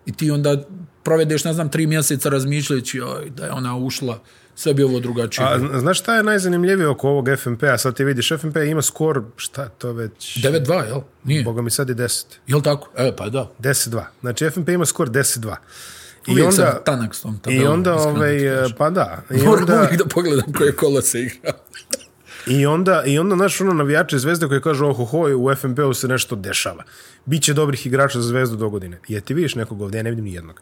Speaker 3: i ti onda provedeš, ne znam, tri mjeseca razmišljajući oj, da je ona ušla, sve bi ovo drugačije.
Speaker 2: A,
Speaker 3: A,
Speaker 2: zna- znaš šta je najzanimljivije oko ovog FMP-a? Sad ti vidiš, FMP ima skor, šta je to već...
Speaker 3: 9-2, jel? Nije.
Speaker 2: Boga mi sad je 10.
Speaker 3: Jel tako? E, pa da.
Speaker 2: 10-2. Znači, FMP ima skor 10-2. I
Speaker 3: Uvijek sam
Speaker 2: onda...
Speaker 3: tanak s tom
Speaker 2: I
Speaker 3: tabelom.
Speaker 2: onda,
Speaker 3: iskreno ti
Speaker 2: ovaj,
Speaker 3: kažem.
Speaker 2: pa da. I
Speaker 3: Moram
Speaker 2: onda,
Speaker 3: uvijek da pogledam koje kolo se igra.
Speaker 2: I onda, i onda naš ono navijače zvezde koji kažu oho ho, u FNP-u se nešto dešava. Biće dobrih igrača za zvezdu do godine. Je ti vidiš nekog ovdje, ja ne vidim nijednog.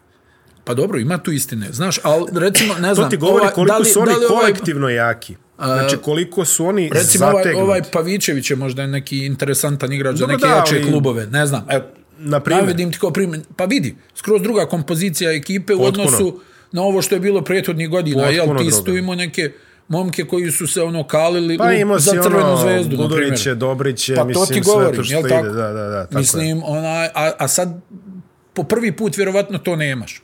Speaker 3: Pa dobro, ima tu istine. Znaš, ali recimo, ne
Speaker 2: To
Speaker 3: znam...
Speaker 2: ti govori
Speaker 3: ovaj,
Speaker 2: koliko
Speaker 3: da li,
Speaker 2: su oni
Speaker 3: da li ovaj,
Speaker 2: kolektivno jaki. Znači koliko su oni
Speaker 3: Recimo
Speaker 2: zategnuti.
Speaker 3: ovaj, ovaj Pavićević je možda neki interesantan igrač za
Speaker 2: Dobro,
Speaker 3: neke
Speaker 2: da,
Speaker 3: jače
Speaker 2: ali-
Speaker 3: klubove, ne znam. E,
Speaker 2: Na primjer.
Speaker 3: Navedim ti kao primjer. Pa vidi, skroz druga kompozicija ekipe u
Speaker 2: Potpuno.
Speaker 3: odnosu na ovo što je bilo prethodnih godina. Jel,
Speaker 2: Potpuno
Speaker 3: ti si
Speaker 2: druga.
Speaker 3: tu imao neke momke koji su se ono kalili
Speaker 2: pa
Speaker 3: u,
Speaker 2: imao
Speaker 3: za
Speaker 2: si
Speaker 3: crvenu
Speaker 2: ono
Speaker 3: zvezdu, na
Speaker 2: Budoviće,
Speaker 3: primjer.
Speaker 2: Dobriće,
Speaker 3: Pa to
Speaker 2: mislim,
Speaker 3: ti govorim,
Speaker 2: sve
Speaker 3: jel
Speaker 2: to što
Speaker 3: tako?
Speaker 2: ide. Da, da, da, tako je.
Speaker 3: Mislim, onaj, a, a sad po prvi put vjerovatno to nemaš.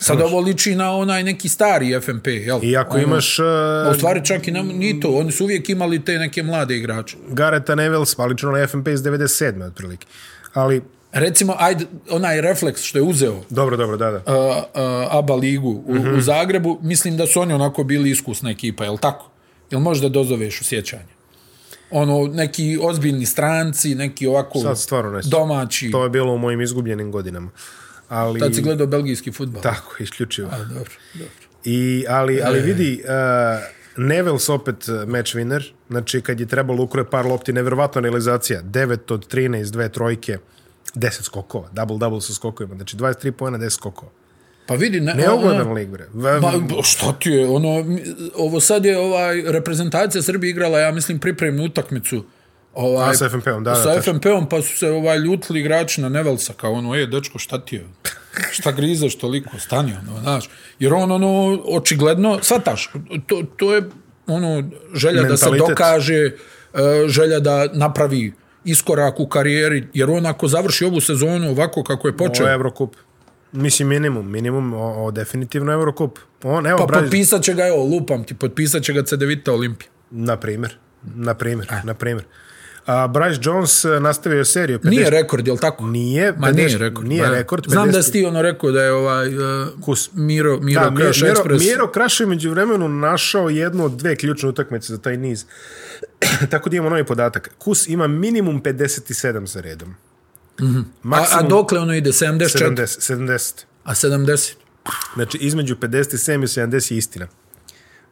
Speaker 3: Sad ovo liči na onaj neki stari FMP, jel?
Speaker 2: I ako
Speaker 3: Ono,
Speaker 2: imaš
Speaker 3: a U
Speaker 2: uh,
Speaker 3: stvari čak i nam, ni to, oni su uvijek imali te neke mlade igrače.
Speaker 2: Gareta Nevels, pa lično na FNP iz 97. otprilike. Ali,
Speaker 3: Recimo, ajde, onaj refleks što je uzeo uh,
Speaker 2: dobro, dobro, da, da.
Speaker 3: uh, ABA ligu u, mm
Speaker 2: Mhm.
Speaker 3: -hmm. u Zagrebu, mislim da su oni onako bili iskusna ekipa, je li tako? Jel možeš da dozoveš u sjećanje? Ono, neki ozbiljni stranci, neki ovako
Speaker 2: Sad stvarno ne sjećam.
Speaker 3: domaći.
Speaker 2: To je bilo u mojim izgubljenim godinama. Ali,
Speaker 3: Tad si gledao belgijski futbal.
Speaker 2: tako, isključivo.
Speaker 3: A, E. dobro, dobro.
Speaker 2: I, ali, ali vidi, uh, Nevels opet uh, match winner, znači kad je trebalo ukroje par lopti, nevjerovatna realizacija, 9 od 13, dve trojke, 10 skokova, double-double sa skokovima, znači 23 pojena, 10 skokova.
Speaker 3: Pa vidi, ne,
Speaker 2: Neugodan lig, bre. V-
Speaker 3: Ma, Pa, šta ti je, ono, mi- ovo sad je ovaj, reprezentacija Srbije igrala, ja mislim, pripremnu utakmicu. Ovaj,
Speaker 2: A, sa FNP-om, da, da,
Speaker 3: Sa
Speaker 2: tačno.
Speaker 3: FNP-om, pa su se ovaj, ljutili igrači na Nevelsa, kao ono, e, dečko, šta ti je? Šta grizeš toliko? Stani, ono, znaš. Jer on, ono, očigledno, svataš, to, to je, ono, želja da
Speaker 2: Mentalitet.
Speaker 3: se dokaže, e, želja da napravi iskorak u karijeri, jer on ako završi ovu sezonu ovako kako je počeo,
Speaker 2: Ovo je Eurocup. Mislim minimum, minimum, o, o definitivno Eurocup. On, evo,
Speaker 3: pa
Speaker 2: pa, Brazil,
Speaker 3: potpisat će ga, evo, lupam ti, potpisat će ga Cedevita Olimpija.
Speaker 2: na primjer, na primjer,
Speaker 3: E.
Speaker 2: na primjer. A, Bryce Jones e, nastavio je seriju. 50,
Speaker 3: Nije rekord, jel tako?
Speaker 2: Nije,
Speaker 3: Ma
Speaker 2: 50
Speaker 3: nije rekord.
Speaker 2: Nije
Speaker 3: ma,
Speaker 2: rekord. 50,
Speaker 3: Znam da si ti ono rekao da je ovaj... Uh,
Speaker 2: Kus.
Speaker 3: Miro, Miro
Speaker 2: Da,
Speaker 3: da, Crash
Speaker 2: Miro,
Speaker 3: Express.
Speaker 2: Miro Kraš je među vremenu našao jednu od dve ključne utakmice za taj niz. Tako da imamo novi podatak. Kus ima minimum 57 za redom. Mm -hmm.
Speaker 3: Mhm. a, a
Speaker 2: Maksimum
Speaker 3: dokle ono ide? 74?
Speaker 2: 70,
Speaker 3: 70.
Speaker 2: 70.
Speaker 3: A 70?
Speaker 2: Znači, između 57 i 70 je istina.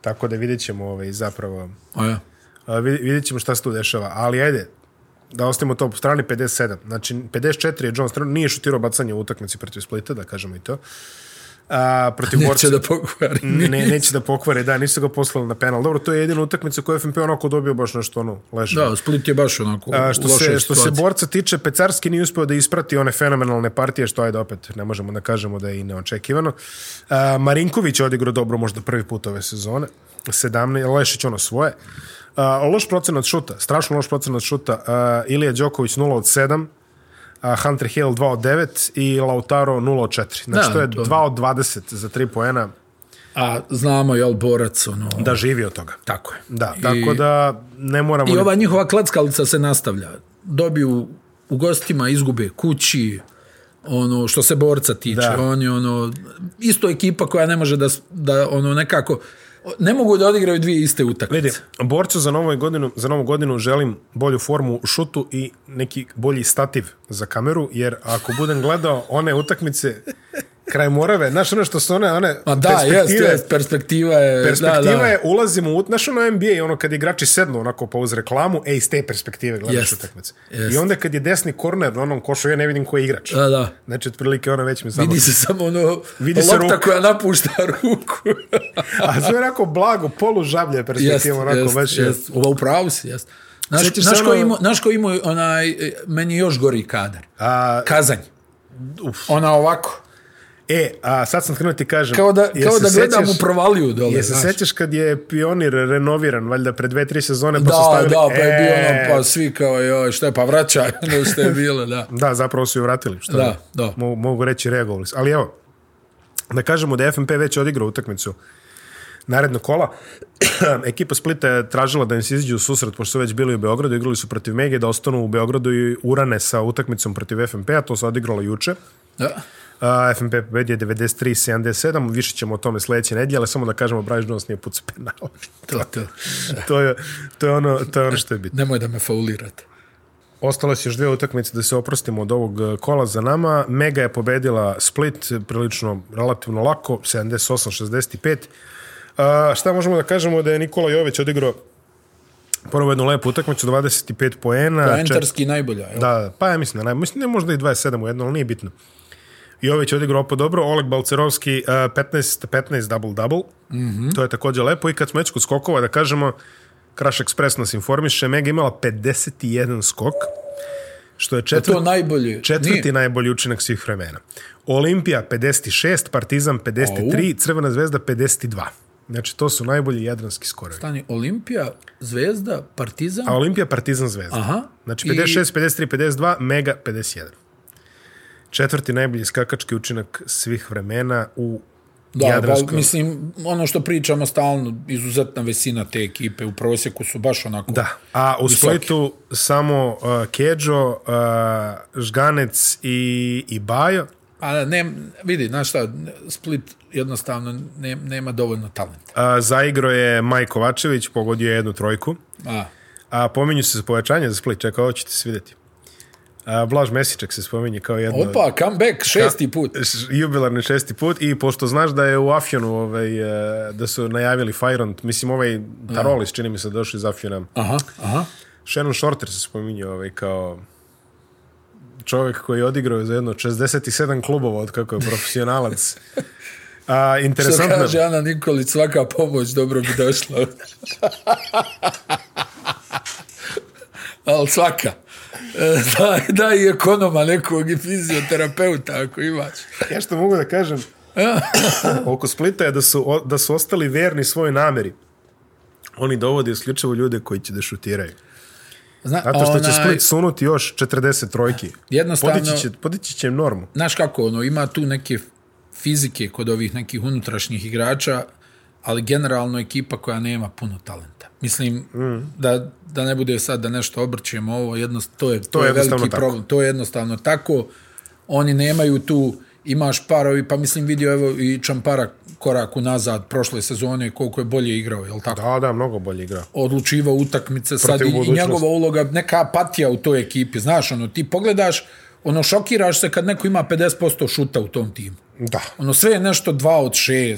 Speaker 2: Tako da vidjet ćemo ovaj, zapravo
Speaker 3: A ja.
Speaker 2: A, vid- vidjet ćemo šta se tu dešava. Ali ajde, da ostavimo to po strani 57. Znači, 54 je Jones trenutno, nije šutirao bacanje u utakmici protiv Splita, da kažemo i to. A, protiv
Speaker 3: Neće
Speaker 2: Borca-
Speaker 3: da pokvari.
Speaker 2: Ne, ne, neće da pokvare, da, nisu ga poslali na penal. Dobro, to je jedina utakmica koju je FNP onako dobio baš nešto ono, leže.
Speaker 3: Da, Split je baš onako
Speaker 2: A,
Speaker 3: A,
Speaker 2: što
Speaker 3: u lošoj
Speaker 2: se, što se
Speaker 3: situaciji.
Speaker 2: borca tiče, Pecarski nije uspio da isprati one fenomenalne partije, što ajde opet, ne možemo da kažemo da je i neočekivano. A, Marinković je odigrao dobro možda prvi put ove sezone, 17, Lešić ono svoje. A, loš procenat šuta, strašno loš procenat šuta, a, Ilija Đoković 0 od 7, a, Hunter Hill 2 od 9 i Lautaro 0 od 4. Znači
Speaker 3: Da,
Speaker 2: to je
Speaker 3: to-
Speaker 2: 2 od 20 za 3 poena,
Speaker 3: A znamo, jel, borac, ono...
Speaker 2: da živi od toga.
Speaker 3: Tako je.
Speaker 2: Da, tako da ne moramo...
Speaker 3: I ovaj
Speaker 2: ni-
Speaker 3: ova njihova klackalica se nastavlja. Dobiju u gostima, izgube kući, ono što se borca tiče.
Speaker 2: Da.
Speaker 3: Da. On je ono, isto ekipa koja ne može da, s- da ono nekako, ne mogu da odigraju dvije iste utakmice.
Speaker 2: Vidi, borcu za novu godinu, za novu godinu želim bolju formu u šutu i neki bolji stativ za kameru, jer ako budem gledao one utakmice kraj Morave, znaš ono što su one, one
Speaker 3: Ma Pa da, jest,
Speaker 2: perspektive,
Speaker 3: jest, perspektiva je...
Speaker 2: perspektiva
Speaker 3: da, da.
Speaker 2: je, ulazimo u, znaš ono NBA, i ono kad igrači sednu onako pa uz reklamu, e, iz te perspektive gledaš
Speaker 3: Jest,
Speaker 2: utakmice.
Speaker 3: jest.
Speaker 2: I onda kad je desni korner na onom košu, ja ne vidim ko je igrač.
Speaker 3: Da, da.
Speaker 2: Znači, otprilike ona već mi samo...
Speaker 3: Vidi se samo ono,
Speaker 2: Vidi
Speaker 3: Vidi
Speaker 2: se
Speaker 3: lopta
Speaker 2: ruka.
Speaker 3: koja napušta ruku.
Speaker 2: A sve onako blago, polu žablje
Speaker 3: jest,
Speaker 2: perspektive, onako
Speaker 3: jest,
Speaker 2: baš je...
Speaker 3: jest. Ova upravo si, jest. Naš,
Speaker 2: Sjećaš se
Speaker 3: naš, ko
Speaker 2: ono-
Speaker 3: ima, naš ko ima onaj, e, meni je još gori kadar.
Speaker 2: A,
Speaker 3: Kazanj. Uf. Ona ovako.
Speaker 2: e, a sad sam krenuo ti kažem...
Speaker 3: Kao da,
Speaker 2: jel
Speaker 3: kao
Speaker 2: se
Speaker 3: da gledam
Speaker 2: sećaš-
Speaker 3: u provaliju dole.
Speaker 2: Je se
Speaker 3: znaš.
Speaker 2: sećaš kad je Pionir renoviran, valjda pre dve, tri sezone, pa su
Speaker 3: Da,
Speaker 2: stavili...
Speaker 3: da, pa je
Speaker 2: E,
Speaker 3: bio ono, pa svi kao, joj, šta je, pa vraćaj, ono što je bilo, da.
Speaker 2: Da, zapravo su ju vratili, što
Speaker 3: Da,
Speaker 2: je,
Speaker 3: da.
Speaker 2: mo- mogu reći reagovali. su. Ali evo, da kažemo da je FNP već odigrao utakmicu naredno kola. Ekipa Splita je tražila da im se izađe u susret, pošto su već bili u Beogradu, igrali su protiv Mege, da ostanu u Beogradu i urane sa utakmicom protiv FNP-a, to se odigralo juče.
Speaker 3: da.
Speaker 2: A, FNP pobedio je 93-77, više ćemo o tome sledeće nedjelje, ali samo da kažemo, Bryce Jones nije pucao penal.
Speaker 3: To, to.
Speaker 2: to, je, to, je ono, to je ono što je bitno.
Speaker 3: Nemoj da me faulirate.
Speaker 2: Ostale su još dve utakmice da se oprostimo od ovog e, kola za nama. Mega je pobedila Split e, prilično relativno lako, 78-65. A, šta možemo da kažemo da je Nikola Jović odigrao prvo jednu lepu utakmicu, 25 poena. čet-
Speaker 3: Entarski najbolja, jel?
Speaker 2: Da, pa ja mislim da naj... Mislim da je možda i 27 u jedno, ali nije bitno. Jović je odigrao opo dobro, Oleg Balcerovski e, 15-15 double-double, mm
Speaker 3: Mhm.
Speaker 2: -hmm. to je također lepo i kad smo već kod skokova da kažemo, Crash Express nas informiše, Mega je imala 51 skok, što je četvrt,
Speaker 3: To najbolje.
Speaker 2: četvrti
Speaker 3: Nije.
Speaker 2: najbolji učinak svih vremena. Olimpija 56, Partizan 53, Crvena zvezda 52. Znači, to su najbolji jadranski skorovi.
Speaker 3: Stani, Olimpija, Zvezda, Partizan.
Speaker 2: A Olimpija Partizan Zvezda.
Speaker 3: Aha.
Speaker 2: Znači
Speaker 3: I-
Speaker 2: 56, 53, 52, Mega 51. Četvrti najbolji skakački učinak svih vremena u
Speaker 3: Da,
Speaker 2: Jadranskoj.
Speaker 3: ba, mislim, ono što pričamo stalno, izuzetna visina te ekipe, u prosjeku su baš onako...
Speaker 2: Da. A u
Speaker 3: Visoki.
Speaker 2: Splitu samo uh, Keđo, uh, Žganec i, i Bajo. Uh,
Speaker 3: A ne, vidi, znaš šta, Split jednostavno ne, nema dovoljno talenta.
Speaker 2: Uh, zaigro je Maj Kovačević, pogodio je jednu trojku.
Speaker 3: A,
Speaker 2: A pominju se povećanje za Split, čekaj, ovo ćete se vidjeti. Uh, Blaž Mesiček se spominje kao jedno... od-
Speaker 3: opa, comeback, šesti put.
Speaker 2: Š- jubilarni šesti put i pošto znaš da je u Afjonu ovaj, e, da su najavili Fajront, mislim ovaj Tarolis čini mi se došli iz Afjona.
Speaker 3: Aha, aha.
Speaker 2: Shannon Shorter se spominje ovaj, kao čovjek koji je odigrao za jedno 67 klubova od kako je profesionalac. A,
Speaker 3: Što
Speaker 2: interesantno.
Speaker 3: kaže Ana Nikolić, svaka pomoć dobro bi došla. Ali svaka. E, Da, da i ekonoma nekog i fizioterapeuta ako imaš.
Speaker 2: Ja što mogu da kažem oko Splita je da su, o- da su ostali verni svojoj nameri. Oni dovode isključivo ljude koji će da šutiraju.
Speaker 3: Zna,
Speaker 2: Zato što će Split sunuti još 40 trojki.
Speaker 3: Jednostavno-
Speaker 2: Podići će, podići će im normu.
Speaker 3: znaš kako, ono, ima tu neke fizike kod ovih nekih unutrašnjih igrača, ali generalno ekipa koja nema puno talenta. Mislim, mm. da, da ne bude sad da nešto obrćemo ovo, jednost, to je, to to
Speaker 2: je
Speaker 3: je
Speaker 2: jednostavno
Speaker 3: veliki
Speaker 2: tako.
Speaker 3: problem. To je jednostavno tako. Oni nemaju tu, imaš parovi, pa mislim vidio evo i Čampara korak unazad prošle sezone koliko je bolje igrao, je li tako?
Speaker 2: Da, da, mnogo bolje igra.
Speaker 3: odlučivao utakmice sad
Speaker 2: Protiv
Speaker 3: i, i
Speaker 2: budućnosti.
Speaker 3: njegova uloga neka apatija u toj ekipi znaš ono ti pogledaš ono šokiraš se kad neko ima 50% šuta u tom timu
Speaker 2: Da.
Speaker 3: ono sve je nešto 2 od 6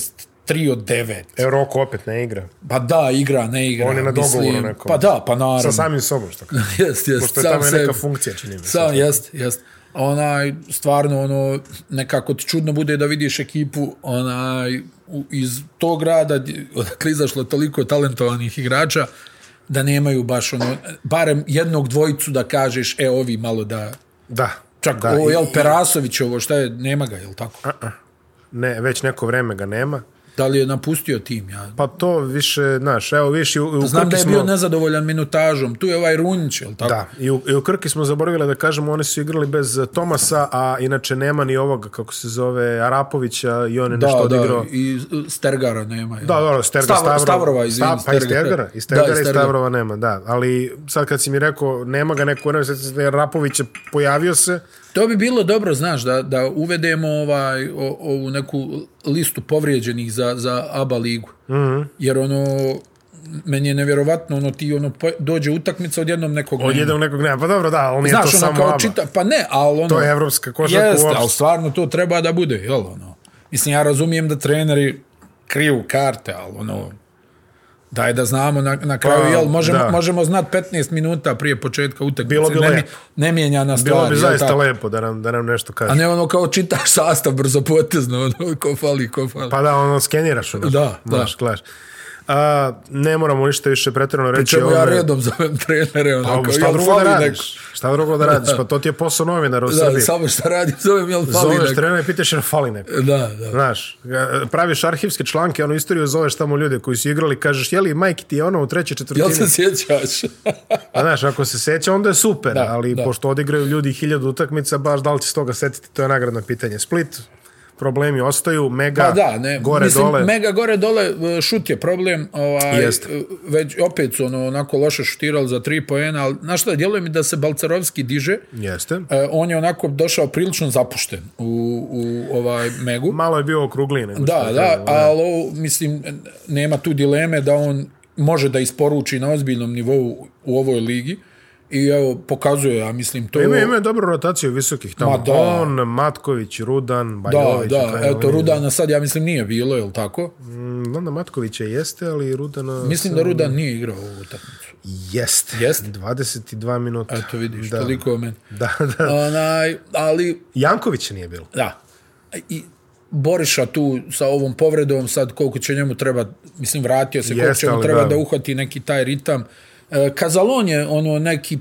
Speaker 3: 3 od 9.
Speaker 2: E, Roko opet ne igra.
Speaker 3: Pa da, igra, ne igra.
Speaker 2: On je na dogovoru nekom.
Speaker 3: Pa da, pa naravno.
Speaker 2: Sa samim sobom, što kaže.
Speaker 3: jest, jest,
Speaker 2: Pošto je tamo je
Speaker 3: sebi.
Speaker 2: neka funkcija, čini mi se.
Speaker 3: Sam, jest, jest. Onaj, stvarno, ono, nekako ti čudno bude da vidiš ekipu, onaj, u- iz tog grada, gdje- odakle izašlo toliko talentovanih igrača, da nemaju baš, ono, barem jednog dvojicu da kažeš, e, ovi malo da...
Speaker 2: Da.
Speaker 3: Čak,
Speaker 2: da,
Speaker 3: da, ovo,
Speaker 2: i-
Speaker 3: jel,
Speaker 2: i-
Speaker 3: Perasović, ovo, šta je, nema ga, jel tako?
Speaker 2: Ne, već neko vreme ga nema.
Speaker 3: Da li je napustio tim, ja?
Speaker 2: Pa to više, znaš, evo, viš i u, u
Speaker 3: Znam
Speaker 2: Krki
Speaker 3: da je
Speaker 2: smo...
Speaker 3: bio nezadovoljan minutažom, tu je ovaj Runjić, jel tako?
Speaker 2: Da, i u, i u Krki smo zaboravili da kažemo, oni su igrali bez eh, Tomasa, a inače nema ni ovoga, kako se zove, Arapovića i on je nešto
Speaker 3: da,
Speaker 2: odigrao.
Speaker 3: i e, Stergara nema. Jel?
Speaker 2: Da, dobro, Sterga,
Speaker 3: Stavro-
Speaker 2: Stavrova.
Speaker 3: Stavrova, izvini,
Speaker 2: Sta- pa i Stergara, i Stergara,
Speaker 3: Da,
Speaker 2: i
Speaker 3: i Stergara.
Speaker 2: Stavrova nema, da. Ali sad kad si mi rekao, nema ga neko, ne znam, da je Arapović je pojavio se,
Speaker 3: To bi bilo dobro, znaš, da, da uvedemo ovaj, o, ovu neku listu povrijeđenih za, za ABA ligu. Mm
Speaker 2: Mhm.
Speaker 3: -hmm. Jer ono, meni je nevjerovatno, ono ti ono, pa- dođe utakmica odjednom nekog... nema.
Speaker 2: odjede u nekog nema. Pa dobro, da, ali nije
Speaker 3: Znaš,
Speaker 2: to
Speaker 3: ono
Speaker 2: samo
Speaker 3: kao
Speaker 2: vama.
Speaker 3: čita, pa ne, ali ono...
Speaker 2: To je evropska košarka
Speaker 3: Jeste,
Speaker 2: uopšte.
Speaker 3: ali stvarno to treba da bude, jel ono? Mislim, ja razumijem da treneri kriju karte, ali ono... Daj da znamo na, na kraju,
Speaker 2: Pa,
Speaker 3: jel, možemo,
Speaker 2: da.
Speaker 3: možemo znat 15 minuta prije početka utakmice.
Speaker 2: Bilo bi
Speaker 3: ne, mi-
Speaker 2: lepo.
Speaker 3: Ne mijenjana stvar.
Speaker 2: Bilo bi
Speaker 3: jel
Speaker 2: zaista
Speaker 3: tako?
Speaker 2: lepo da nam, da nam nešto kaže.
Speaker 3: A ne ono kao čitaš sastav brzo potezno, ono, ko fali, ko fali. Pa,
Speaker 2: Pa da, ono, skeniraš ono.
Speaker 3: Da, da.
Speaker 2: Znaš, gledaš. A, ne moramo ništa više pretjerano reći.
Speaker 3: Čemu
Speaker 2: ovo
Speaker 3: ja
Speaker 2: je-
Speaker 3: redom zovem trenere, ono,
Speaker 2: Pa,
Speaker 3: kao,
Speaker 2: šta
Speaker 3: jel
Speaker 2: drugo da
Speaker 3: fali
Speaker 2: radiš?
Speaker 3: neko?
Speaker 2: Šta drugo da radiš? Pa to ti je posao novinara u
Speaker 3: Da,
Speaker 2: Srbiji.
Speaker 3: samo šta radim, zovem, jel fali
Speaker 2: Zoveš
Speaker 3: neko?
Speaker 2: trenera i pitaš jel fali neko.
Speaker 3: Da, da.
Speaker 2: Znaš, ga- praviš arhivske članke, ono istoriju zoveš tamo ljude koji su igrali, kažeš, je li majke ti je ono u trećoj
Speaker 3: Jel
Speaker 2: četvrtini?
Speaker 3: se sjećaš?
Speaker 2: A znaš, ako se seća, onda je super, da,
Speaker 3: Da,
Speaker 2: ali da.
Speaker 3: da.
Speaker 2: pošto odigraju ljudi hiljadu utakmica, baš da li će se toga setiti, to je nagradno pitanje. Split, problemi ostaju, mega,
Speaker 3: Pa da, ne.
Speaker 2: gore,
Speaker 3: Mislim,
Speaker 2: dole.
Speaker 3: Mega gore dole, e, šut je problem. Ovaj,
Speaker 2: Jeste.
Speaker 3: e, Već opet su ono, onako loše šutirali za tri poena, ali znaš šta, djeluje mi da se Balcarovski diže.
Speaker 2: Jeste.
Speaker 3: E, on je onako došao prilično zapušten u, u ovaj Megu.
Speaker 2: Malo je bio okrugliji nego što
Speaker 3: Da,
Speaker 2: je
Speaker 3: da,
Speaker 2: trebalo,
Speaker 3: ali ovo, mislim, nema tu dileme da on može da isporuči na ozbiljnom nivou u ovoj ligi i evo, pokazuje, ja mislim, to...
Speaker 2: Ima, ima dobru rotaciju visokih tamo.
Speaker 3: Ma da.
Speaker 2: On, Matković, Rudan,
Speaker 3: Da,
Speaker 2: Bajović.
Speaker 3: da,
Speaker 2: taj,
Speaker 3: eto,
Speaker 2: oni-
Speaker 3: Rudana sad, ja mislim, nije bilo, je li tako?
Speaker 2: Mm, Onda Matkovića jeste, ali Rudana...
Speaker 3: Mislim da Rudan nije igrao ovu utakmicu.
Speaker 2: Jeste.
Speaker 3: Jeste?
Speaker 2: 22 minuta.
Speaker 3: Eto, vidiš,
Speaker 2: da.
Speaker 3: toliko o meni.
Speaker 2: Da, da.
Speaker 3: Onaj, ali,
Speaker 2: Jankovića nije bilo.
Speaker 3: da, i Boriša tu sa ovom povredom, sad koliko će njemu treba, mislim, vratio se, koliko
Speaker 2: Jeste,
Speaker 3: će mu
Speaker 2: ali
Speaker 3: treba
Speaker 2: da.
Speaker 3: da uhvati neki taj ritam. E, Kazalon je ono neki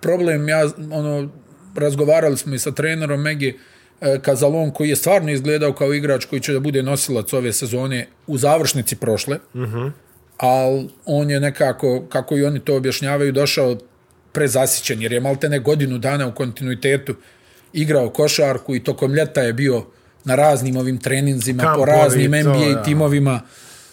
Speaker 3: problem, ja, ono, razgovarali smo i sa trenerom Megi, e, Kazalon koji je stvarno izgledao kao igrač koji će da bude nosilac ove sezone u završnici prošle, mm -hmm. ali on je nekako, kako i oni to objašnjavaju, došao prezasićen, jer je maltene godinu dana u kontinuitetu igrao košarku i tokom ljeta je bio na raznim ovim treninzima, po
Speaker 2: Kampovi,
Speaker 3: raznim
Speaker 2: to,
Speaker 3: NBA
Speaker 2: ja.
Speaker 3: timovima timovima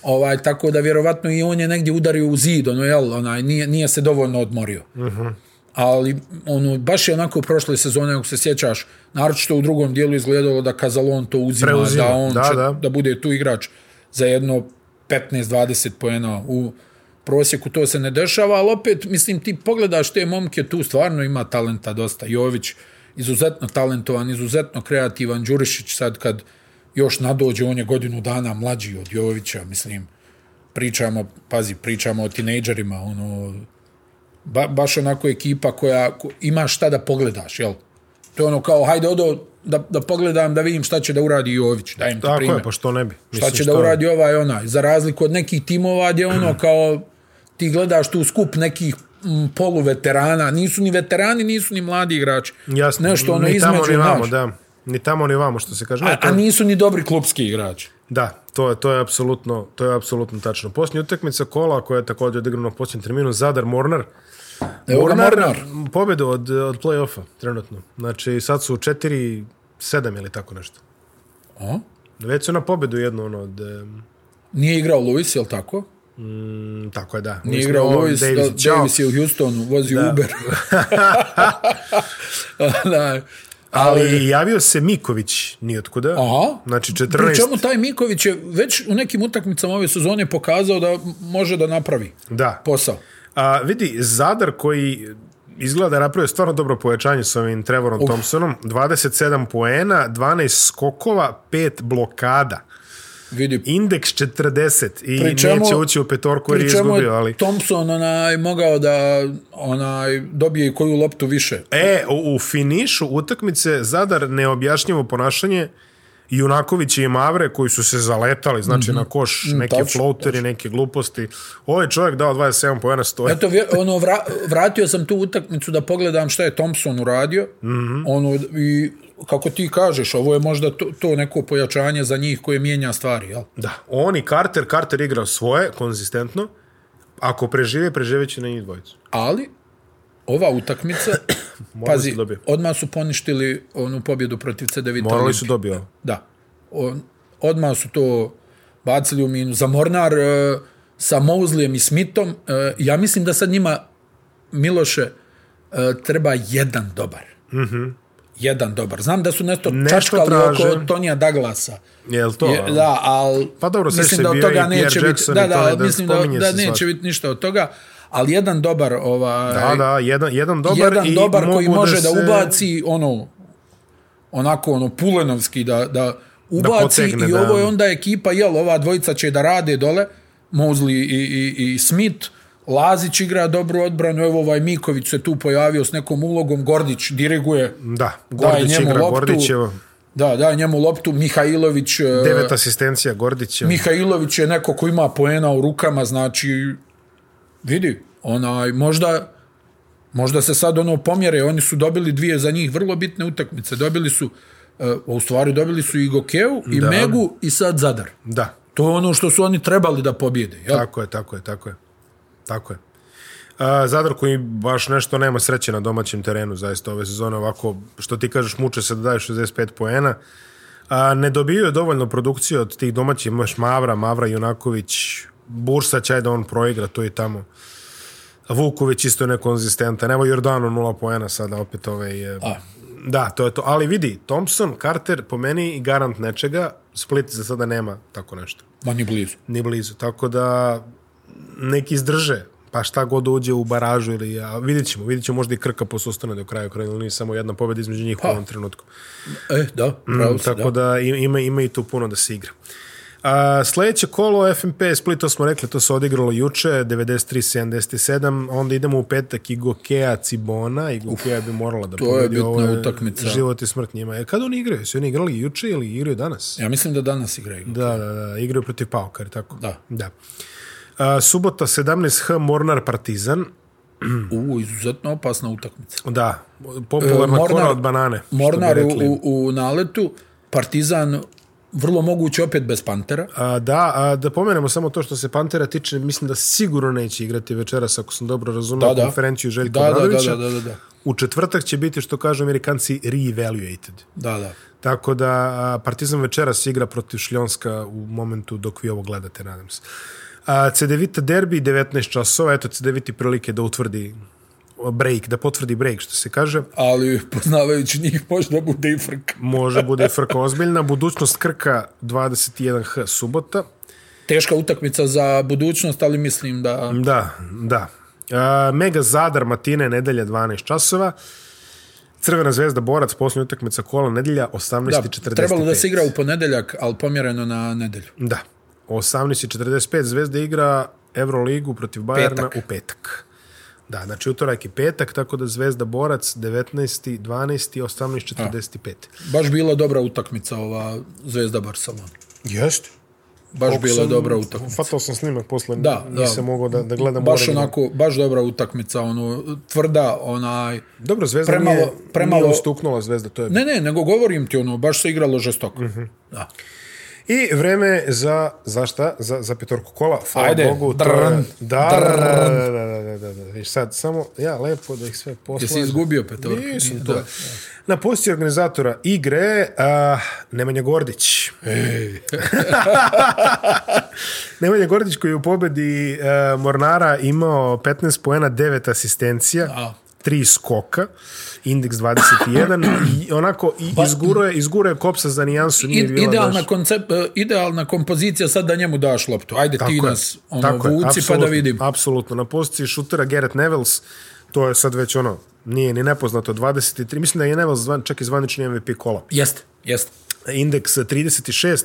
Speaker 3: ovaj tako da vjerovatno i on je negdje udario u zid ono jel onaj nije nije se dovoljno odmorio Mhm. ali ono baš je onako prošle sezone ako se sjećaš naročito u drugom dijelu izgledalo da Kazalon to uzima
Speaker 2: Preuzima,
Speaker 3: da on
Speaker 2: da,
Speaker 3: da, će,
Speaker 2: da.
Speaker 3: da. da bude tu igrač za jedno 15-20 poena u prosjeku to se ne dešava ali opet mislim ti pogledaš te momke tu stvarno ima talenta dosta Jović izuzetno talentovan izuzetno kreativan Đurišić sad kad još nadođe on je godinu dana mlađi od Jovića mislim pričamo pazi pričamo o tinejdžerima ono ba, baš onako ekipa koja ko, ima šta da pogledaš, jel? To je ono kao, hajde odo da, da pogledam, da vidim šta će da uradi Jović, dajem ti
Speaker 2: Tako
Speaker 3: primjer.
Speaker 2: je, pa što ne bi.
Speaker 3: šta će da uradi ovaj i onaj, za razliku od nekih timova gdje ono kao, ti gledaš tu skup nekih mm, poluveterana, nisu ni veterani, nisu ni mladi igrači.
Speaker 2: Jasno,
Speaker 3: Nešto ono
Speaker 2: ni tamo,
Speaker 3: između,
Speaker 2: ni vamo,
Speaker 3: znaš.
Speaker 2: da. Ni tamo, ni vamo, što se kaže.
Speaker 3: A,
Speaker 2: Ne, to-
Speaker 3: a nisu ni dobri klubski igrači.
Speaker 2: Da, to je to je apsolutno, to je apsolutno tačno. Posljednja utakmica kola koja je također odigrana u posljednjem terminu Zadar Mornar.
Speaker 3: Evo ga Mornar.
Speaker 2: pobjedu od od plej-ofa trenutno. Znači sad su 4 7 ili tako nešto.
Speaker 3: A?
Speaker 2: Već su na pobjedu jednu ono od
Speaker 3: Nije igrao Luis, jel tako?
Speaker 2: mm, tako je da.
Speaker 3: Nije igrao Lewis, Davis, da,
Speaker 2: ćao.
Speaker 3: Davis je u Houstonu, vozi da. Uber. Onaj,
Speaker 2: ali javio se Miković niotkuda.
Speaker 3: Aha.
Speaker 2: Znači 14
Speaker 3: Pri čemu taj Miković je već u nekim utakmicama ove sezone pokazao da može da napravi
Speaker 2: da.
Speaker 3: posao.
Speaker 2: A, vidi, Zadar koji izgleda da je napravio stvarno dobro pojačanje sa ovim Trevorom Uf. Thompsonom, 27 poena, 12 skokova, 5 blokada.
Speaker 3: Vidi.
Speaker 2: Indeks 40 i
Speaker 3: Pri čemu-
Speaker 2: neće ući u petorku jer je
Speaker 3: Pri čemu
Speaker 2: izgubio,
Speaker 3: je
Speaker 2: ali...
Speaker 3: Thompson onaj, mogao da onaj, dobije i koju loptu više.
Speaker 2: E, u, u finišu utakmice Zadar neobjašnjivo ponašanje Junaković i Mavre koji su se zaletali, znači mm -hmm. na koš, neke
Speaker 3: Mhm. tačno,
Speaker 2: floateri, neke gluposti. Ovo je čovjek dao 27 pojena stoje.
Speaker 3: Eto, vje- ono, vra, vratio sam tu utakmicu da pogledam šta je Thompson uradio. Mm -hmm. ono, I kako ti kažeš, ovo je možda to, to neko pojačanje za njih koje mijenja stvari, jel?
Speaker 2: Da, oni Carter, Carter igrao svoje, konzistentno. Ako prežive, preživeće na njih dvojicu.
Speaker 3: Ali, ova utakmica, pazi,
Speaker 2: su dobio.
Speaker 3: odmah su poništili onu pobjedu protiv CD Vita
Speaker 2: Morali
Speaker 3: Olimpije.
Speaker 2: su dobio.
Speaker 3: Da. On, odmah su to bacili u minu. Za Mornar e, sa Mouzlijem i Smithom, e, ja mislim da sad njima, Miloše, e, treba jedan dobar. Mm -hmm. Jedan dobar. Znam da su nešto,
Speaker 2: Mhm. Nešto
Speaker 3: čačkali
Speaker 2: traže.
Speaker 3: oko Tonija Douglasa.
Speaker 2: Jel to? ono.
Speaker 3: Je, da, ali
Speaker 2: Pa dobro, sjeća
Speaker 3: mislim
Speaker 2: se
Speaker 3: da od
Speaker 2: bio
Speaker 3: toga
Speaker 2: i Pierre
Speaker 3: neće biti,
Speaker 2: Jackson i
Speaker 3: da,
Speaker 2: to,
Speaker 3: da,
Speaker 2: da,
Speaker 3: mislim da,
Speaker 2: spominje
Speaker 3: da
Speaker 2: se
Speaker 3: neće
Speaker 2: svašta.
Speaker 3: biti ništa od toga, ali jedan dobar ovaj,
Speaker 2: Da, da, jedan, jedan dobar.
Speaker 3: jedan
Speaker 2: i
Speaker 3: dobar
Speaker 2: mogu
Speaker 3: koji može da,
Speaker 2: se-
Speaker 3: ubaci ono onako ono pulenovski da da ubaci
Speaker 2: potegne,
Speaker 3: i
Speaker 2: da.
Speaker 3: ovo je onda ekipa jel ova dvojica će da rade dole Mozli i, i, i Smith Lazić igra dobru odbranu evo ovaj Miković se tu pojavio s nekom ulogom Gordić diriguje
Speaker 2: Da, Gordić
Speaker 3: njemu
Speaker 2: igra,
Speaker 3: loptu. e,
Speaker 2: Gordić je...
Speaker 3: da da njemu loptu Mihajlović e,
Speaker 2: Devet asistencija Gordića.
Speaker 3: Mihajlović je neko ko ima poena u rukama, znači vidi, onaj možda možda se sad ono pomjere, oni su dobili dvije za njih vrlo bitne utakmice. Dobili su e, u stvari dobili su i Gokeu i da. Megu i sad Zadar.
Speaker 2: Da,
Speaker 3: To je ono što su oni trebali da pobjede, jel?
Speaker 2: Tako je, tako je, tako je. Tako je. A, Zadar koji baš nešto nema sreće na domaćem terenu, zaista ove sezone ovako, što ti kažeš, muče se da daje 65 poena. A, ne dobio je dovoljno produkcije od tih domaćih, imaš Mavra, Mavra, Junaković, Bursa će da on proigra to i tamo. Vuković isto je nekonzistentan, evo Jordano 0 poena sada opet ovaj je...
Speaker 3: A.
Speaker 2: Da, to je to. Ali vidi, Thompson, Carter, po meni garant nečega, Split za sada nema tako nešto
Speaker 3: Ma ni blizu.
Speaker 2: ni blizu. Tako da neki izdrže, pa šta god uđe u baražu ili a vidjet ćemo, vidjet ćemo možda i Krka posustane do kraja Ukrajine, ali nije samo jedna pobjeda između njih u ovom trenutku.
Speaker 3: E, Pa, da, pravo
Speaker 2: Mm,
Speaker 3: si,
Speaker 2: tako da, da im- ima, ima i tu puno da se igra. A, sljedeće kolo FNP Split, to smo rekli, to se odigralo juče, 93-77, onda idemo u petak i Gokea Cibona, i Gokea bi morala da
Speaker 3: to je
Speaker 2: pobedi,
Speaker 3: bitna
Speaker 2: ovo je
Speaker 3: utakmica.
Speaker 2: Život i smrt njima. E, kada oni igraju? Su oni igrali juče ili igraju danas?
Speaker 3: Ja mislim da danas igraju.
Speaker 2: Da, da, da, igraju protiv Pauka, je li tako?
Speaker 3: Da.
Speaker 2: Da. A, subota 17H Mornar Partizan.
Speaker 3: U, izuzetno opasna utakmica.
Speaker 2: Da, popularna
Speaker 3: E,
Speaker 2: Mornar,
Speaker 3: Mornar-
Speaker 2: kora od banane. što bi
Speaker 3: Mornar u,
Speaker 2: rekli.
Speaker 3: u, u naletu, Partizan vrlo moguće opet bez Pantera.
Speaker 2: A, da, a, da pomenemo samo to što se Pantera tiče, mislim da sigurno neće igrati večeras, ako sam dobro razumio,
Speaker 3: Da, da.
Speaker 2: konferenciju Željka
Speaker 3: Da, da, da,
Speaker 2: Obradovića.
Speaker 3: da, da, da, da.
Speaker 2: U četvrtak će biti, što kažu Amerikanci, re-evaluated.
Speaker 3: Da, da.
Speaker 2: Tako da a, Partizan večeras igra protiv Šljonska u momentu dok vi ovo gledate, nadam se. A, CDVita derbi 19 časova, eto CDViti prilike da utvrdi break, da potvrdi break što se kaže.
Speaker 3: ali poznavajući njih možda bude i frk.
Speaker 2: Može bude i frka ozbiljna. Budućnost Krka 21H subota.
Speaker 3: Teška utakmica za budućnost, ali mislim da...
Speaker 2: Da, da. A, Mega Zadar Matine nedelja 12 časova. Crvena zvezda Borac posljednja utakmica kola nedelja
Speaker 3: Da,
Speaker 2: 18:45.
Speaker 3: trebalo da se igra u ponedeljak, ali pomjereno na nedelju.
Speaker 2: Da. 18.45 Zvezda igra Euroligu protiv Bajerna
Speaker 3: Petak.
Speaker 2: u petak. Da, znači utorak i petak, tako da Zvezda Borac 19. 12. 18.45.
Speaker 3: Baš bila dobra utakmica ova Zvezda Barcelona.
Speaker 2: Jeste.
Speaker 3: Baš bila dobra utakmica.
Speaker 2: Fatao sam snimak posle,
Speaker 3: Da, da.
Speaker 2: nisam mogao da, da gledam.
Speaker 3: Baš
Speaker 2: moram da-
Speaker 3: onako, baš dobra utakmica, ono, tvrda, onaj...
Speaker 2: Dobro, Zvezda
Speaker 3: premalo-
Speaker 2: premalo, nije, premalo...
Speaker 3: premalo-
Speaker 2: nije ustuknula Zvezda, to je
Speaker 3: Ne, ne, nego govorim ti, ono, baš se igralo žestoko.
Speaker 2: Mhm.
Speaker 3: Da.
Speaker 2: I vreme za, za šta? Za, za petorku kola. Hvala
Speaker 3: Ajde,
Speaker 2: Bogu. to je-
Speaker 3: drn,
Speaker 2: da,
Speaker 3: drn.
Speaker 2: da, da, da, da, da, da. Viš sad, samo ja lepo da ih sve posložim.
Speaker 3: Jesi izgubio petorku?
Speaker 2: Pa Nisam
Speaker 3: Nije,
Speaker 2: to.
Speaker 3: da.
Speaker 2: Na poziciji organizatora igre uh, Nemanja Gordić. Nemanja Gordić koji je u pobedi uh, Mornara imao 15 poena, 9 asistencija.
Speaker 3: A.
Speaker 2: 3 skoka, indeks 21 i onako i izguro je, izguro je kopsa za nijansu, nije
Speaker 3: Id,
Speaker 2: bila
Speaker 3: idealna,
Speaker 2: baš-
Speaker 3: koncep, e, idealna kompozicija sad da njemu daš loptu. Ajde ti
Speaker 2: Tako je,
Speaker 3: nas ono,
Speaker 2: tako je,
Speaker 3: vuci pa da
Speaker 2: apsolutno,
Speaker 3: vidim.
Speaker 2: Apsolutno, na poziciji šutera Garrett Nevels, to je sad već ono, nije ni nepoznato, 23, mislim da je Nevels zvan, čak i zvanični MVP kola.
Speaker 3: Jeste, jeste.
Speaker 2: Indeks 36,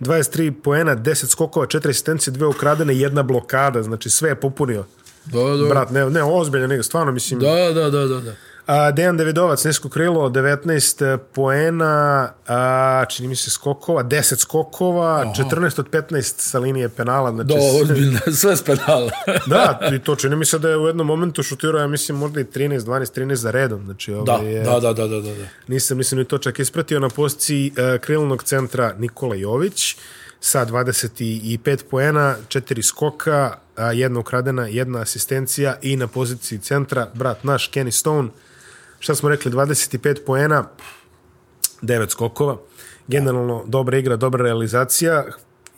Speaker 2: 23 poena, 10 skokova, 4 asistencije, 2 ukradene, jedna blokada, znači sve je popunio.
Speaker 3: Da, da.
Speaker 2: Brat, ne, ne, ozbiljno, nego stvarno, mislim,
Speaker 3: Da, da, da, da, da.
Speaker 2: A, Dejan Davidovac, nisko krilo, 19 poena, a, čini mi se skokova, 10 skokova, Aha. 14 od 15 sa linije penala. Znači,
Speaker 3: Da, ozbiljno, sve s pedala.
Speaker 2: da, i to čini mi se da je u jednom momentu šutirao, ja mislim, možda i 13, 12, 13 za redom. Znači,
Speaker 3: Da,
Speaker 2: ovaj je,
Speaker 3: da, da, da, da, da. da.
Speaker 2: Nisam, nisam ni to čak ispratio na poziciji e, krilnog centra Nikola Jović sa 25 poena, 4 skoka, a, jedna ukradena, jedna asistencija i na poziciji centra brat naš Kenny Stone. Šta smo rekli, 25 poena, 9 skokova. Generalno dobra igra, dobra realizacija.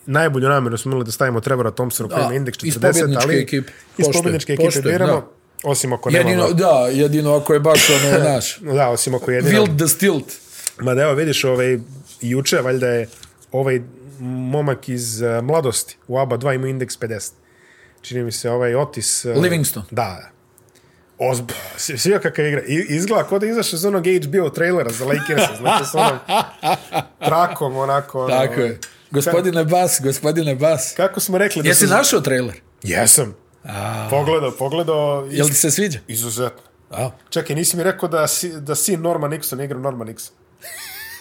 Speaker 2: Najbolju namjeru smo imali da stavimo Trevora Thompsona koji ima indeks
Speaker 3: iz
Speaker 2: 40,
Speaker 3: pobjedničke
Speaker 2: ali
Speaker 3: ekipe.
Speaker 2: iz
Speaker 3: Poštujem,
Speaker 2: pobjedničke ekipe
Speaker 3: poštujem,
Speaker 2: biramo. Osim ako
Speaker 3: Jedino,
Speaker 2: nemamo...
Speaker 3: da, jedino ako je baš ono, znaš,
Speaker 2: Da, osim ako jedino...
Speaker 3: wild the stilt.
Speaker 2: Ma da evo vidiš, ovaj, juče valjda je ovaj momak iz uh, mladosti u ABA 2 ima indeks 50. Čini mi se ovaj Otis... Uh,
Speaker 3: Livingston.
Speaker 2: Da. Ozb... Svi svi kakav igra. I, izgleda kao da je izašao iz onog HBO trailera za Lakersa. Znači s onom trakom onako... Ono,
Speaker 3: Tako je. Gospodine Bas, gospodine Bas.
Speaker 2: Kako smo rekli...
Speaker 3: Jesi
Speaker 2: da su-
Speaker 3: našao trailer?
Speaker 2: Jesam. Pogledao, pogledao.
Speaker 3: Jel ti se sviđa?
Speaker 2: Izuzetno.
Speaker 3: A,
Speaker 2: Čekaj, nisi mi rekao da, si, da sin Norman Nixon igra Norman Nixon.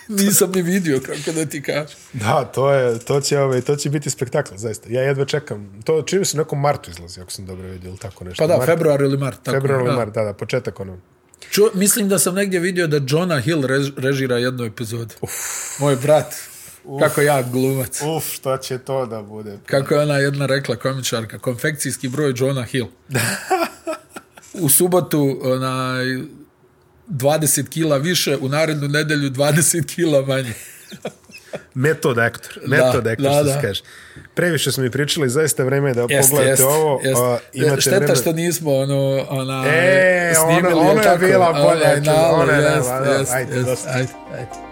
Speaker 3: nisam ni vidio kako da ti kažem.
Speaker 2: Da, to, je, to, će, ovaj, to će biti spektakl, zaista. Ja jedva čekam. To čini mi se u nekom martu izlazi, ako sam dobro vidio, ili tako nešto.
Speaker 3: Pa da,
Speaker 2: Mart,
Speaker 3: februar ili mart. Tako,
Speaker 2: Februar ili
Speaker 3: da.
Speaker 2: mart, da, da, početak ono.
Speaker 3: Ču, mislim da sam negdje vidio da Jonah Hill rež, režira jednu epizodu. Uf. Moj brat, Uf. kako ja glumac.
Speaker 2: Uf, šta će to da bude?
Speaker 3: Kako je ona jedna rekla komičarka, konfekcijski broj Jonah Hill. u subotu onaj, 20 kila više, u narednu nedelju 20 kila manje.
Speaker 2: Metod aktor, metod
Speaker 3: Da,
Speaker 2: aktor,
Speaker 3: da,
Speaker 2: što se
Speaker 3: da.
Speaker 2: kaže. Previše smo i pričali, zaista vreme je da
Speaker 3: Jeste,
Speaker 2: pogledate
Speaker 3: jeste,
Speaker 2: ovo.
Speaker 3: jeste.
Speaker 2: A, imate
Speaker 3: Šteta
Speaker 2: vreme...
Speaker 3: što nismo ono, ona,
Speaker 2: E, ono-
Speaker 3: snimili.
Speaker 2: ono je
Speaker 3: tako,
Speaker 2: bila bolja,
Speaker 3: Onaj
Speaker 2: čudo,
Speaker 3: nalog,
Speaker 2: ono je,
Speaker 3: jest,
Speaker 2: da, da,
Speaker 3: jest,
Speaker 2: ajde,
Speaker 3: jest,
Speaker 2: dosta.
Speaker 3: ajde, ajde.